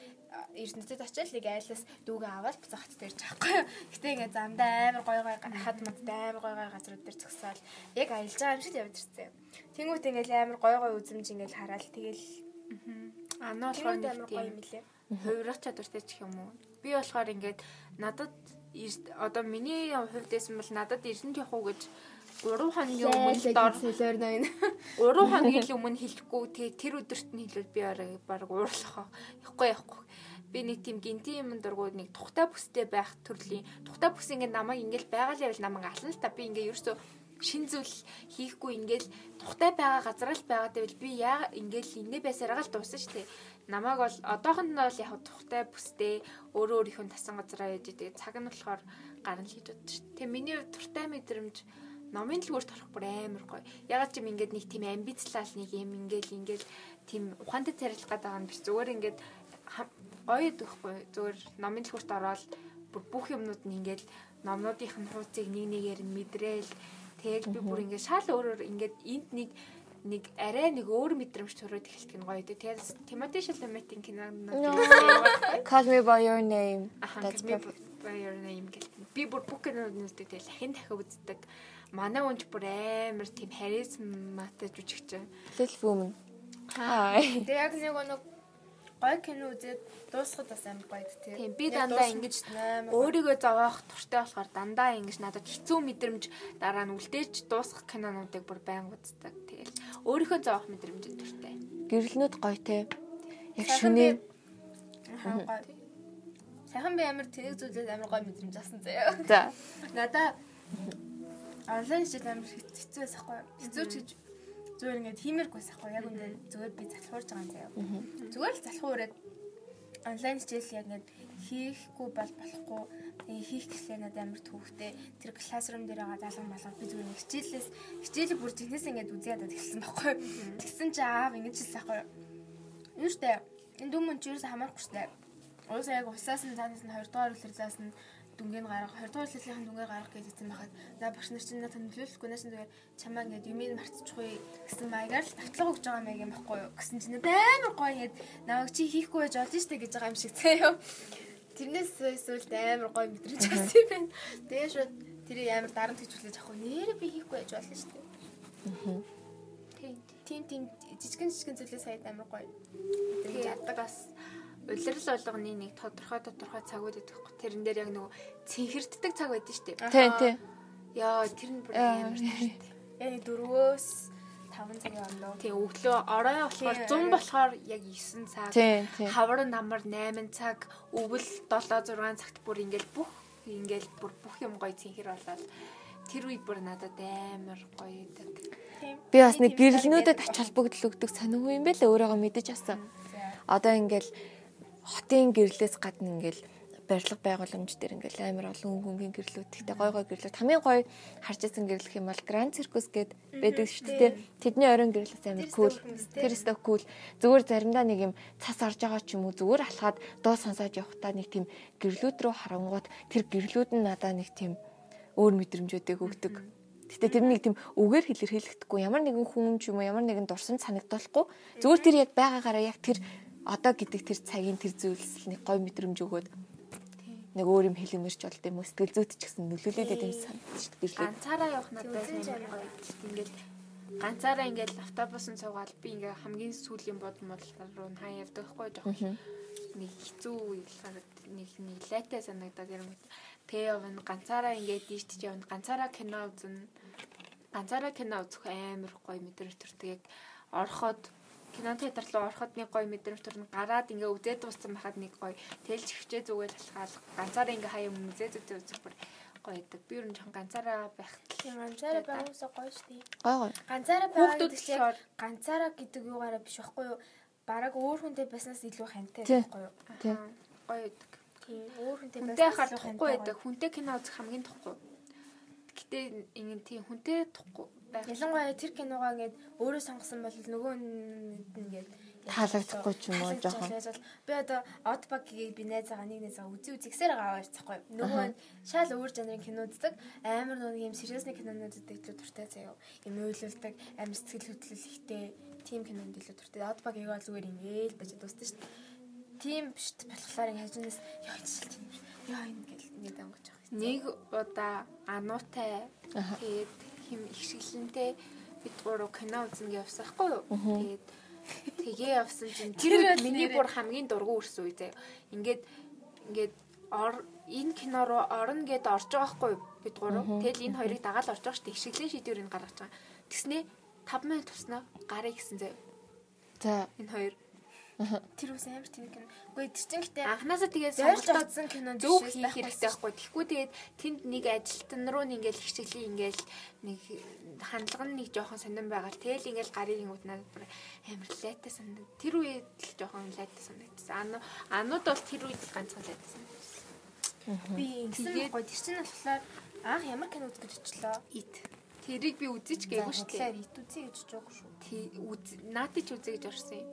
S3: эрдэнэтэд очил нэг айлаас дүүгээ аваад буцаагт дээр жахгүй. Гэтэ ингээд замдаа амар гой гой га- хад мадтай амар гой гой газрууд дээр зогсоол яг аялж байгаа юм шиг л явж ирсэн. Тэнгүүт ингээд амар гой гой үзэмж ингээд хараал тэгэл
S1: Анаа болохоор
S3: тэнгүүт
S1: нэг
S3: амар гоё
S1: тийм
S3: юм лээ.
S1: хувирах чадвартай ч юм уу. Би болохоор ингээд надад эрт- одоо миний хувьдээс бол надад эрдэнэт явах уу гэж 3 хоногийн өмнө л дор
S3: солиор ноён.
S1: 3 хоногийн л өмнө хэлэхгүй те тэр өдөрт нь хэлвэл би орой баг уурлах явахгүй явахгүй би нэг тийм гинти юм дургууд нэг тухтай бүстэй байх төрлийн тухтай бүс ингээд намайг ингээд байгаал явал намайг ална л та би ингээд ерөөсөө шин зүйл хийхгүй ингээд л тухтай байгаа газар л байгаа гэвэл би яа ингээд л инээ байсараа л дуусна шүү дээ намайг бол одоохонд нь бол яг тухтай бүстэй өөрөө өөрийнхөө тасан газараа яж идэг цаг нь болохоор гарна л гэж боддоо шүү дээ. Тэгээ миний хувьд туртай мэдрэмж номын дэлгүүрт орох бүр амар гоё. Ягаад ч юм ингээд нэг тийм амбицлал нэг юм ингээд ингээд тийм ухаантай царилах гэдэг нь биш зүгээр ингээд хам- гоё өгөхгүй. Зүгээр номын дэлгүүрт ороод бүр бүх юмнууд нь ингээд номнуудынх нь хуудсыг нэг нэгээр нь мэдрээл тэгэл би бүр ингээд шал өөрөөр ингээд энд нэг нэг арай нэг өөр мэдрэмж төрөөд эхэлдэг нь гоё дээ. Тэгээс Тимоти Шаламетийн кинонд нь
S2: Call me by your name.
S1: Ахан,
S2: That's
S1: Call Me
S2: perfect.
S1: by your name гэлтэн. Би бүр бүх кинонууд үздэг тэгээ лахин дахиад үздэг. Манай унч бүр амар тийм харизматай жүжигч.
S2: Little Women. Хай.
S3: Тэгээ яг нэг нэг гой кино үзээд дуусахад бас амар гоё тий.
S1: Тийм, би
S3: Яг
S1: дандаа
S3: дуусна-
S1: ингэж
S3: амар гоё.
S1: өөрийгөө зовоох туртай болохоор дандаа ингэж надад хэцүү мэдрэмж дараа нь үлдээж дуусгах кинонуудыг бүр байн үздэг. Тэгэл өөрийнхөө зовоох мэдрэмж төртэй.
S2: Гэрэлнүүд гоё те. Яг
S3: Сайхан
S2: шүний
S3: би- Аха, гоё. Сайхан би амар тэнэг зүйлээс амар гоё мэдрэмж авсан заяа.
S2: за.
S3: Надаа онлайн шил амар хэцүү байсаахгүй. Хэцүү ч гэж зүгээр ингээд хиймэргүй байсаахгүй. Яг үндэ зүгээр би залхуурж байгаа юм заяа. Зүгээр л залхуураад онлайн хичээл яг ингээд хийхгүй бол болохгүй. Тэгээ хийх гэхлээр надад амар төвхтэй. Тэр классрум дээр байгаа залган болгоо би зүгээр нэг хичээлээс хичээлийг бүр зинээс ингээд үзээд надад эхэлсэн байхгүй. Тэгсэн чи аав ингэж хэлсаахгүй. Юу штэ энэ дүмэн чи юусаа хамаарахгүй штэ. Уусаа яг усаас нь цаанаас нь 2 дугаар үлэрлээс нь дүнгийн гарах 2 дугаар үлэрлийн дүнгээ гарах гэж хэлсэн байхад наа багш нар чинь надад төлөөлөхгүй наа чинь зүгээр чамаа ингээд юмыг мартчихгүй гэсэн маягаар л татлага өгж байгаа маяг юм баггүй юу гэсэн чинь надад амар гоё ингээд намайг чи хийхгүй байж олж штэ гэж байгаа юм шиг заяа юу. Тэрнээс эсвэл амар гоё мэдрэмж авсан юм байна. Тэгээ шууд тэрийг амар дарамт хэвчлээж авахгүй нээрээ би хийхгүй байж болно штэ. Тийм тийм тийм жижигэн жижигэн зүйлээ сая амар гоё.
S1: Тэгээд
S3: Тэгээ
S1: яддаг бас улирал болгоны нэг тодорхой тодорхой цагууд байдаг байхгүй. Тэрэн дээр яг нөгөө цэнхэрддэг цаг байдаг шүү дээ.
S2: Тэ тэ.
S1: Яа, тэр нь бүр
S2: Аа.
S1: амар таартай.
S3: яг нэг дөрвөөс 5 цагийн өмнө
S1: Тэгээ өглөө орой болохоор
S3: Тийм,
S1: 100
S3: орой.
S1: болохоор яг 9 цаг.
S2: Тийм, тийм.
S1: Хавар намар 8 цаг, өвөл 7 6 цагт бүр ингээл бүх ингээл бүр бүх юм гоё цэнхэр болоод тэр үед бүр надад амар гоё байдаг.
S3: тийм.
S2: Би бас нэг
S3: Тийм стар
S2: гэрэлнүүдэд
S3: байдаг.
S2: ач холбогдол өгдөг сонихгүй юм бэлээ өөрөөгөө мэдэж авсан.
S3: За.
S2: Одоо ингээл хотын гэрлээс гадна ингээл барилга байгууламж дээр ингээл амар олон өнгөнгийн гэрлүүд ихтэй гой гой гэрлүүд хамгийн гой харж ирсэн гэрлэх юм бол Grand Circus гээд байдаг шүү дээ. Тэдний орон гэрлээс амар
S3: Тэр
S2: cool.
S3: сток юмс, тий.
S2: Тэр өстө cool. Зүгээр заримдаа нэг юм цас орж байгаа ч юм уу зүгээр алхаад дуу сонсоод явахтаа нэг тийм гэрлүүд рүү харангууд тэр гэрлүүд нь надаа нэг тийм өөр мэдрэмжүүдийг өгдөг. Гэтэ тэр нэг тийм үгээр хэлэр хэлэхдэггүй ямар нэгэн хүн ч юм уу ямар нэгэн дурсан санагдуулахгүй зүгээр тэр яг байгаагаараа яг тэр одоо гэдэг тэр цагийн тэр зүйлс л нэг гой мэдрэмж өгөөд нэг өөр юм хэлэмэрч болд юм уу сэтгэл зүйт ч гэсэн нөлөөлөд юм санагдчих гэрлээ.
S1: Ганцаараа явах надад
S3: Зөв, зөв,
S1: амар гоё байдаг. Ингээл ганцаараа ингээл автобусн суугаад би ингээ хамгийн сүүлийн бодмол руу нь хаяа явдаг хгүй жоохон нэг хэцүү ялгаар нэг нэг лайтай санагдаад ирэнгүүт пэвэн ганцаараа ингээ дийштж явна ганцаараа кино үзэн ганцаараа кино үзэх амар гоё мэдрэмж төртгийг орхоод кино театр руу ороход нэг гоё мэдрэмж төрн гараад ингээ үзээд дууссан байхад нэг гоё тэлж хөвчөө зүгээр талхаал ганцаараа ингээ хаяа өмнө үзээд үзээд үзэх бүр гоё байдаг би ер нь жоохон ганцаараа байх
S3: Тийм ганцаараа байгаа уусаа гоё шүү дээ.
S2: Гой гой.
S3: Ганцаараа байгаа
S1: Хүүхдүүд
S3: гэдэг
S1: л
S3: чинь яг
S1: шор
S3: ганцаараа гэдэг юугаараа биш байхгүй юу? Бараг өөр хүнтэй байснаас илүү хантай
S2: Тийм.
S3: байхгүй юу?
S2: Тий.
S1: Аа, гоё байдаг
S3: Тийм өөр хүнтэй
S1: хүнтэй
S3: байснаас
S1: хахаар
S3: илүү
S1: тухгүй
S3: хантай
S1: байдаг хүнтэй кино үзэх хамгийн тухгүй гэтээ ингэ тийм хүнтэй тухгүй байх
S3: Ялангуяа тэр киногаа ингээд өөрөө сонгосон бол нөгөө нь ингээд
S2: Таалагдахгүй ч юм уу, жоохон.
S3: Би одоо Odd Bug-ийг би найзаагаа нэг найзаагаа үзий үзэгсээр аваад ирчихгүй. Нөгөө нь шал өөр жанрын кино үздэг. Амар нөгөө юм сериусны кинонууд үздэг илүү дуртай заяа. Юм ойлулдаг, амар сэтгэл хөдлөл ихтэй тим кинонд илүү дуртай. Odd Bug-ийг бол зүгээр ингээл баж дуусна шүү дээ. Тим бишт болохоор ингээд хажуунаас яа энэ шил тийм биш. Яа энэ гэл нэг ангиж байгаа.
S1: нэг удаа ануутай
S2: Аха.
S1: тэгээд хим их шиглэнтэй бид гурав кино үзэн явсан хгүй юу тэгээд тгээ явсан чинь
S3: Тэр
S1: тэр үед
S3: бол
S1: миний
S3: нэрээ.
S1: бүр хамгийн дургу үрсэн үе заяа ингээд ингээд ор энэ кино руу орно гэд орж байгаа хгүй юу бид гурав тэгэл энэ хоёрыг дагаал орж байгаа шүү дээ их шиглэн шийдвэрийг гаргаж байгаа тэгснээ 5 минут туснаа гарыг гэсэн заяа
S2: За.
S1: энэ хоёр
S3: Тэр үс амар тим кино. Гэхдээ тэр чинь гэдэг
S1: Анханасаа тэгээд
S3: Зорж
S1: сонголтоо
S3: олдсон кинонд
S1: зөв
S3: биш
S1: хийх
S3: байх
S1: хэрэгтэй байхгүй. Тэгэхгүй тэгээд тэнд нэг ажилтан руу нь ингээл хичээлийн ингээл нэг хандлага нь нэг жоохон сонирн байгаа л тэгэл ингээл гарын ингүүд надад бүр амар лайтай санагдав. Тэр үед л жоохон лайтай санагдсан. Ану анууд бол тэр үед л ганцхан лайтай санагдсан.
S3: би ингэсэн
S1: Тэгээд-
S3: байхгүй тэр чинь болохоор анх ямар кино үзэх гэж очлоо
S1: Ит. Тэрийг би үзэж гээгүй шүү дээ.
S3: ит үзье гэж жоогүй шүү
S1: Тий үз наатач үзэ гэж орсон юм.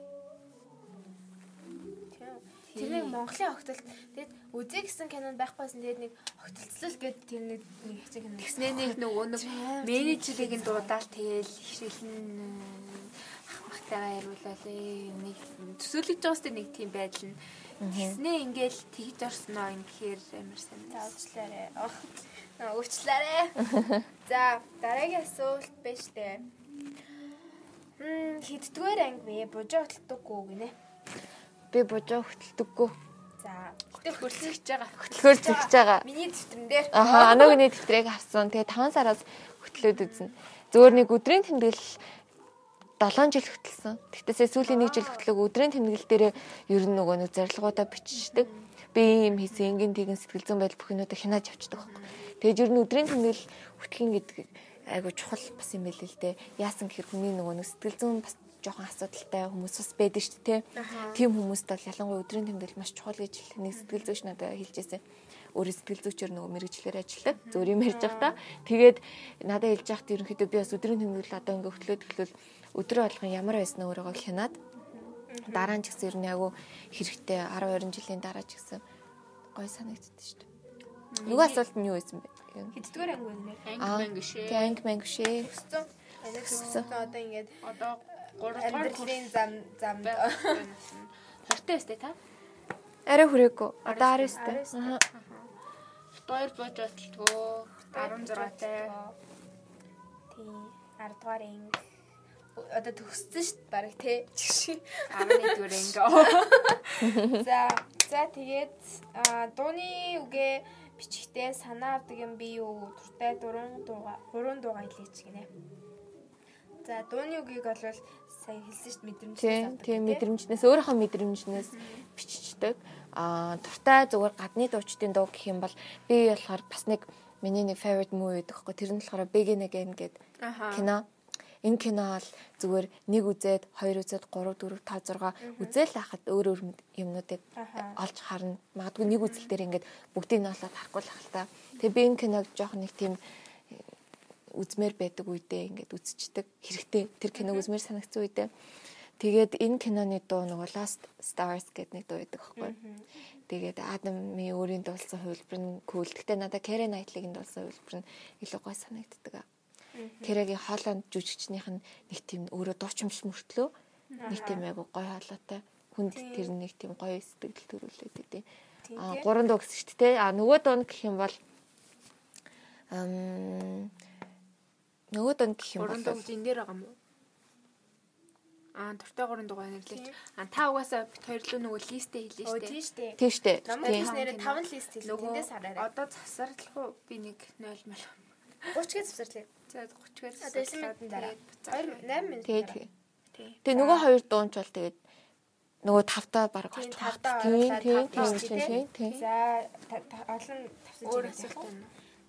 S3: тийм тэр нэг Монголын огтлт тэгэд үзье гэсэн кино байхгүйсэн тэгэд нэг огтлцлал гэд тэр нэг нэг хэцэг кино
S1: Тэгснээ нэг нөгөө нэг менежерийг нь дуудаал тэгээл хишгэлэн ахмахтайгаа яриулаад э, нэг төсөөлөж байгаастай нэг тийм байдал нь Тэснээ ингээл тэгж орсноо ингээхээр амар
S3: За
S1: сайн.
S3: уучлаарай. Наа уучлаарай. За дараагийн асуулт биш дээ. Хм хэддгээр анги вэ? Бужаа хөтлөдөггүй гинэ.
S2: Би бужаа хөтөлдөггүй.
S3: За хөтлөх хөтлөж байгаа.
S2: Хөтлөхөр зэгж байгаа.
S3: Миний дэвтэрэн дээр.
S2: Аха, анагны тэмдэгийг авсан. Тэгээ 5 сараас хөтлөөд үзнэ. Зөөр нэг өдрийн тэмдэглэл 7 жил хөтлсөн. Тэгтээсээ сүүлийн 1 жил хөтлөг өдрийн тэмдэглэл дээр ер нь нөгөө нэг зарлагуудаа биччихдэг. Би ийм хийсэн, энгийн тэгэн сэтгэл зүйн байдал бүхнүүдэ хянаж авчдаг байхгүй. Тэгээд ер нь өдрийн тэмдэглэл хөтлөх гэдэг айгу чухал бас юм байл л дээ. Яасан гэхээр хүний нөгөө нэг сэтгэл зүйн бас жоохон асуудалтай хүмүүс бас байдаг шүү дээ. Тийм хүмүүст бол ялангуяа өдрийн тэмдэглэл маш чухал гэж хэлэх нэг сэтгэл зүйч надад хэлжээсэн. Өөрөө сэтгэл зүйчээр нөгөө мэрэгчлэр ажилладаг. Зөв юм ярьж байхдаа тэгээд надад хэлж байхад ерөнхийдөө би бас өдрийн тэмдэглэл одоо ингээ хөтлөөд хөтлөөл өдрөө болгон ямар байсан өөрийгөө хянаад дараа нь ч гэсэн ер нь айгу хэрэгтэй 12 жилийн дараа ч гэсэн гой санагддаг шүү дээ. Нөгөө асуулт нь юу байсан бэ?
S3: Хэддгээр анги вэ?
S2: Аа,
S1: Анги
S2: Тэг
S1: гişээ.
S2: анги манг шээ.
S3: Хүссэн. Энэ хүссэн
S2: Хүссэн.
S3: одоо ингээд
S1: Одоо 3 дахь
S3: амьдралын зам замд
S1: Хортой өстэй та.
S2: Арай хүрээгүй. Одоо 19-тэй.
S3: 19-тэй.
S2: Аа.
S1: 2 бож баталдгөө 16-тай.
S3: Тий. 10 дугаар анги. Одоо төгссөн шүү дээ баг тий. Чигшээ.
S1: 11-р ингээ.
S3: За, за тэгээд аа, дууны үгээ бичгтээ санаа авдаг юм би юу? Туртай дуран дууга, гурван дууга хэлээч гинэ. За, дууны үгийг бол сая хэлсэн шүү дээ мэдрэмжтэй
S2: Тийм, тийм мэдрэмжнээс өөрийнхөө мэдрэмжнээс биччихдэг. Аа, дуртай зүгээр гадны дуучдын дуу гэх юм бол би болохоор бас нэг миний нэг favorite movie гэдэг хэвчээ тэр нь болохоор Begin Again гэдэг кино. Энэ кино бол зүгээр нэг үзээд, хоёр үзээд, 3 4 5 6 үзэл хахад өөр өөр мэд- юмнуудыг
S3: Аха.
S2: олж харна. Магадгүй нэг үзэл дээр ингээд бүгдийг нь олоод харахгүй л ахал та. Тэгээ би энэ киног жоох нэг тийм э, үзмээр байдаг үедээ ингээд үзчихдэг. Хэрэгтэй тэр киног үзмээр санагдсан үедээ. Тэгээд энэ киноны дуу нөгөө Last Stars гэдэг нэг дуу байдаг байхгүй. Тэгээд Адамын өөрийн дуулсан хувилбар нь cool. Гэтэ надаа Karen Knightley-ийн дуулсан хувилбар нь илүү гой санагддаг. Кэрэгийн Холланд жүжигчнийх нь нэг тийм өөрөө дуучимш мөртлөө нэг тийм айгу гой хоолойтой. Хүнд тэр нь нэг тийм гой сэтгэл төрүүлээд өгдөө. Аа
S3: тий.
S2: гурван дуу гэсэн шүү дээ. тий. Аа нөгөө дуу нь гэх юм бол ам нөгөө дуу нь гэх юм
S1: 3
S2: бол
S1: дугаар энэ дээр байгаа мó. Аа, дуртай 3 дугаар нэрлэж. Аа, та угаасаа бит хоёр л нөгөө листэ хэлээ
S3: Оо,
S1: шүү
S3: тий
S1: дээ.
S3: шүү дээ.
S2: тийм шүү дээ.
S3: Намайг
S2: Тий.
S3: биш нэрээ 5 лист хэлээ.
S1: Нөгөө
S3: Тэндээс хараарай.
S1: одоо засарлах уу? Би нэг 0 мал.
S3: 30 гээд завсарлаа.
S1: За 30 гээд
S3: Одоо 9 минутын дараа. 2 8 минут.
S2: Тэгээ тэгээ.
S1: Тий.
S2: Тэгээ нөгөө хоёр дуунч бол тэгээд нөгөө тавтаа баг
S3: Тийм
S2: орчих.
S3: тавдаа
S2: Тийм
S3: оруулаад
S2: тийм
S3: тавдаа
S2: тийм, тийм тийм, тийм.
S3: тийм. За та- та- олон
S1: Өөр
S3: тавсан
S1: асуулт
S3: зүйл.
S1: байна.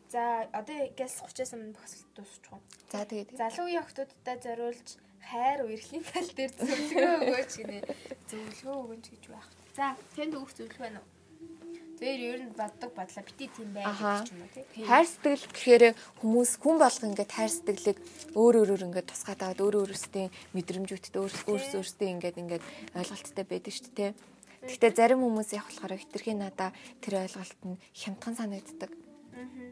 S3: За одоо гээс 30-аас өмнө бохсолт дуусчих уу?
S2: За тэгээ тэгээ.
S3: Залуу үеийн охтуудтай зориулж хайр үерхлийн тал дээр зөвлөгөө өгөөч гинэ. Зөвлөгөө өгөнч гэж байх. За, тэнд өгөх зөвлөгөө байна уу? Тэр ер нь баддаг бадлаа бити тийм байх
S2: Аха.
S3: гэж юм уу тий.
S2: Хайр сэтгэл гэхээр хүмүүс хүн болго ингээд хайр сэтгэлийг өөр өөрөөр ингээд тусгаад аваад өөр өөрсдийн мэдрэмжүүдтэй өөр өөрс өөрсдийн ингээд ингээд ойлголттой байдаг шүү дээ. Гэхдээ зарим хүмүүс яг болохоор хитрхи надаа тэр ойлголт нь хямдхан санагддаг.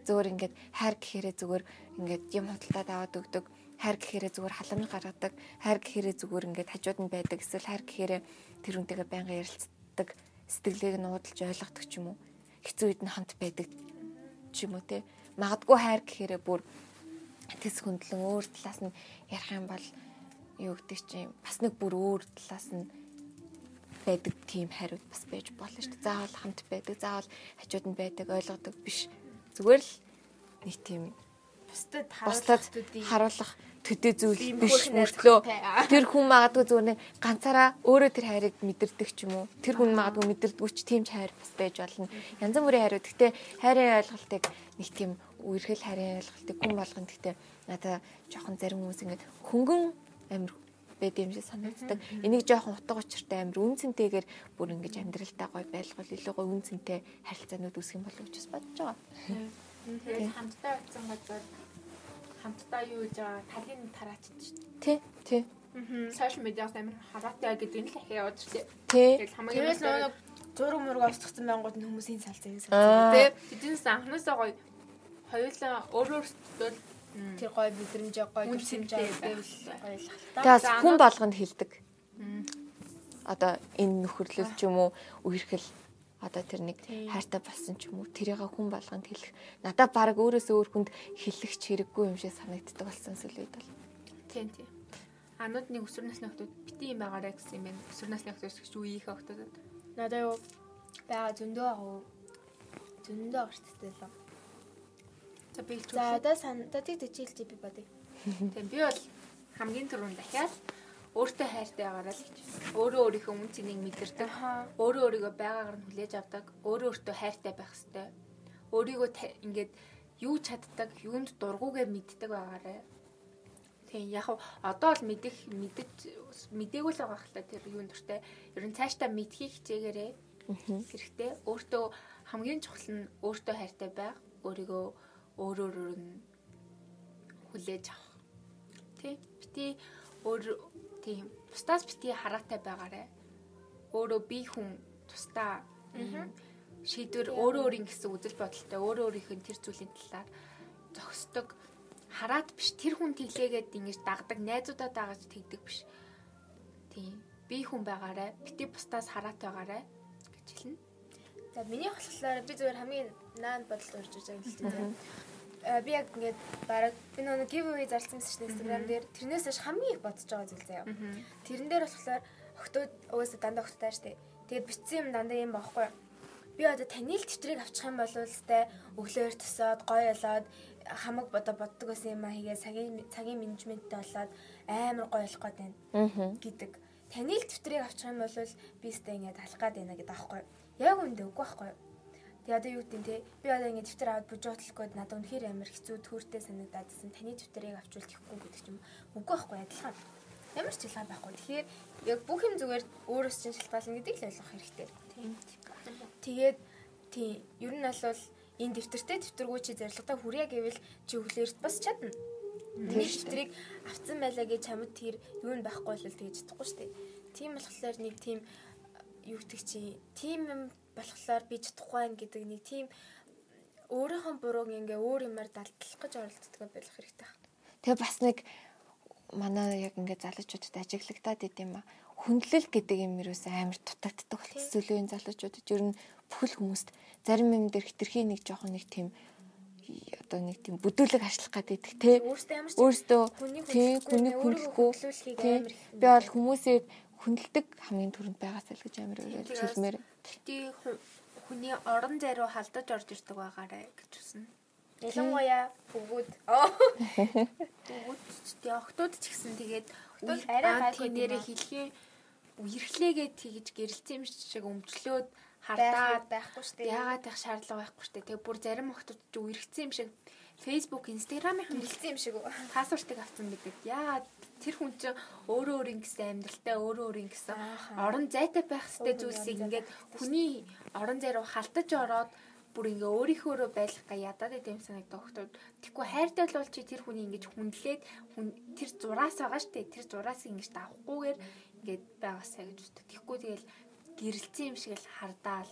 S2: Зүгээр ингээд хайр гэхээрээ зүгээр ингээд юм худалдаад аваад өгдөг. Хайр гэхээрээ зүгээр халамж гаргадаг. Хайр гэхээрээ зүгээр ингээд хажууд нь байдаг. Эсвэл хайр гэхээрээ тэр үнтэйгээ байнга ярилцдаг. Сэтгэлийг нь уудалж ойлгодог ч юм уу. Хэцүү үед нь хамт байдаг ч юм уу те. Магадгүй хайр гэхээрээ бүр тэс хөндлөн өөр талаас нь ярих юм бол юу гэдэг чинь бас нэг бүр өөр талаас нь байдаг тийм хариуд бас байж болно шүү дээ. Заавал хамт байдаг, заавал хажууд нь байдаг, ойлгодог биш. Зүгээр л нэг тийм
S3: Бусдад
S2: бусдад
S3: харуулах төдий.
S2: харуулах төдий зүйл
S3: Тийм
S2: биш
S3: хөөрхөн
S2: мөртлөө
S3: найзтай.
S2: тэр хүн магадгүй зүгээр нэг ганцаараа өөрөө тэр хайрыг мэдэрдэг ч юм уу тэр хүн магадгүй мэдэрдэггүй ч тийм ч хайр бас байж болно янз бүрийн хайрууд гэхдээ хайрын ойлголтыг нэг тийм үерхэл хайрын ойлголтыг хүн болгон гэхдээ надаа жоохон зарим хүмүүс ингэж хөнгөн амир байд юм шиг санагддаг энийг жоохон утга учиртай амир үнцэнтэйгээр бүр ингэж амьдралдаа гоё байлгуул илүү гоё үнцэнтэй харилцаанууд үүсгэх юм болов уу гэж бас бодож байгаа
S1: Тэгээд хамтдаа утсан газар хамтдаа юу гэж байгаа талын тараачд шүү дээ.
S2: тий тий
S1: Сошиал медиас амар хараатай гэдэг нь л ахиа яваад шүү дээ.
S2: тий
S1: Тэгэл хамгийн
S3: Тэрээс
S1: гол
S3: нөгөө зураг мураг авсчихсан байнгут нь хүмүүсийн салцаа гэсэн.
S2: Аа.
S1: дээ бидний анхнаасаа гоё хоёулаа өөр өөртөө л
S3: Тэр гой мэдрэмж гой
S1: Үн
S3: төсөмж
S1: цэнтэй
S3: байвал
S1: байх.
S3: гойлах.
S2: Тэгээс хүн болгонд хилдэг. одоо энэ нөхөрлөл ч юм уу үерхэл одоо тэр нэг хайртай болсон ч юм уу тэрийг хүн болгонд хэлэх надад баг өөрөөсөө өөр хүнд хэлэх ч хэрэггүй юм шиг санагддаг болсон сүлээд бол
S1: Тийм тийм. Анууд нэг өсвөр насны хүмүүс бити юм байгаарэ гэсэн юм байна. Өсвөр насны хүмүүс гэж үеийнхээ хүмүүсд
S3: Надаа юу байгаа зөндөө байгаа уу? Зөндөө урттай л.
S1: за би хэлж
S3: За
S1: үзье.
S3: одоо сандатыг төжилж би бодъё.
S1: Тийм би бол хамгийн түрүүнд дахиад өөртөө хайртай байгаараа л гэж. Өөрөө өөрийнхөө үн цэнийг мэдэрдэг.
S3: Аха.
S1: Өөрөө өөрийгөө байгаагаар нь хүлээж авдаг. Өөрөө өөртөө хайртай байх хэрэгтэй. Өөрийгөө та- ингээд юу чаддаг, юунд дургуугаа мэддэг байгаарай. Тийм яг хав- одоо бол мэдэх мэдэж мдэггүй л байгаа хэлээ тэр юунд дуртай. Ер нь цаашдаа мэдхийг хичээгээрэй. Хэрэгтэй. Өөртөө хамгийн чухал нь өөртөө хайртай байх. Өөрийгөө өөрөөр өрнө хүлээж авах. Тэ? Бити өөр тийм бусдаас бити хараатай байгаарэ. Өөрөө би хүн тусдаа ийм шийдвэр өөрөө өөрийн гэсэн үзэл бодолтой өөрөө өөрийнх нь тэр зүйлийн талаар зогсдог хараат биш тэр хүн тэглээгээд ингэж дагдаг найзуудаа дагаж тэгдэг биш. Тийм. Би хүн байгаарэ. Бити бусдаас хараатай байгаарэ гэж хэлнэ.
S3: За миний болохоор би зүгээр хамгийн наанд бодолд орж иж байгаа юм л тийм. Аа би яг ингээд бараг би нөгөө giveaway зарласан мэт чинь Instagram дээр тэрнээс ш хамгийн их бодож байгаа зүйл заяа. Тэрэн дээр болохоор октод угаасаа дандаа октодтай штэ. Тэгээ битсэн юм дандаа юм багхгүй. Би одоо таны л тэмдрийг авчих юм бол үстэй өглөөр тосоод гой болоод хамаг бодо боддог гэсэн юм аа хийгээ цагийн цагийн менежменттэй болоод амар гой болох гээд байна
S2: Аа.
S3: гэдэг. Таны л тэмдрийг авчих юм бол би өстэй ингээд алах гээд байна гэдэг аахгүй. Яг үндэ үгүй байхгүй. Тэгээ одоо юу гэдэг нь те би одоо ингээд тэмдэг аваад бүжөөтлөхгүйд надад үнэхээр амар хэцүү төөртэй санагдаад гэсэн таны тэмдрийг авчвал тэхгүй гэдэг ч юм уу. үгүй байхгүй адилхан. Ямар ч шалтгаан байхгүй. Тэгэхээр яг бүх юм зүгээр өөрөөс чинь шалтгаална гэдгийг л ойлгох хэрэгтэй.
S1: Тийм.
S3: Тэгээд тий ер нь бол энэ дэвтэртэй дэвтэргүй чи зарлагтаа хүрээ гэвэл чи өглөөрт бас чадна. Нэг дэвтрийг авцсан байлаа гэж чамд тэр юу нь байхгүй л тэгж чадахгүй шүү дээ. Тийм болохоор нэг тийм юу гэдэг чи тийм юм болохоор би чадахгүй байх гэдэг нэг тийм өөрийнхөө бурууг ингээ өөр юмар далдлах гэж оролддог байх хэрэгтэй.
S2: Тэгээ бас нэг манай яг ингээд залуучуудад ажиглагдаад идэм ба хүндлэл гэдэг юм юус амар дутагддаг болчихсон сүлүүн залуучуудад ер нь бүхэл хүмүүст зарим юм дээр хитрхи нэг жоохон нэг тийм одоо нэг тийм бүдүүлэг ажиллах гэдэг те
S3: Өөртөө ямар ч
S2: өөртөө
S3: хүнийг
S2: тий
S3: хүндлэхгүй,
S2: хүнийг
S3: өөрийгөө хүндлүүлэхийг амар их-
S2: хүндлэхгүй тий. би бол хүмүүсээ хүндэлдэг хамгийн түрүүнд байгаас л гэж амар өөрөөр
S1: Тэгээс
S2: хэлмээр
S1: Бити ху- хүний орон зай руу халдаж орж ирдэг байгаарэ гэж үснэ.
S3: ялангуяа бүгд оо
S1: Өгөөдчтэй октод ч гэсэн тэгээд
S3: Октод
S1: үе-
S3: арай
S1: аа,
S3: гайгүй
S1: тийм
S3: юм
S1: нэрээ
S3: аа.
S1: хэлхээ үерхлээгээ тэгж гэрэлтсэн шиг өмчлөөд
S3: байх
S1: хардаад
S3: байхгүй шүү дээ.
S1: яагаад их шаардлага байхгүй штэ тэгээд бүр зарим октод ч үерхсэн юм шиг Facebook, Instagram-ийн хүмүүс
S3: Хилсэн юм шиг үү?
S1: пассвортыг авсан гэдэг. Яагаад тэр хүн чинь өөрөө өөрийн гэсэн амьдралтай өөрөө өөрийн гэсэн
S3: Ааха.
S1: орон зайтай байх хэвээр
S3: Өөрөө
S1: зүйлсийг
S3: орон зай
S1: ингээд хүний орон зай руу халтаж ороод бүр ингээ өөрийнхөө рүү байх га ядаад идэм санагдах хөтөд тэггүй хайртай л бол чи тэр хүний ингэж хүндлээд хүн тэр зураас байгаа штэ тэр зураас ингэж давхгүйгээр ингээд байгаасаа гэж үздэг. Тэггүй тэгэл гэрэлтсэн юм шиг л хардаал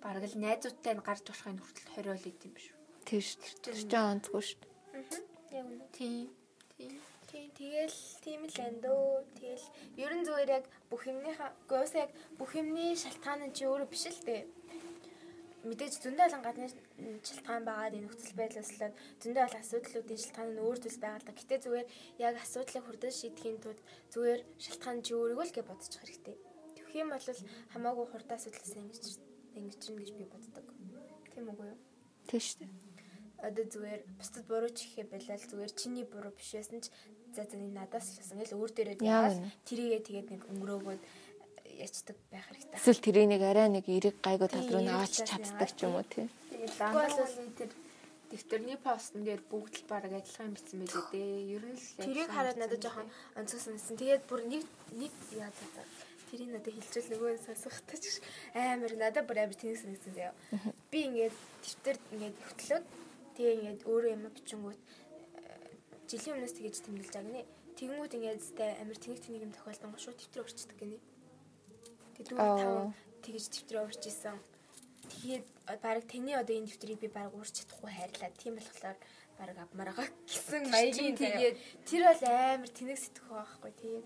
S1: бараг л найзуудтай нь гарч болохын хүртэл хориол идэм биш үү?
S2: тийм шүү дээ тэр чинь онцгүй шүү дээ
S3: Яг үнэ.
S1: Тийм.
S3: Тийм тэгэл тийм л энэ дөө тэгэл ер нь зүгээр яг бүх юмныхаа гоос яг бүх юмны шалтгаан нь чи өөрөө биш л дээ мэдээж зөндөө олон гадны ш- м, шалтгаан байгаа энэ нөхцөл байдлааслаад зөндөө олон асуудлуудын шалтгаан нь өөр зүйл байгаа л да. Гэтэ зүгээр яг асуудлыг хурдан шийдэхийн тулд зүгээр шалтгаан чи өөрийгөө л гэж бодчих хэрэгтэй. Тэгэх юм бол хамаагүй хурдан асуудлаас ингэж ингэж чинь гэж би боддог. Тийм үгүй юу?
S2: тийм шүү дээ
S3: одоо зүгээр бусдад буруу чихээ байлаа л зүгээр чиний буруу биш байсан ч за за нэг надаас л гэсэн гэл өөр дээрээ
S2: Яа
S3: дагаад
S2: гэнэ?
S3: тэрийгээ тэгээд нэг өнгөрөөгөө ячдаг байх хэрэгтэй.
S2: эсвэл тэрийг нэг арай нэг эрэг гайгүй тал
S3: Тийм,
S2: руу
S3: эрэг
S2: наваач
S3: талаас нь
S2: чаддаг ч юм уу тийм
S1: Тэгээд дандаа бол тэр дэвтэрний постн дээр бүгд л баг ажиллах юм битсэн байлээ дээ. Ер нь л
S3: Тэрийг
S1: адилхан
S3: хараад надад
S1: бичсэн
S3: жоохон онцгой санагдсан. Тэгээд бүр нэг нэг яа за за. Тэрийг надад хилчил нөгөө нь сонсохтой ч амар надад бүр амар тэнэг санагдсан заяа. Би ингээд тэмдэгт ингээд хөтлөөд тэгээ ингээд өөрөө юм бичингүүт э, жилийн өмнөөс тэгэж тэмдэглэж байгаа гинэ. Тэнгүүд ингээд зөте амар тэнэг тэнэг юм тохиолдсон го шууд тэмдэг өрчдөг гинэ. Тэгээд дүү
S2: Оо.
S3: тав тэгэж тэмдэг өрч исэн. Тэгээд баг таны одоо энэ тэмдгийг би баг уурч чадахгүй хайрлаа. Тийм болохоор баг авмаар байгаа гэсэн
S1: Тэр
S3: маягийн
S1: чинь
S3: тэгээд тэр бол амар тэнэг сэтгэх байхгүй тийм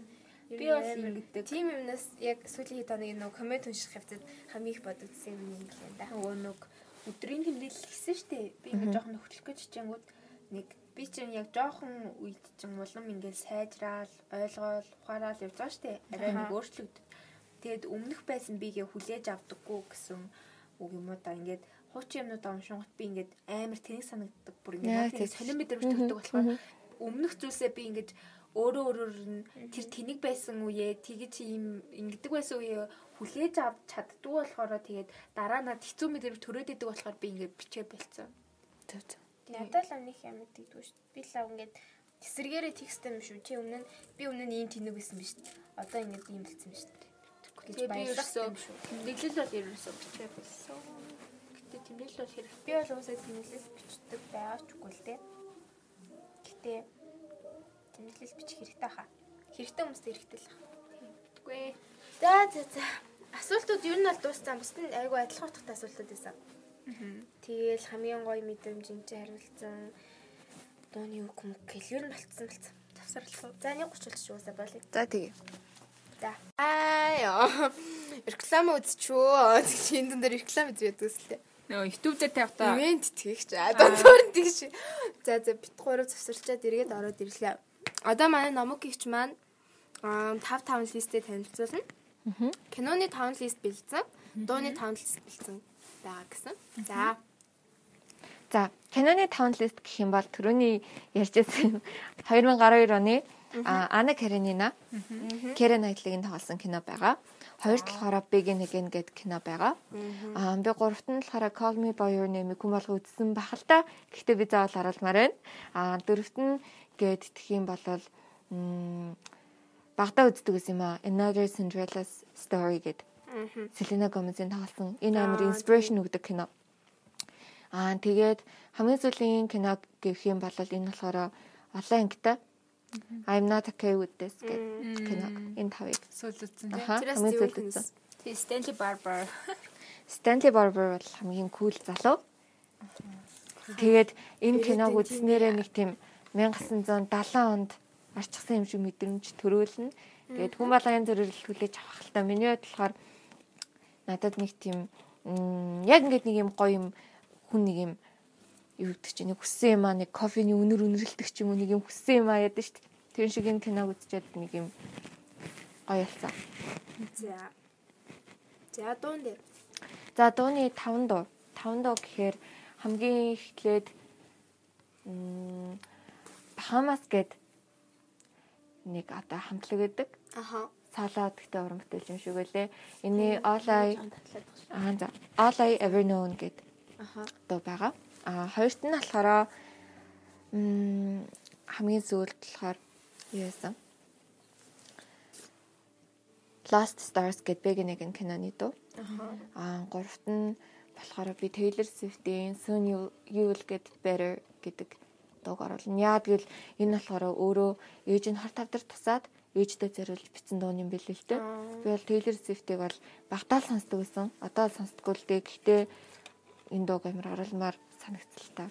S1: Би бол ингэдэг.
S3: тийм юмнаас яг сүүлийн хэд хоногийн нөгөө коммент унших хэвцэд хамгийн их бодогдсон юм нэг юм да.
S1: Нөгөө нэг өдрийн тэмдэглэл хийсэн штэ. Би ингээ жоохон нөхөлөх гэж чичэнгүүд нэг би чинь яг жоохон үед чинь улам ингээ сайжраал, ойлгоол, ухаараал явж байгаа штэ. Арай нэг өөрчлөгдөв. Тэгэд өмнөх байсан бигээ хүлээж авдаггүй гэсэн үг юм уу да. Ингээд хуучин юмнуудаа уншингот би ингээд амар тэнэг санагддаг. Бүр
S2: Яа,
S1: ингээд
S2: тийм.
S1: нэг солон мэдэрвч төгтөг болохоор өмнөх зүйлсээ би ингээд өөрөө өөрөөр нь тэр тэнэг байсан үе тэгж юм ингэдэг байсан үе хүлээж авч чаддгүй болохоор тэгээд дараа надад хэцүү мэдрэмж төрөөд идэг болохоор би ингээд бичээ болцсон.
S2: Төв төв.
S3: Надад л өмнөх юм мэддэггүй шүү дээ. Би л аа ингээд эсэргээрээ текст юм шүү. Чи өмнө нь би өмнө нь ийм тэнэг байсан биз дээ. Одоо ингээд ийм болсон биз дээ. Гэж
S1: Тэгээд би
S3: баярлах
S1: ерөөсөө
S3: юм шүү.
S1: тэмдэглэл бол ерөөсөө бичээ болсон. Гэтэ тэмдэглэл бол хэрэг
S3: Би бол уусаа тэмдэглэл бичдэг байгаачгүй л дээ. Гэтэ тэмдэглэл бичих хэрэгтэй хаа. Хэрэгтэй хүмүүст хэрэгтэй л хаа.
S1: битгүй.
S3: За за за. Асуултууд ер нь бол дууссан. Бусд нь айгүй адилхан утгатай асуултууд байсан. Тэгээл хамгийн гоё мэдрэмж энэ чинь хариулсан. Дууны үг юм гэл ер нь болцсон болцсон. Завсарлаа. За 130 л шүүсэ болыг.
S2: За тэгээ.
S3: За.
S4: Аа. Реклама үзчихөө. Тэг чи энэ дээр реклама үзээд үзлээ.
S1: Нөө YouTube дээр тавьтаа.
S4: Ивент тэгч. А дондор нь тэгш. За за бит гурав завсарчаад эргээд ороод ирлээ. Одоо манай номок гихч маань 5 5 листтэй танилцуулна. Киноны 5 лист бэлдсэн, дууны 5 лист бэлдсэн байгаа гэсэн. За.
S2: За, Canon-ы Town List гэх юм бол түрүүний ярьжсэн 2012 оны а, Анна Каренина Кэрен Айтлыг нь тоглосон кино байгаа. Хоёр талаараа Big Again гэдэг кино байгаа. Аа би гуравт нь болохоор Call Me by Your Name-ийг хүм болго үзсэн бах л та. Гэхдээ би заавал харуулмаар байна. Аа дөрөвт нь гэдтэх юм бол м, багада үздэг гэсэн юм аа. Another Cinderella's Story гэдэг. Селена Гомезийн тоглосон энэ амар инспирэшн өгдөг кино. Аа тэгээд хамгийн сүүлийн кино гэх юм бол энэ болохоор олон ангитай I'm not okay with this гэх кино. Энэ тавыг.
S1: Сүүл үзсэн тийм.
S2: Аха. Хамгийн сүүлд үзсэн.
S1: Тэгээ Stanley Barber.
S2: Stanley Barber бол хамгийн кул залуу. Тэгээд энэ киног үзснээрээ нэг тийм 1970 онд арчсан юм шиг мэдрэмж төрөөлнө. Тэгээд хүн болгоны зөрөлд хүлээж авах л та миний хувьд болохоор надад нэг тийм м, яг ингээд нэг юм гоё юм хүн нэг юм юу гэдэг чинь нэг хүссэн юм аа нэг кофений өнөр өнөрлөлдөг ч юм уу нэг юм хүссэн юм аа яд нь шүү дээ. Тэр шиг энэ киног үзчихэд нэг юм гоё болсон.
S4: За. За дуун дээр.
S2: За дууны 5 дуу. 5 дуу гэхээр хамгийн эхлээд м, Bahamas гээд нэг одоо хамтлаг гэдэг.
S4: Аха.
S2: Салаад гэдэг уран бүтээл юм шиг үлээ. Эний All I Аа за. All I ever known гэд.
S4: Аха.
S2: Дуу байгаа. Аа хоёрт нь болохоор м хамгийн зөвлөлт болохоор юу байсан? Last Stars гэд бэг нэг нь киноны дуу. Аа гуравт нь болохоор би Taylor Swift-ийн Soon You You Will Get Better гэдэг дууг оруулна. Яа гэвэл энэ болохоор өөрөө ээж нь хор тавдар тусаад ээжтэй зориулж бичсэн дуу юм билээ л дээ. Би бол Taylor Swift-ийг бол багтаал сонсдог байсан. Одоо л сонсдоггүй л дээ. Гэхдээ энэ дууг амар оруулмаар санагцлаа.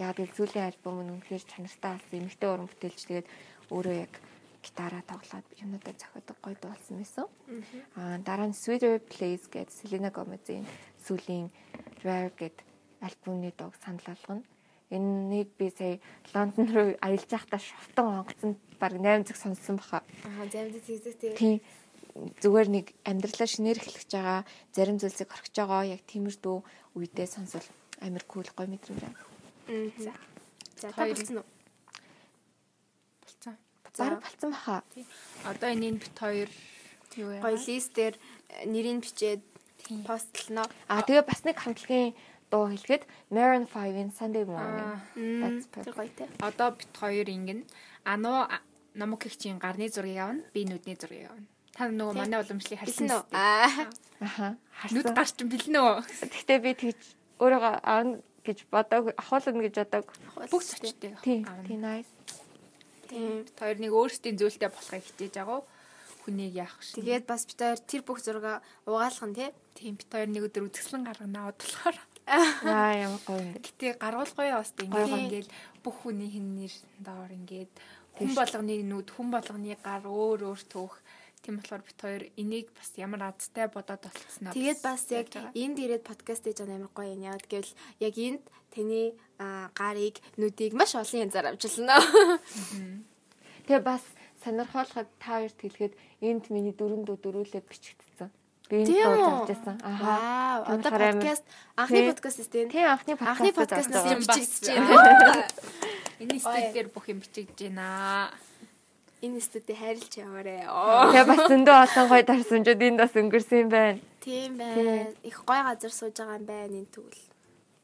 S2: Яг л сүүлийн альбом нь үнэхээр чанартай болсон. Эмэгтэй уран бүтээлч тэгээд өөрөө яг гитараа тоглоод юмнуудаа зохиодог гоё дуу болсон байсан. Аа дараа нь Sweeter Place гэдэг Selena Gomez-ийн сүүлийн Rare гэдэг альбомны дууг санал болгоно. Энийг би сая Лондон руу аялж байхдаа шовтон онгоцонд баг 8 цаг сонссон баха.
S4: Аха замд зэгзэг тий.
S2: Тийм зүгээр нэг амьдралаа шинээр эхлэж байгаа зарим зүйлсийг орхиж байгаа яг тиймэрдүү үедээ сонсвол амар кул гоё мэдрэмж байна.
S4: За. За та
S1: Хоёр.
S4: болсон уу?
S1: Болцсон.
S2: Бараг болцсон баха.
S1: Одоо энэ бит хоёр юу яа?
S4: Гоё лист дээр э, нэрийг бичээд постлноо.
S2: А тэгээ бас нэг хамтлагийн дуу хэлгээд Maroon 5-ийн Sunday Morning.
S1: Аа.
S4: Мм,
S2: That's
S4: Тэр
S2: perfect.
S4: гоё тий.
S1: Одоо бит хоёр ингэн. Ану номок гихчийн гарны зургийг явна, би нүдний зургийг явна. Та нөгөө манай уламжлалыг харсан
S4: Хэлсэн үү?
S1: үү?
S4: Аа.
S2: Аха.
S1: Нүд
S2: Харсан.
S1: гарч бэлнэ үү?
S2: Тэгтээ би тэгж өөрийгөө аавна гэж бодог, ахуулна гэж бодог.
S1: Бүх зочтой.
S2: Тийм. Тийм nice.
S4: Тийм.
S1: Бит хоёр нэг өөрсдийн зөөлтэй болохыг хичээж байгаа. Хүнийг яах шин.
S4: Тэгээд бас бид хоёр тэр бүх зурга угаалгах нь тий.
S1: Тийм бит хоёр нэг өдөр үзэсгэлэн гаргана бодлохоор.
S2: Аа ямар гоё юм бэ.
S1: Гэтэ гаргуулгүй бас
S2: Гоё, гоё.
S1: ингээл ингээл бүх хүний хэн нэр доор ингээд хүн болгоны нүд, хүн болгоны гар өөр өөр төөх. Тийм болохоор бит хоёр энийг бас ямар азтай бодоод болцсноо.
S3: Тэгээд бас яг
S1: байгаа.
S3: энд ирээд подкаст хийж байгаа нь амар гоё юм. Яг гэвэл яг энд таны аа, гарыг, нүдийг маш олон янзаар амжилна.
S2: Тэгээ бас сонирхолтой та хоёрт хэлэхэд энд миний дөрөндөө дөрүүлээ бичигдсэн. Би энэ дуулж авч байсан. Аха.
S3: Аа,
S2: Тийм
S3: одоо
S2: болохоор амар-
S3: подкаст анхны
S2: Тийм.
S3: подкаст тест
S2: Тийм анхны подкаст.
S3: анхны подкастнаас
S1: авсан.
S3: юм бичигдэж
S1: Бас.
S3: байна.
S1: энэ стил дээр бүх юм бичигдэж байна.
S3: Энэ студид хайрлж яваарэ.
S2: Тэгээ бас зөндөө олон гоё дарсамжууд энд бас өнгөрсөн юм байна.
S3: Тийм байна. Их гоё газар сууж байгаа юм байна энэ тэгвэл.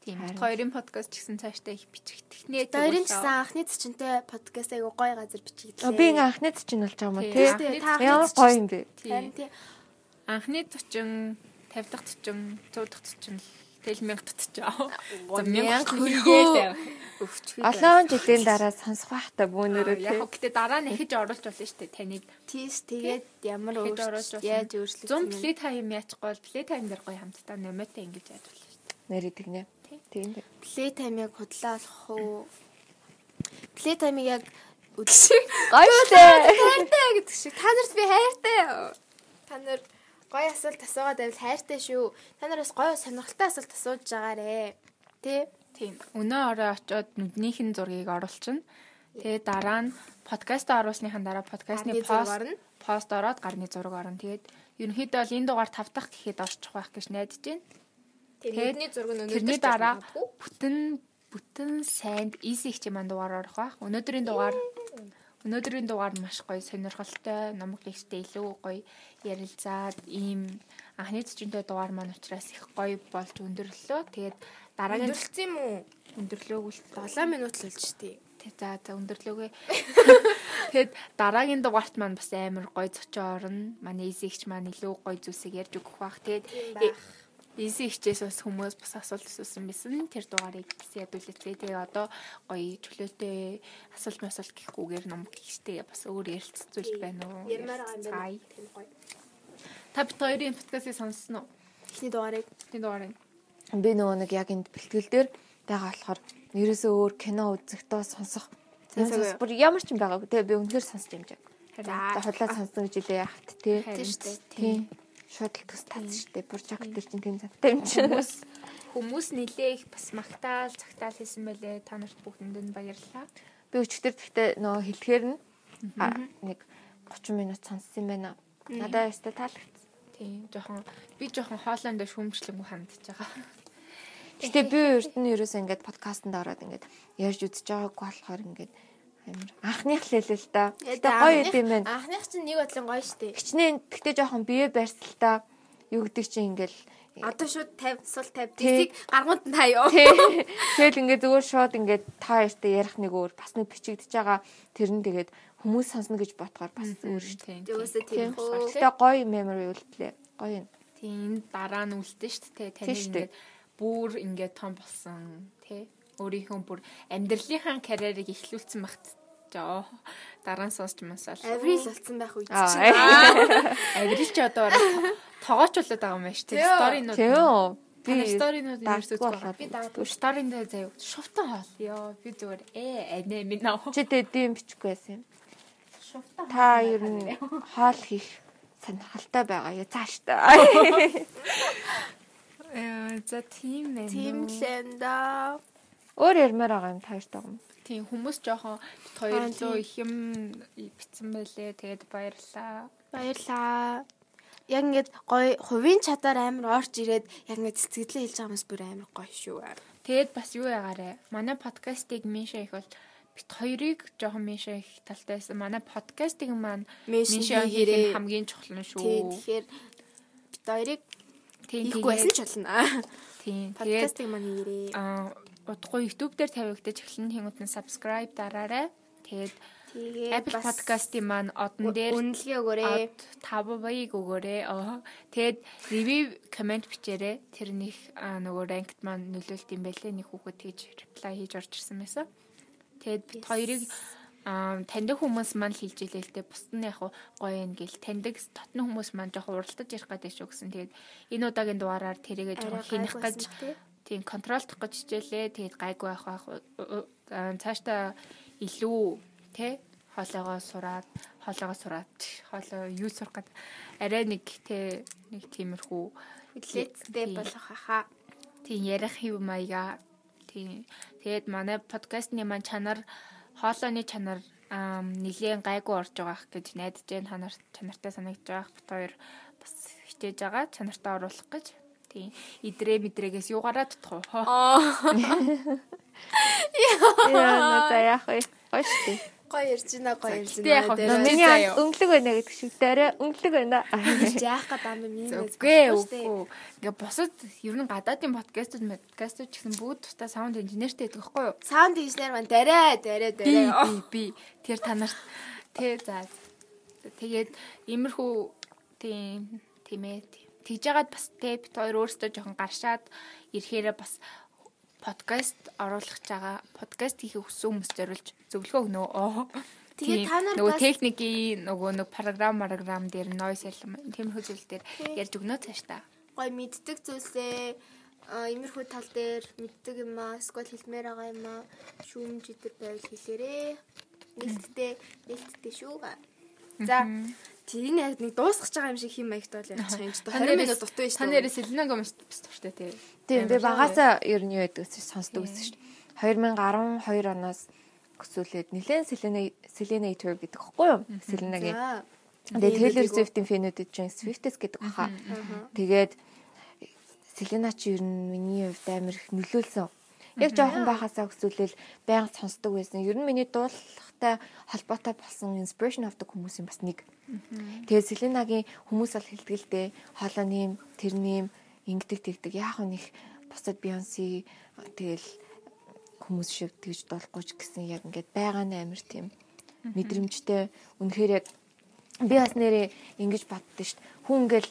S1: Тийм.
S2: Харин.
S1: бит Хоёрын подкаст ч гэсэн цаашдаа их бичигдэх нэ.
S3: Дөрөнд гэсэн анхны төчөнтэй подкаст айгу гоё газар бичигдлээ.
S2: Оо, Би ингээ анхны чинь болж байгаа юм
S1: Тийм,
S2: тий.
S1: анхны
S3: та анхны
S2: Ямар гоё
S1: Тийм.
S3: төчөнд. Харин
S2: юм бэ.
S1: Анхны 40, 50
S3: тий.
S1: дахь 40, 100 дахь 40 тэл 1000 дахь 40. За 1000
S3: мянга
S1: хүргээл.
S3: Өвчгүй.
S2: Олон жилийн дараа сонсох байхтай бүүнөрөө тий.
S1: Яг гэхдээ дараа нь ихэж оруулж болно шүү дээ таныг.
S3: Тийш тэгээд ямар
S1: Ихэд оруулж
S3: өөрчлөлт
S1: болно.
S3: яаж өөрчлөлт
S1: 100 плей тайм яачихгүй бол плей тайм дээр гоё хамтдаа номиотой ингэж яаж болно шүү дээ.
S2: Нэрийг тэгнэ. Тийм дээ.
S3: плей таймыг худлаа болох уу? Плей таймыг яг үдшиг
S2: Гоё штэ.
S3: хайртай гэдэг шиг та нарт би хайртай. Та нар гоё асуулт асуугаад байвал хайртай шүү. Та нар бас гоё сонирхолтой асуулт асууж байгаарэ. Тэ?
S1: Тийм. Өнөө орой очоод нүднийх нь зургийг оруулчихна. Тэгээ дараа нь подкаст оруулсныхаа дараа подкастны
S3: Гарны зураг
S1: пост
S3: орно.
S1: пост ороод гарны зураг орно. Тэгээд ерөнхийдөө бол энэ дугаар тавтах гэхэд орчих байх гэж найдаж байна. Тэгээд
S5: Тэрний зураг нь
S1: Тэрний дараа бүтэн бүтэн сайнд easy хэмээн маань дугаар орох байх. Өнөөдрийн дугаар өнөөдрийн дугаар нь маш гоё сонирхолтой, номог лэгтэй илүү гоё ярилцаад ийм анхны төчөнтэй дугаар маань учраас их гоё болж өндөрлөө. Тэгээд дараагийн
S5: өндөрлцсөн юм уу?
S1: өндөрлөөг л
S3: 7 минут л болж тий.
S1: Тэг за за өндөрлөөгөө. Тэгэд дараагийн дугаарт маань бас амар гой зочоо орно. Манай эзэгч маань илүү гой зүйлсийг ярьж өгөх бах. Тэгэд
S3: бах.
S1: эзэгчээс бас хүмүүс бас асуулт асуусан байсан. Тэр дугаарыг бас ядуулцгээ. Тэгээ одоо гоё чөлөөтэй асуулт асуулт гэхгүйгээр ном гэжтэй бас өөр ярилцсан зүйл байна уу?
S3: Ярмаар байгаа юм байна.
S1: Цай.
S3: Тийм гоё.
S1: Та бид хоёрын подкастыг сонссон уу?
S3: Эхний дугаарыг
S1: Тэний дугаарыг.
S2: Би нөгөө нэг яг энд бэлтгэл дээр байгаа болохоор ерөөсөө өөр кино үзэхдээ сонсох.
S3: Сонсоогүй.
S2: Сонсох бүр ямар ч юм байгаагүй тий. Би өнөхөр сонсч юм жаа. За
S1: Харин
S2: худлаа сонсно гэж хэлээ яах вэ тий.
S1: Харин
S3: тийм шүү дээ.
S2: Тийм. Шууд л төс татсан шүү дээ. Буржак төр чинь тийм зантай юм чинь.
S1: хүмүүс хүмүүс нилээ их бас магтаал, цагтаал хийсэн байлээ. Та нарт бүгдэнд нь баярлалаа.
S2: Би өчтөр гэхдээ нөгөө хэлэхээр нь а, нэг 30 минут сонссон юм байна. Надаа яста таалагдсан.
S1: Тийм жоохон би жоохон хоолойндоо шүүмжлэнгүү хандж байгаа.
S2: Гэтэ би урд нь ерөөсөө ингээд подкастт ороод ингээд ярьж үзэж байгаагүй болохоор ингээд амар анхных л хэлээ л да. Гэтэ гоё
S3: Анхных-
S2: өд юм байна.
S3: Анхных чинь нэг бодлон гоё штэ.
S2: Хичнээн гэтэ жоохон бие барьсалтаа юу гэдэг чинь ингээд
S3: Одоо шууд 50 сул 50
S2: Тий.
S3: дисийг гаргуунд нь таяа.
S2: Тэгэл ингээд зүгээр шууд ингээд та хоёртай ярих нэг өөр бас нэг бичигдэж байгаа тэр нь тэгээд хүмүүс сонсно гэж ботгоор бас өөр шүү дээ.
S1: Тийм.
S3: Өөсөө
S2: Тийм.
S3: тийм хөө.
S2: Гэтэ гоё memory үлдлээ. Гоё юм.
S1: Тийм энэ дараа нь үлдэн шүү дээ. Таны
S2: Тийм шүү дээ.
S1: ингээд бүр ингээд том болсон тий. Өөрийнхөө бүр амьдралынхаа карьерийг эхлүүлсэн багт. Жоо. Дараа нь сонсч масаал.
S3: Аврил болсон байх үед чинь.
S2: Аа.
S1: Аврилч одоо орой тоогоочлоод байгаа юм байна шүү дээ. Сторинууд.
S2: Тийм үү?
S1: Би сторинууд ерөөсөө
S2: болохоор
S1: би дааггүй. Сториндээ заяа. Шувтан хоол. Йоо би зүгээр ээ анаа минь аа.
S2: Чи тэдэм бичихгүй байсан юм. Та ер нь хоол хийх сонирхолтой байгаа яа цааш та.
S1: Ээ, За тийм ээ.
S3: Тийм л энэ даа.
S2: Өөр ярмаар байгаа юм тааштай юм.
S1: Тийм хүмүүс жоохон бит хоёр лөө их юм битсэн байлээ. Тэгээд баярлаа.
S3: Баярлаа. Яг ингээд гоё хувийн чадаар амар орж ирээд яг ингээд цэцгэлээ хэлж байгаа юмс бүр амар гоё шүү.
S1: Тэгээд бас юу яагаарэ? Манай подкастыг Миша их бол бит хоёрыг жоохон Миша их талтайсэн. Манай подкастыг маань
S3: Миша
S1: Миша
S3: хийгээрэй.
S1: хийх нь хамгийн чухал нь
S3: Тий,
S1: шүү.
S3: тэгэхээр бид хоёрыг
S1: Тийм
S3: хийхгүй байсан ч болно.
S1: Тийм. Тэгээд
S3: Подкастыг мань хийрээ.
S1: аа удахгүй YouTube дээр тавигдаж эхлэн хинүүд нь subscribe дараарай. Тэгээд
S3: Тэгээд
S1: Apple Podcast-ийн маань одон дээр
S3: үнэлгээ өгөөрэй.
S1: Ад тав баяг өгөөрэй. Аа. Тэгэд review comment бичээрэй. Тэрнийх аа, нөгөө ranked маань нөлөөлт юм байлээ. Нэг хүүхэд тэгж reply хийж орж ирсэн байсан. Тэгэд бит хоёрыг аа таньдаг хүмүүс маань л хэлж илээ л дээ. Бусд нь яг хуу гоё юм гээл таньдаг тотны хүмүүс маань жоохон уралдаж ярих гэдэг шүү гэсэн. Тэгэд энэ удаагийн дугаараар тэрийгээ
S3: Арай
S1: жоохон хинэх
S3: гайгүй
S1: гэж
S3: байсан тий.
S1: тийм контролдох гэж хичээлээ. Тэгээд гайгүй байх байх уу- аа, э, цаашдаа илүү тэ хоолойгоо сураад хоолойгоо сураад тш, хоолой юу сурах гэдэг арай нэг тэ нэг тиймэрхүү
S3: Хүлээцтэй
S1: Тийм.
S3: болох хаа.
S1: Тийм ярих хэв маяга. Тийм. Тэгээд манай подкастны маань чанар хоолойны чанар аа нилийн гайгүй орж байгаах гэж найдаж байна. Та нар чанартай санагдж байгаах бит хоёр бас хичээж байгаа чанартаа оруулах гэж. Тийм. Идрээ мэдрээгээс юу гараад тутах уу?
S6: Яа надаа яах вэ? Гош тий.
S3: Гоё ярьж байна, гоё ярьж
S1: гэтээ яг
S3: байна.
S6: Миний анд өнгөлөг байна гэдэг шиг дээрээ өнгөлөг байна.
S3: Тэрч яах гэдэг юм бэ? Миний нэг
S1: Үгүй
S3: зүйл шүү дээ.
S1: үгүй. Ингээ бусад ер нь гадаадын подкастууд подкастууд ч гэсэн бүгд тустай саунд инженертэй байдаг байхгүй юу?
S3: Саунд инженер маань дараа, дараа,
S1: би
S3: дараа.
S1: би би тэр танарт тий за тэгээд иймэрхүү тийм тийм ээ тийм. тэгж яагаад бас те бит хоёр өөрсдөө жоохон гаршаад ирэхээрээ бас подкаст оруулах чагаа подкаст хийх хүссэн хүмүүс зориулж зөвлөгөө өгнө оо
S3: Тэгээд
S1: Тийм,
S3: та нар
S1: нөгөө
S3: бас-
S1: техникийн нөгөө нэг програм програм дээр noise element тиймэрхүү зүйл дээр ярьж өгнө цааш та.
S3: Гоё мэддэг зүйлсээ а имерхүү тал дээр мэддэг юм аа, скол хэлмээр байгаа юм аа. Шүүмж идэр байвал хэлээрээ. Нэлттэй, нэлттэй шүү. За. Тэр энэ яг нэг дуусгаж байгаа юм шиг хим маягт бол явчих юм чи. 20 минут дутуу шүү.
S1: Та нэрээс Селена Гомес бас туртай тий.
S2: Тийм би багасаа ер нь юу яддаг вэ? Сонсдог байсан шүү дээ. 2012 оноос өсвөлээд нэлээд Selena Selena Tour гэдэг хэвгүй юу? Selena-гийн
S3: За.
S2: Тэгээ
S3: Ийм
S2: Taylor
S3: гэдэг үү?
S2: Swift-ийн фэнүүд гэж Swift-с гэдэг баха. Тэгээд Selena ч ер нь миний хувьд амар их нөлөөлсөн. Яг жоохон байхасаа хүсүүлэл байнга сонсдог байсан. Ер нь миний дуулахтай холбоотой болсон inspiration авдаг хүмүүсийн бас нэг. Тэгээд Selena-гийн хүмүүс ал хэлтгэлтэй хоолойны тэрний ингэдэг тэгдэг яг нь их бусад Beyoncé тэгэл хүмүүс шиг тэгж дуулахгүй ч гэсэн яг ингээд байгаа нь амар тийм мэдрэмжтэй. Үнэхээр яг би бас нэрээ ингэж батдсан шүү дээ. Хүн ингээл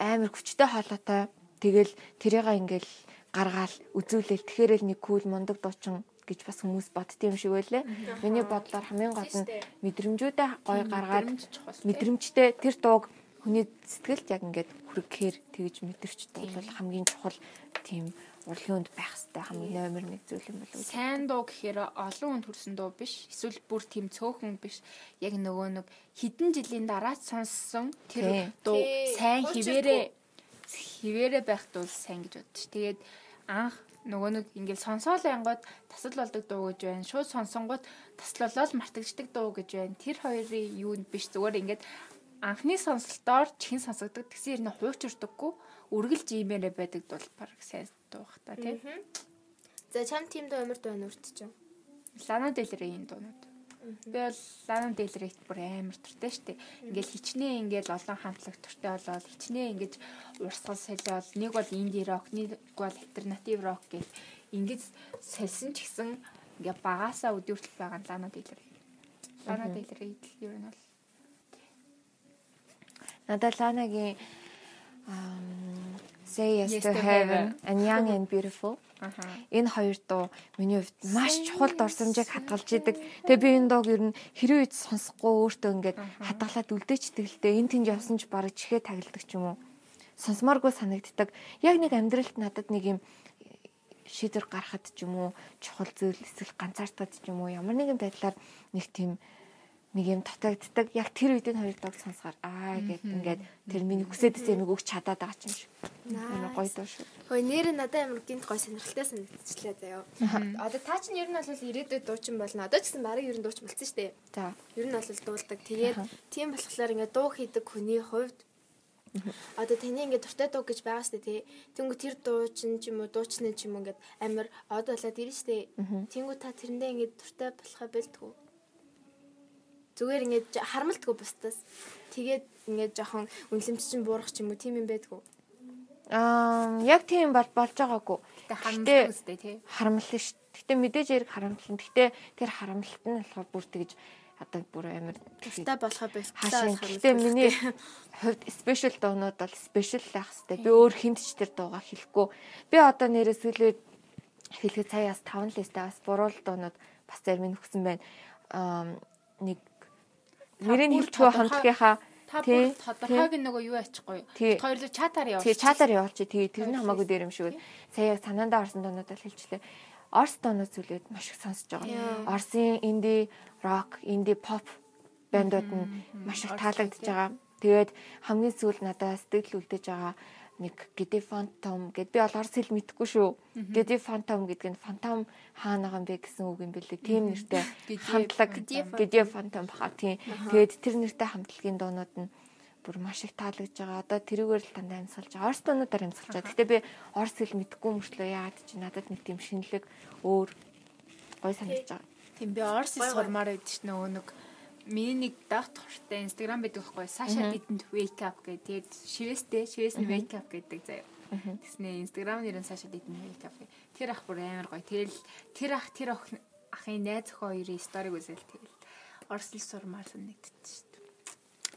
S2: амар хүчтэй хоолойтой тэгэл тэрийг ингээл гаргаал үзүүлэл тэгэхээр л нэг кул мундаг дуучин гэж бас хүмүүс боддсон юм шиг байлаа. Миний бодлоор хамгийн гол нь мэдрэмжүүдээ гоё гаргаад
S1: мэдрэмж чухал, тэ.
S2: мэдрэмжтэй тэр дууг хүний сэтгэлд яг ингээд хүргэхээр тэгж мэдэрч дуулах хамгийн чухал тийм урлагийн үнд байх хэрэгтэй хамгийн номер нэг зүйл юм болов уу?
S1: сайн дуу гэхээр олон хүнд хүрсэн дуу биш. Эсвэл бүр тийм цөөхөн биш. Яг нөгөө нэг хідэн жилийн дараа сонссон тэр
S2: Тийм.
S1: дуу
S3: Тийм.
S1: сайн
S3: Хуучин
S1: хിവэрэ хിവэрэ байх дуу сайн гэж боддоч. Тэгээд анх нөгөө нэг ингээд сонсоол ангууд тасал болдог дуу гэж байна. Шууд сонсонгууд тасал болоод мартагддаг дуу гэж байна. Тэр хоёрын юу нь биш зүгээр ингээд анхны сонсолтоор чихэн сонсогддог тэгсэн хэрнээ хуучирдаггүй үргэлж иймээрэ байдаг дуу баг сайн дуу бах та тийм.
S3: За чам тимд өмөрд байна үрт чинь.
S1: Лана Дэлрийн дуунууд. Би бол Лана Дэлрийт бүр амар туртай шүү дээ. Ингээл хичнээн ингээл олон хамтлаг туртай болоод хичнээн ингэж урсгал солиод нэг бол инди рок, нэг бол альтернатив рок гэж ингэж солисон ч гэсэн ингээ багаасаа өдөртөл байгаа нь Лана Дэлрий. Лана Дэлрийт л ер нь бол
S2: Надад Ланагийн ам, Say Yes to Heaven and Young and Beautiful
S1: Аха.
S2: энэ хоёр дуу миний хувьд маш чухал дурсамжийг хадгалж идэг. Тэгээ би энэ дууг ер нь хэрэв үед сонсохгүй өөртөө ингээд хадгалаад үлдээчдэг л дээ. Энд тэнд явсан ч бараг чихээ тагилдаг ч юм уу. Сонсомооргүй санагддаг. Яг нэг амьдралд надад нэг юм шийдвэр гаргахад ч юм уу чухал зүйл эсвэл ганцаардахад ч юм уу ямар нэгэн байдлаар нэг тийм нэг юм татагддаг. Яг тэр үед энэ хоёр дууг сонсохоор аа гэд ингээд тэр миний хүсэж байсан юм өгч чадаад байгаа ч юм шиг. Амар гоё дуу шүү.
S3: Хөөе нэр нь надад амар гинт гой сонирхолтой санагдчихлаа заяа. Одоо та чинь ер нь бол ирээдүйд дуучин болно. Одоо ч гэсэн багы ер нь дуучин болсон шүү дээ.
S2: За.
S3: Ер нь бол дуулдаг. Тэгээд тийм болохоор ингээд дуу хийдэг хүний хувьд одоо таны ингээд дуртай дуу гэж байгаа шүү дээ тий. Тэнгүү тэр дуучин ч юм уу дуучны ч юм уу ингээд амар од болоод ирнэ шүү дээ. Тэнгүү та тэрэндээ ингээд дуртай болохоо бэлтгүү. Зүгээр ингээд жо- хармалтгүй бустаас. Тэгээд ингээд жоохон үнлэмч чинь буурах ч юм уу тийм юм байдгүй.
S2: Аа, яг тийм бол болж байгаагүй.
S1: Тэ
S2: Гэтэ-
S1: хамтлаг үстэй тий.
S2: харамлал ш. Гэтэ мэдээж яриг харамлал. Гэтэ тэр харамлалт нь болохоор бүр тэгж одоо бүр амар тэгж
S3: Дуртай болохоо бэлтгүү.
S2: хаашаа. Гэтэ миний хувьд special дуунууд бол special байх хэвээр. Би өөр хүнд ч тэр дуугаа хэлэхгүй. Би одоо нэрээс хэлээд хэлэхэд саяас 5 листээ бас буруул дуунууд бас зарим нь өгсөн байна. Аа, нэг нэрийг хэлчихгүй хамтлагийнхаа
S1: Та бүр
S2: Тий.
S1: тодорхойг нь нөгөө юу ачихгүй.
S2: Тий.
S1: Хоёрлоо чатаар яваа.
S2: Тий, чатаар явуулчих. Тий, тэр нь хамаагүй дээр юм шүү. Сая яг санаандаа орсон дунуудаар хэлчихлээ. Орс дунууд зүйлүүд маш их сонсож байгаа. Орсын инди рок, инди поп бэндүүд нь маш их таалагдж байгаа. Тэгээд хамгийн сүүл надад сэтгэл үлдэж байгаа нэг Gedi Phantom гэд би бол орс хэл мэдэхгүй шүү. Gedi Phantom гэдэг нь Phantom хаанаа юм бэ гэсэн үг юм бэлээ. Тийм нэртэй
S1: Gedi
S2: хамтлаг Gedi Phantom баха тийм. Тэгээд тэр нэртэй хамтлагийн дуунууд нь бүр маш их таалагдж байгаа. Одоо тэрүүгээр л дандаа амьсгалж байгаа. Орос дунуудаар амьсгалж байгаа. Гэтэ би орос хэл мэдэхгүй мөртлөө яагаад чи надад нэг тийм шинэлэг өөр гой санагдж байгаа.
S1: Тийм би Орс хэл сурмаар байдаг ш нөгөө нэг миний нэг дах тортай Instagram байдаг байхгүй. Саша бидэнд wake up гэдэг. Тэгээд шивэстэй, шивэс нь wake up гэдэг заяа. Тэснэ Instagram нэрэн Саша бидэнд wake up. гэ. Тэр ах бүр амар гоё. Тэгэл тэр ах тэр охин ахын найз охин хоёрын сториг үзэл тэгэл Орс хэл сурмаар санагдчих ш.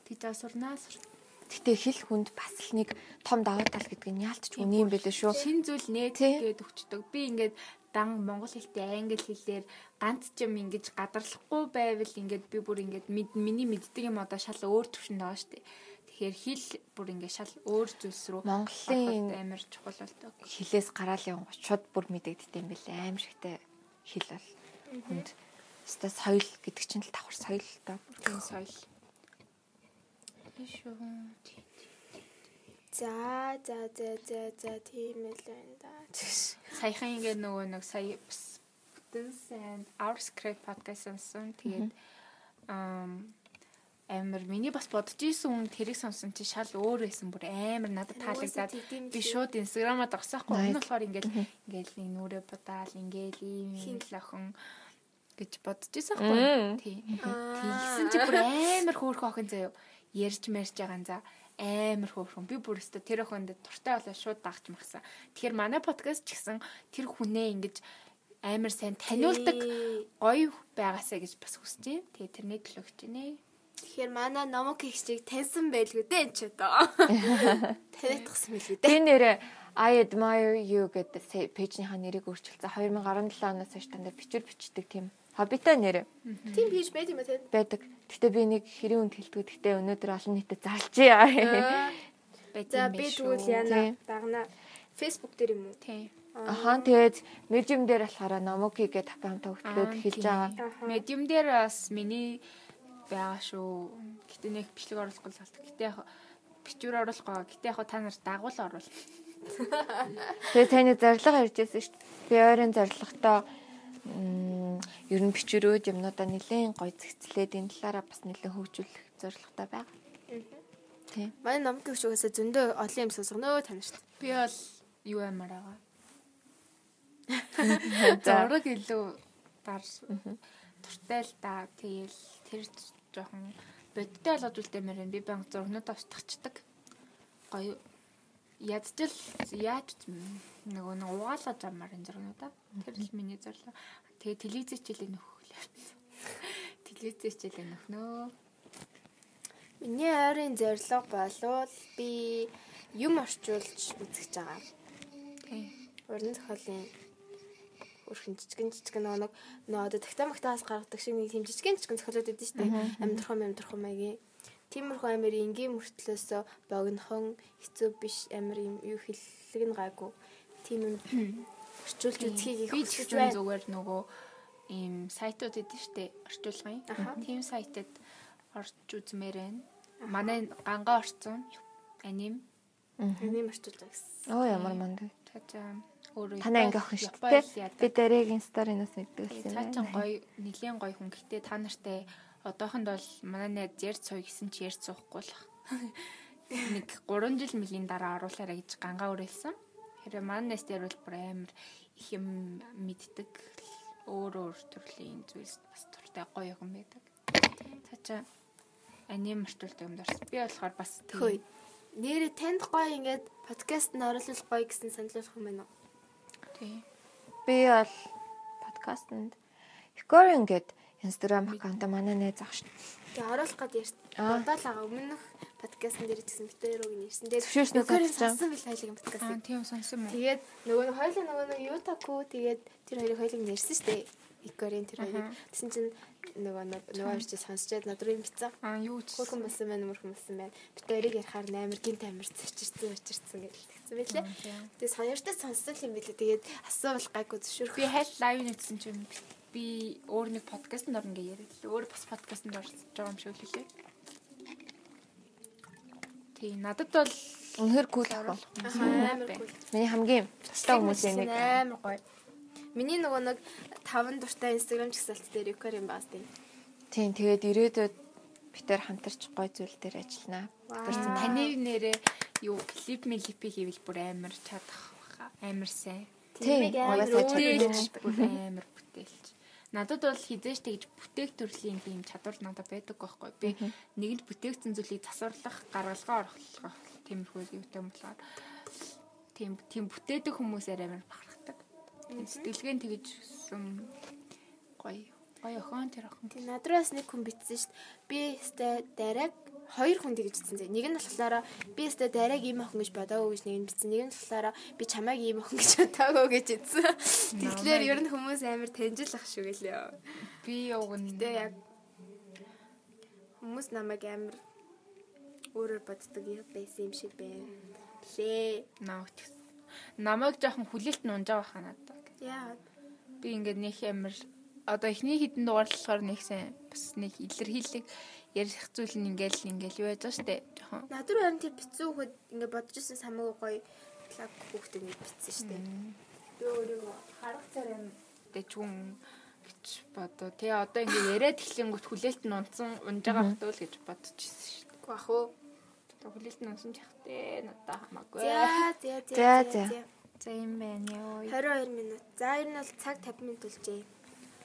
S1: Тэгж аа сурнаа сур.
S2: Гэтэ хэл хүнд бас л нэг том давуу тал гэдэг нь яалтч үний юм бэлээ шүү.
S1: Шин зүйл нээт
S2: Тий.
S1: гээд өгчдөг. Би ингээд дан монгол хэлтэй англи хэлээр ганц ч юм ингэж гадарлахгүй байвал ингээд би бүр ингээд мэд- миний мэддэг юм одоо шал өөр төвшөнд байгаа шүү дээ. Тэгэхээр хэл бүр ингээд шал өөр зүйлс рүү
S2: Монголын-
S1: ороход амар чухал болдог.
S2: Хилээс гараал явган шууд бүр мэдэгддэм бэлээ. Амар ихтэй хэл бол хүнд. Өстө соёл гэдэг чинь л давхар соёл л доо.
S1: Тийм соёл. Тийш үү. Тий.
S3: За за за за за тийм л байна да.
S1: Саяхан ингээд нөгөө нэг сая бас бүтэн сайн our script podcast сонсон. Тэгээд ам амар миний бас бодож исэн үн тэрийг сонсон чи шал өөр байсан бүр амар надад таалагдаад би шууд инстаграмаа дагсаахгүй
S2: Nice.
S1: өмнө болохоор ингээд ингээд нэг нүрэ бодаал ингээд ийм юм л охин гэж бодож исэн хгүй. Тий. Тэгсэн чи бүр амар хөөрхөн охин заяо ярьж мэрж байгаа за амар хөөрхөн би бүр өстө тэр охинд дуртай болоо шууд дагч махсан. Тэгэхээр манай подкаст ч гэсэн тэр хүнээ ингэж амар сайн таниулдаг гоё байгаасаа гэж бас хүсэж байна. Тэгээ тэрний төлөө гэж байна.
S3: Тэгэхээр манай номок ихчийг таньсан байлгүй дээ энэ ч одоо. Таниадахсан байлгүй дээ.
S2: Тэр нэрээ I admire you гэдэг сэ- пэйжийнхаа нэрийг өөрчилсөн. 2017 оноос хойш дандаа бичвэр бичдэг тийм. Хобита нэрээ.
S3: Тийм пейж байт юм аа тань.
S2: байдаг. Гэтэ би нэг хэрийн үнд хэлтгүү. Гэтэ өнөөдөр олон нийтэд зарлжээ.
S3: За би тэгвэл
S2: Тий.
S3: яана дагнаа. Facebook дээр юм уу?
S1: Тий.
S2: Ахаа тэгээд медиум дээр болохоор номоки гэдэг тавтай хамтаа хөтлөөд хэлж байгаа.
S1: Медиум дээр бас миний байгаа шүү. Гэтэ нэг бичлэг оруулахгүй л болт. Гэтэ яг бичвэр оруулахгүй. Гэтэ яг та нар дагуул оруул.
S2: Тэгээд таны зорилго ярьжсэн шүү дээ. Би ойрын зорилготой м, ер нь бичвэрүүд юмнуудаа нэлээд гоё зэгцлээд энэ талаараа бас нэлээд хөгжүүлэх зорилготой байна. Тийм.
S3: Манай номок ихчээс зөндөө олон юм сонсгоно тань шүү.
S1: Би бол юу амар байгаа.
S2: За.
S1: Зураг илүү дар туртай л да. Тэгэл тэр жоохон бодтой болгож үлдээ мээр би банк зургнууд авчдагчдаг. Гоё ядч л яаж ч нөгөө нэг угаалгаж амар энэ зургнуудаа. Тэр л миний зорилго. Тэгээ телевизэч хилээ нөхөглөө. Телевизэч хилээ нөхнөө.
S3: Миний ойрын зорилго болвол би юм орчуулж үзэж байгаа.
S1: Тий.
S3: Уран зохиолын өрхөн жижигэн жижигэн нөгөө нэг нөө одоо тагтамагтаас гаргадаг шиг нэг тийм жижигэн жижигэн зохиолууд өгдөө шүү дээ. Амьдрахын амьдрахын маягийн. Тиймэрхүү амир энгийн мөртлөөсөө богинохон хэцүү биш амир юм юу хэллэг нь гайгүй. Тийм юм орчуулж үзхийг их
S1: би ч
S3: хүсэж
S1: гэсэн
S3: байна.
S1: зүгээр нөгөө ийм сайтууд эдэн штэ орчуулгын.
S3: Аха.
S1: Тийм сайтад орж үзмээр байна. Манай ганга орцсон аним
S3: Ийм орчуулж байгаа гэсэн.
S2: Оо ямар мундаг.
S1: цаачаа өөрөө
S2: Танай
S1: Японы-
S2: анги охин шүү
S1: Японы
S2: дээ.
S1: ядаг.
S2: Би дараагийн сториноос мэддэгсэн
S1: цаачаа
S2: байна.
S1: гоё нэгэн гоё хүн гэхдээ та нартай одоохонд бол манай найз ярьж сууй гэсэн чи ярьж суухгүй л байна. нэг 3 жил мөлийн дараа оруулаарай гэж ганга өрөөлсөн. Тэгэхээр манай найз дээр бол бүр амар их юм мэддэг өөр өөр төрлийн зүйлс бас туртай гоё хүн байдаг. Цаачаа аним мартуулдаг юм дэрс. Би болохоор бас тийм.
S3: Хөөе. Нэрээ танд гоё ингээд подкаст нь оруулах гоё гэсэн санал болох юм байна уу?
S1: Тийм.
S2: Би бол подкастэнд Hikorian гэдэг Instagram аккаунта манай найз ах шүү.
S3: Тэгээ оруулах гад ярьт.
S2: Аа.
S3: Бодоол аа өмнөх подкастн дээр ч гэсэн битээр үг нэрсэн дээр
S2: Зөвшөөрснөө
S3: нөхөрийн
S2: татчихсан.
S3: сонссон бил хоёлын подкаст.
S1: Аа тийм сонсон юм уу?
S3: Тэгээд нөгөө нэг хоёлын нөгөө нэг Ютаку тэгээд тэр хоёрыг хоёлыг нэрсэн шүү дээ. Икорийн тэр хоёрыг. Тэсэн чинь нөгөө нэг- нөгөө юм чи сонсчээд надруу юм бицэн.
S1: Аа юу ч
S3: Хөрхөн болсон байна, мөрхөн болсон байна. Би тэрийг ярахаар нээр гинт амир цэчэрсэн, өчэрсэн гэж хэлсэн байлээ. Тэгээ соёртой сонссон юм билээ. Тэгээд асуувал гайгүй зөвшөөрөх.
S1: би хайл лайв нэгсэн чинь би өөр нэг подкастт орно гэж яриад л өөр бас подкастт орж байгаа юм шиг л хэлээ. Тий, надад бол
S2: Үнэхээр кул авах.
S3: Амар гоё.
S2: Миний хамгийн тастай хүмүүсийн
S3: Нэг
S2: нэг.
S3: амар гоё. Миний нөгөө нэг таван дуртай инстаграм чагсалт дээр рекор юм баас тийм.
S2: Тийм тэгээд ирээдүйд битээр хамтарч гой зүйл дээр ажиллана.
S1: Тэгсэн таны нэрээ юу клип мэлипи хийвэл бүр амар чадах баха. Амар сайн.
S2: Тийм.
S3: амар
S2: угаасаа чадна.
S1: Бүтээлч бүр амар бүтээлч. Надад бол хизээш тэгж бүтээх төрлийн тийм чадвар надад байдаг байхгүй. Би нэгд бүтээгдсэн зүйлийг засварлах, гаргалгаа орхолгох тиймэрхүү юутай юм болохоор тийм тийм бүтээдэг хүмүүсээр амар бахархдаг. Тийм сэтгэлгээ нь тэгж юм гоё. Гоё охин тэр охин.
S3: Тэг надраас нэг хүн битсэн штт. Би өстэй дараг хоёр хүн тэгж битсэн. зэ. Нэг нь болохоор би өстэй дараг ийм охин гэж бодоагүй гэж нэг нь битсэн. Нэг нь болохоор би чамайг ийм охин гэж бодоагүй гэж битсэн. Тэгэхээр ер нь хүмүүс амар таньжилах шүү гэлээ.
S1: Би уг нь
S3: Тэ яг хүмүүс намайг амар өөрөөр боддог юм байсан юм шиг байна. Лээ.
S1: намайг тэгсэн. Намайг жоохон хүлээлт нь унжаа байхаа надад.
S3: Яа.
S1: Би ингээд нэг амар одоо эхний хідэн дугаарлахаар нэг сайн бас нэг илэрхийлэг ярих зүйл нь ингээд л ингээд л байж байгаа штэ. Жохон
S3: Надруу харин тэр битсэн хөхөд ингээд бодож ирсэн самаагүй гоё лаг хөхт ингээд битсэн штэ. Би өөрийгөө харах царай
S1: дэжгүн гэж бодоо. Тэ одоо ингээд яриад эхлэнгүүт хүлээлт нь унцсан унжаага хатвал гэж бодчихсон штэ.
S3: бах уу.
S1: Одоо хүлээлт нь унсан ч хахтээ надаа хамаагүй.
S3: За за
S2: За,
S3: за.
S2: за.
S1: За юм байна ёо.
S3: 22 минут. За ер нь бол цаг 50 минут үлжээ.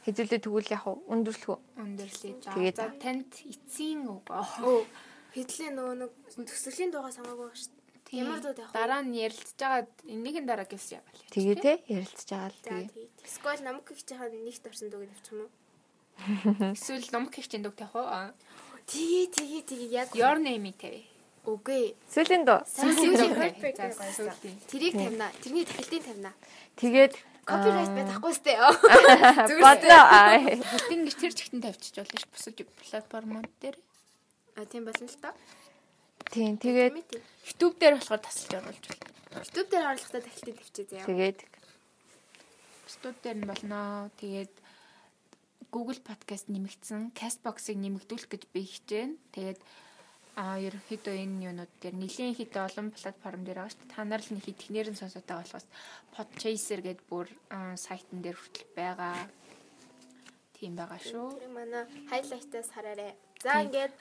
S2: Хэзүүлээ тэгвэл яг өндөрлөх үү?
S1: Өндөрлөе. За
S2: Тэгээд-
S1: за танд эцсийн өгөө.
S3: Оо. Хэдлийн нөгөө нэг төсөглийн дугаа санаагүй байна шүү дээ. Ямар дуу тавих вэ?
S1: Дараа нь ярилцж байгаа энийхэн дараа гэсэн юм байна.
S2: Тэгээ те ярилцж байгаа л
S3: За
S2: тэгээ.
S3: тэгээд. Сквал намг гихчийн нэгт орсон дууг авчих юм уу?
S1: Эсвэл номк хичээнд дог тавих уу?
S3: Тэгээ тэгээ тэгээ яг
S1: Your name-ийг тавь.
S3: үгүй.
S2: Сүүлийн дөө.
S3: Сүүлийн
S1: Perfect
S3: perfect
S1: гэж
S3: байсан.
S1: байсан.
S3: Тэрийг тавина. Тэрний тахилтыг тавина.
S2: Тэгээд
S3: Копирайт байхгүй сте.
S2: бодлоо. Аа.
S1: Хитэн гэж тэр чигтэн тавьчих болно ш. Бусад платформуд дээр.
S3: А тийм болно л та.
S2: Тийм тэгээд
S3: Мэт.
S1: YouTube дээр болохоор тасалж оруулж болно.
S3: YouTube дээр оруулахдаа тахилтыг тавьчих заяа.
S2: тэгээд
S1: Студ дээр нь болно. Тэгээд Google Podcast нэмэгдсэн, Castbox-ыг нэмэгдүүлэх гэж би хичээнэ. Тэгээд аа ерөнхийдөө энэ юунууд дээр нэлийн хит олон платформ дээр байгаа ш. Та нар л нэг хитгнэр нь сонсоод байгаа болохоос Podchaser гэдэг бүр аа, сайтн дээр хүртэл байгаа. Тийм байгаа шүү.
S3: Тэрийг манай хайлайтаас хараарэ. За ингээд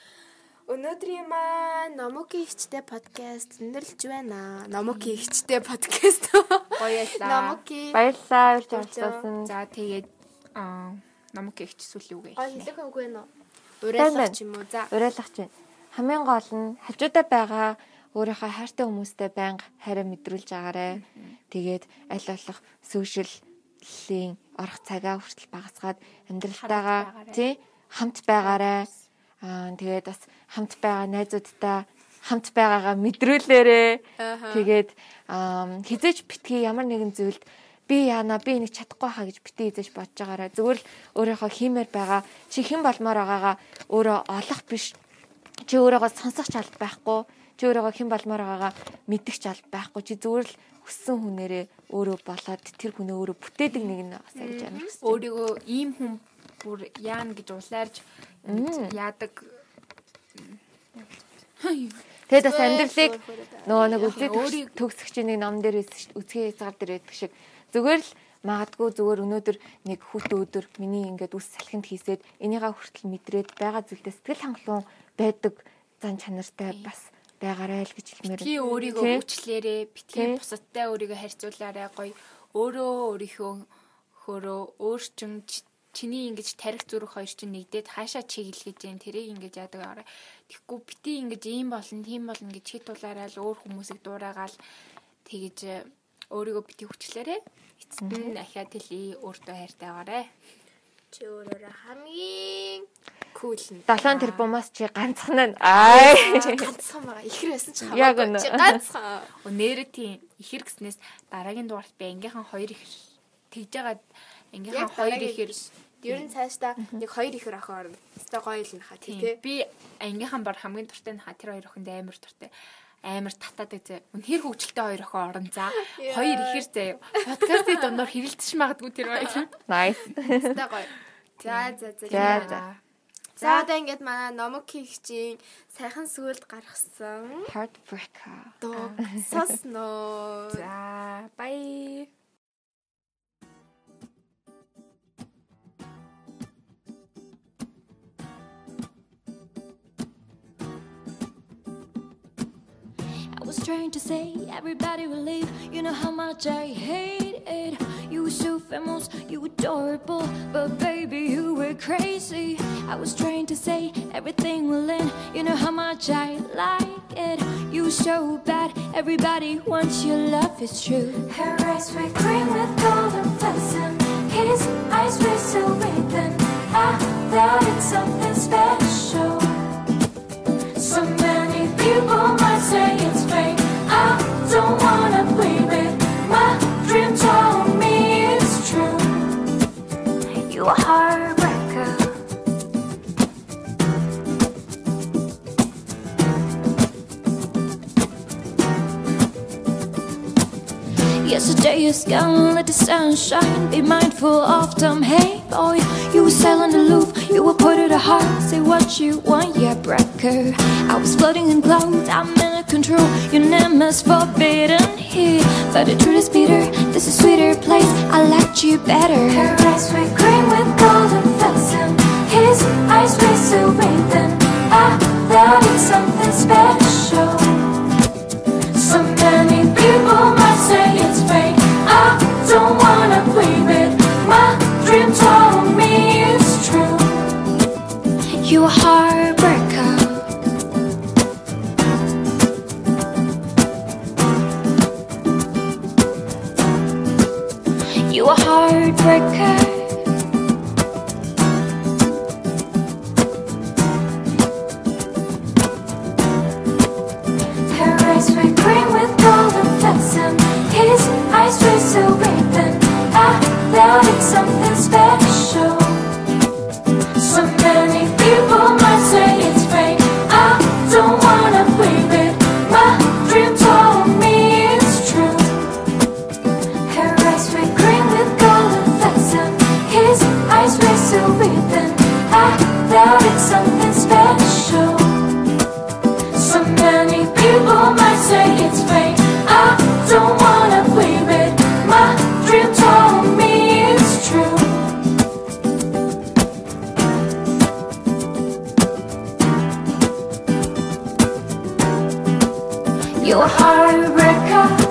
S3: өнөөдрийн маань Номоки хичтэй подкаст өндөрлж байна. Номоки хичтэй подкаст.
S1: Гоёлаа.
S3: Номоки
S2: баярлалаа урьж оролцсон.
S1: За тэгээд аа намок эгч сүл юу гээ.
S3: гой хэлэх үгүй нэ.
S2: Сайн
S3: Урайлах
S2: байна.
S3: ч юм уу. За
S2: Урайлах чинь. Хамгийн гол нь хажуудаа байгаа өөрийнхөө хайртай хүмүүстэй байнга хараа мэдрүүлж агаарэ. Тэгээд аль болох сүүшлийн орох цагаа хүртэл багасгаад амьдралтайгаа
S1: Хамт байгаарэ.
S2: тий хамт байгаарэ. Аа тэгээд бас хамт байгаа найзуудтай хамт байгаагаа мэдрүүлээрэ. Тэгээд аа, хизээч битгий ямар нэгэн зүйлд би яана би энийг чадахгүй хаа гэж битгий хизээч бодож байгаараа зүгээр л өөрийнхөө хиймээр байгаа чи хэн болмоор байгаагаа өөрөө олох биш чи өөрийгөө сонсох ч алба байхгүй чи өөрийгөө хэн болмоор байгаагаа мэдэх ч алба байхгүй чи зүгээр л хүссэн хүнээрээ өөрөө болоод тэр хүнээ өөрөө бүтээдэг нэг нь бас ажиж амир гэсэн.
S1: Өөрийгөө ийм хүн бүр яана гэж улаарж яадаг.
S2: Тэгээд бас амьдралыг нөгөө нэг үзээ
S1: Өөрийг-
S2: төгсөх чинь нэг ном дээр байсан шүү- үзхий хязгаар дээр байдаг шиг зүгээр л магадгүй зүгээр өнөөдөр нэг хүүтэн өдөр миний ингээд үс салхинд хийсээд энийгаа хүртэл мэдрээд байгаа зүйлдээ сэтгэл хангалуун байдаг зан чанартай бас байгаарай л гэж хэлмээр.
S1: Би
S2: байна.
S1: өөрийгөө
S2: Тэ?
S1: хүчлээрээ битгий
S2: Тий.
S1: бусадтай өөрийгөө харьцуулаарай гоё. Өөрөө өөрийнхөө хөрөө өөрчн ч- чиний ингэж тарих зүрх хоёр чинь нэгдээд хаашаа чиглэж जैन тэрийг ингэж яадаг арай. Тэгэхгүй бити ингэж ийм болно, тийм болно гэж хит тулаарай л өөр хүмүүсийг дуурайгаал тэгэж э, өөрийгөө бити хүчлээрээ эцэст нь ахиад хэлий өөртөө хайртай байгаарай.
S3: чи өөрөө хамгийн кул нь.
S2: Долоон тэрбумаас чи ганцхан нь аа
S3: Ганцхан байгаа. Ихэр байсан ч
S2: Яг
S3: хамаагүй.
S2: үнэ.
S3: Чи ганцхан.
S1: Өнөөдөр тийм ихэр гэснээс дараагийн дугаарт би ангийнхан хоёр их тэгж байгаа
S3: Яг
S1: ангийнхан хоёр
S3: дараагийн
S1: ихэр
S4: Ер нь цаашдаа нэг хоёр ихэр охин орно. Өстой гоё л нэхэ тий тээ.
S1: Би ангийнхаа бар хамгийн дуртай нь ха тэр хоёр охинд амар дуртай. Амар татаад үзье. Үнэхээр хөвгөлтэй хоёр охин орон за. Хоёр ихэр заяа. Подкастын дундор хэрэлдэж магадгүй тэр хоёр.
S2: Nice.
S4: Өстой гоё. За за за.
S2: За, за.
S4: За одоо ингээд манай номог хийгчийн сайхан сүгэлд гаргасан
S2: Heartbreaker.
S4: дуу сосноо.
S1: За, бай.
S7: I was trying to say everybody will leave. You know how much I hate it. You were so famous, you were adorable, but baby, you were crazy. I was trying to say everything will end. You know how much I like it. You were so bad, everybody wants your love, it's true. Her eyes were green with golden blossom. His eyes were so rhythm. I thought it's something special. So many people might say it's fake. I don't wanna believe it. My dream told me it's true. You are heartbreaker. Yesterday is gone, let the sunshine Be mindful of them, hey boy You were silent aloof, you were put at a heart Say what you want, yeah breaker I was floating in clouds, I'm in control Your name is forbidden here But the truth is bitter, this is sweeter place I liked you better Her eyes were green with golden blossom His eyes were so radiant I thought it's something special so many people might say it's fake. I don't wanna believe it. My dream told me it's true. You a heartbreaker. You a heartbreaker. Her eyes were green with golden blossom. His eyes were so radiant. I thought it's something special. So many people might say it's fake. I don't wanna believe it. My dream told me it's true. Her eyes were green with golden blossom. His eyes were so radiant. I thought it's something special. So many people might say it's fake. I don't wanna believe it. My dream told me it's true. You're a heartbreaker.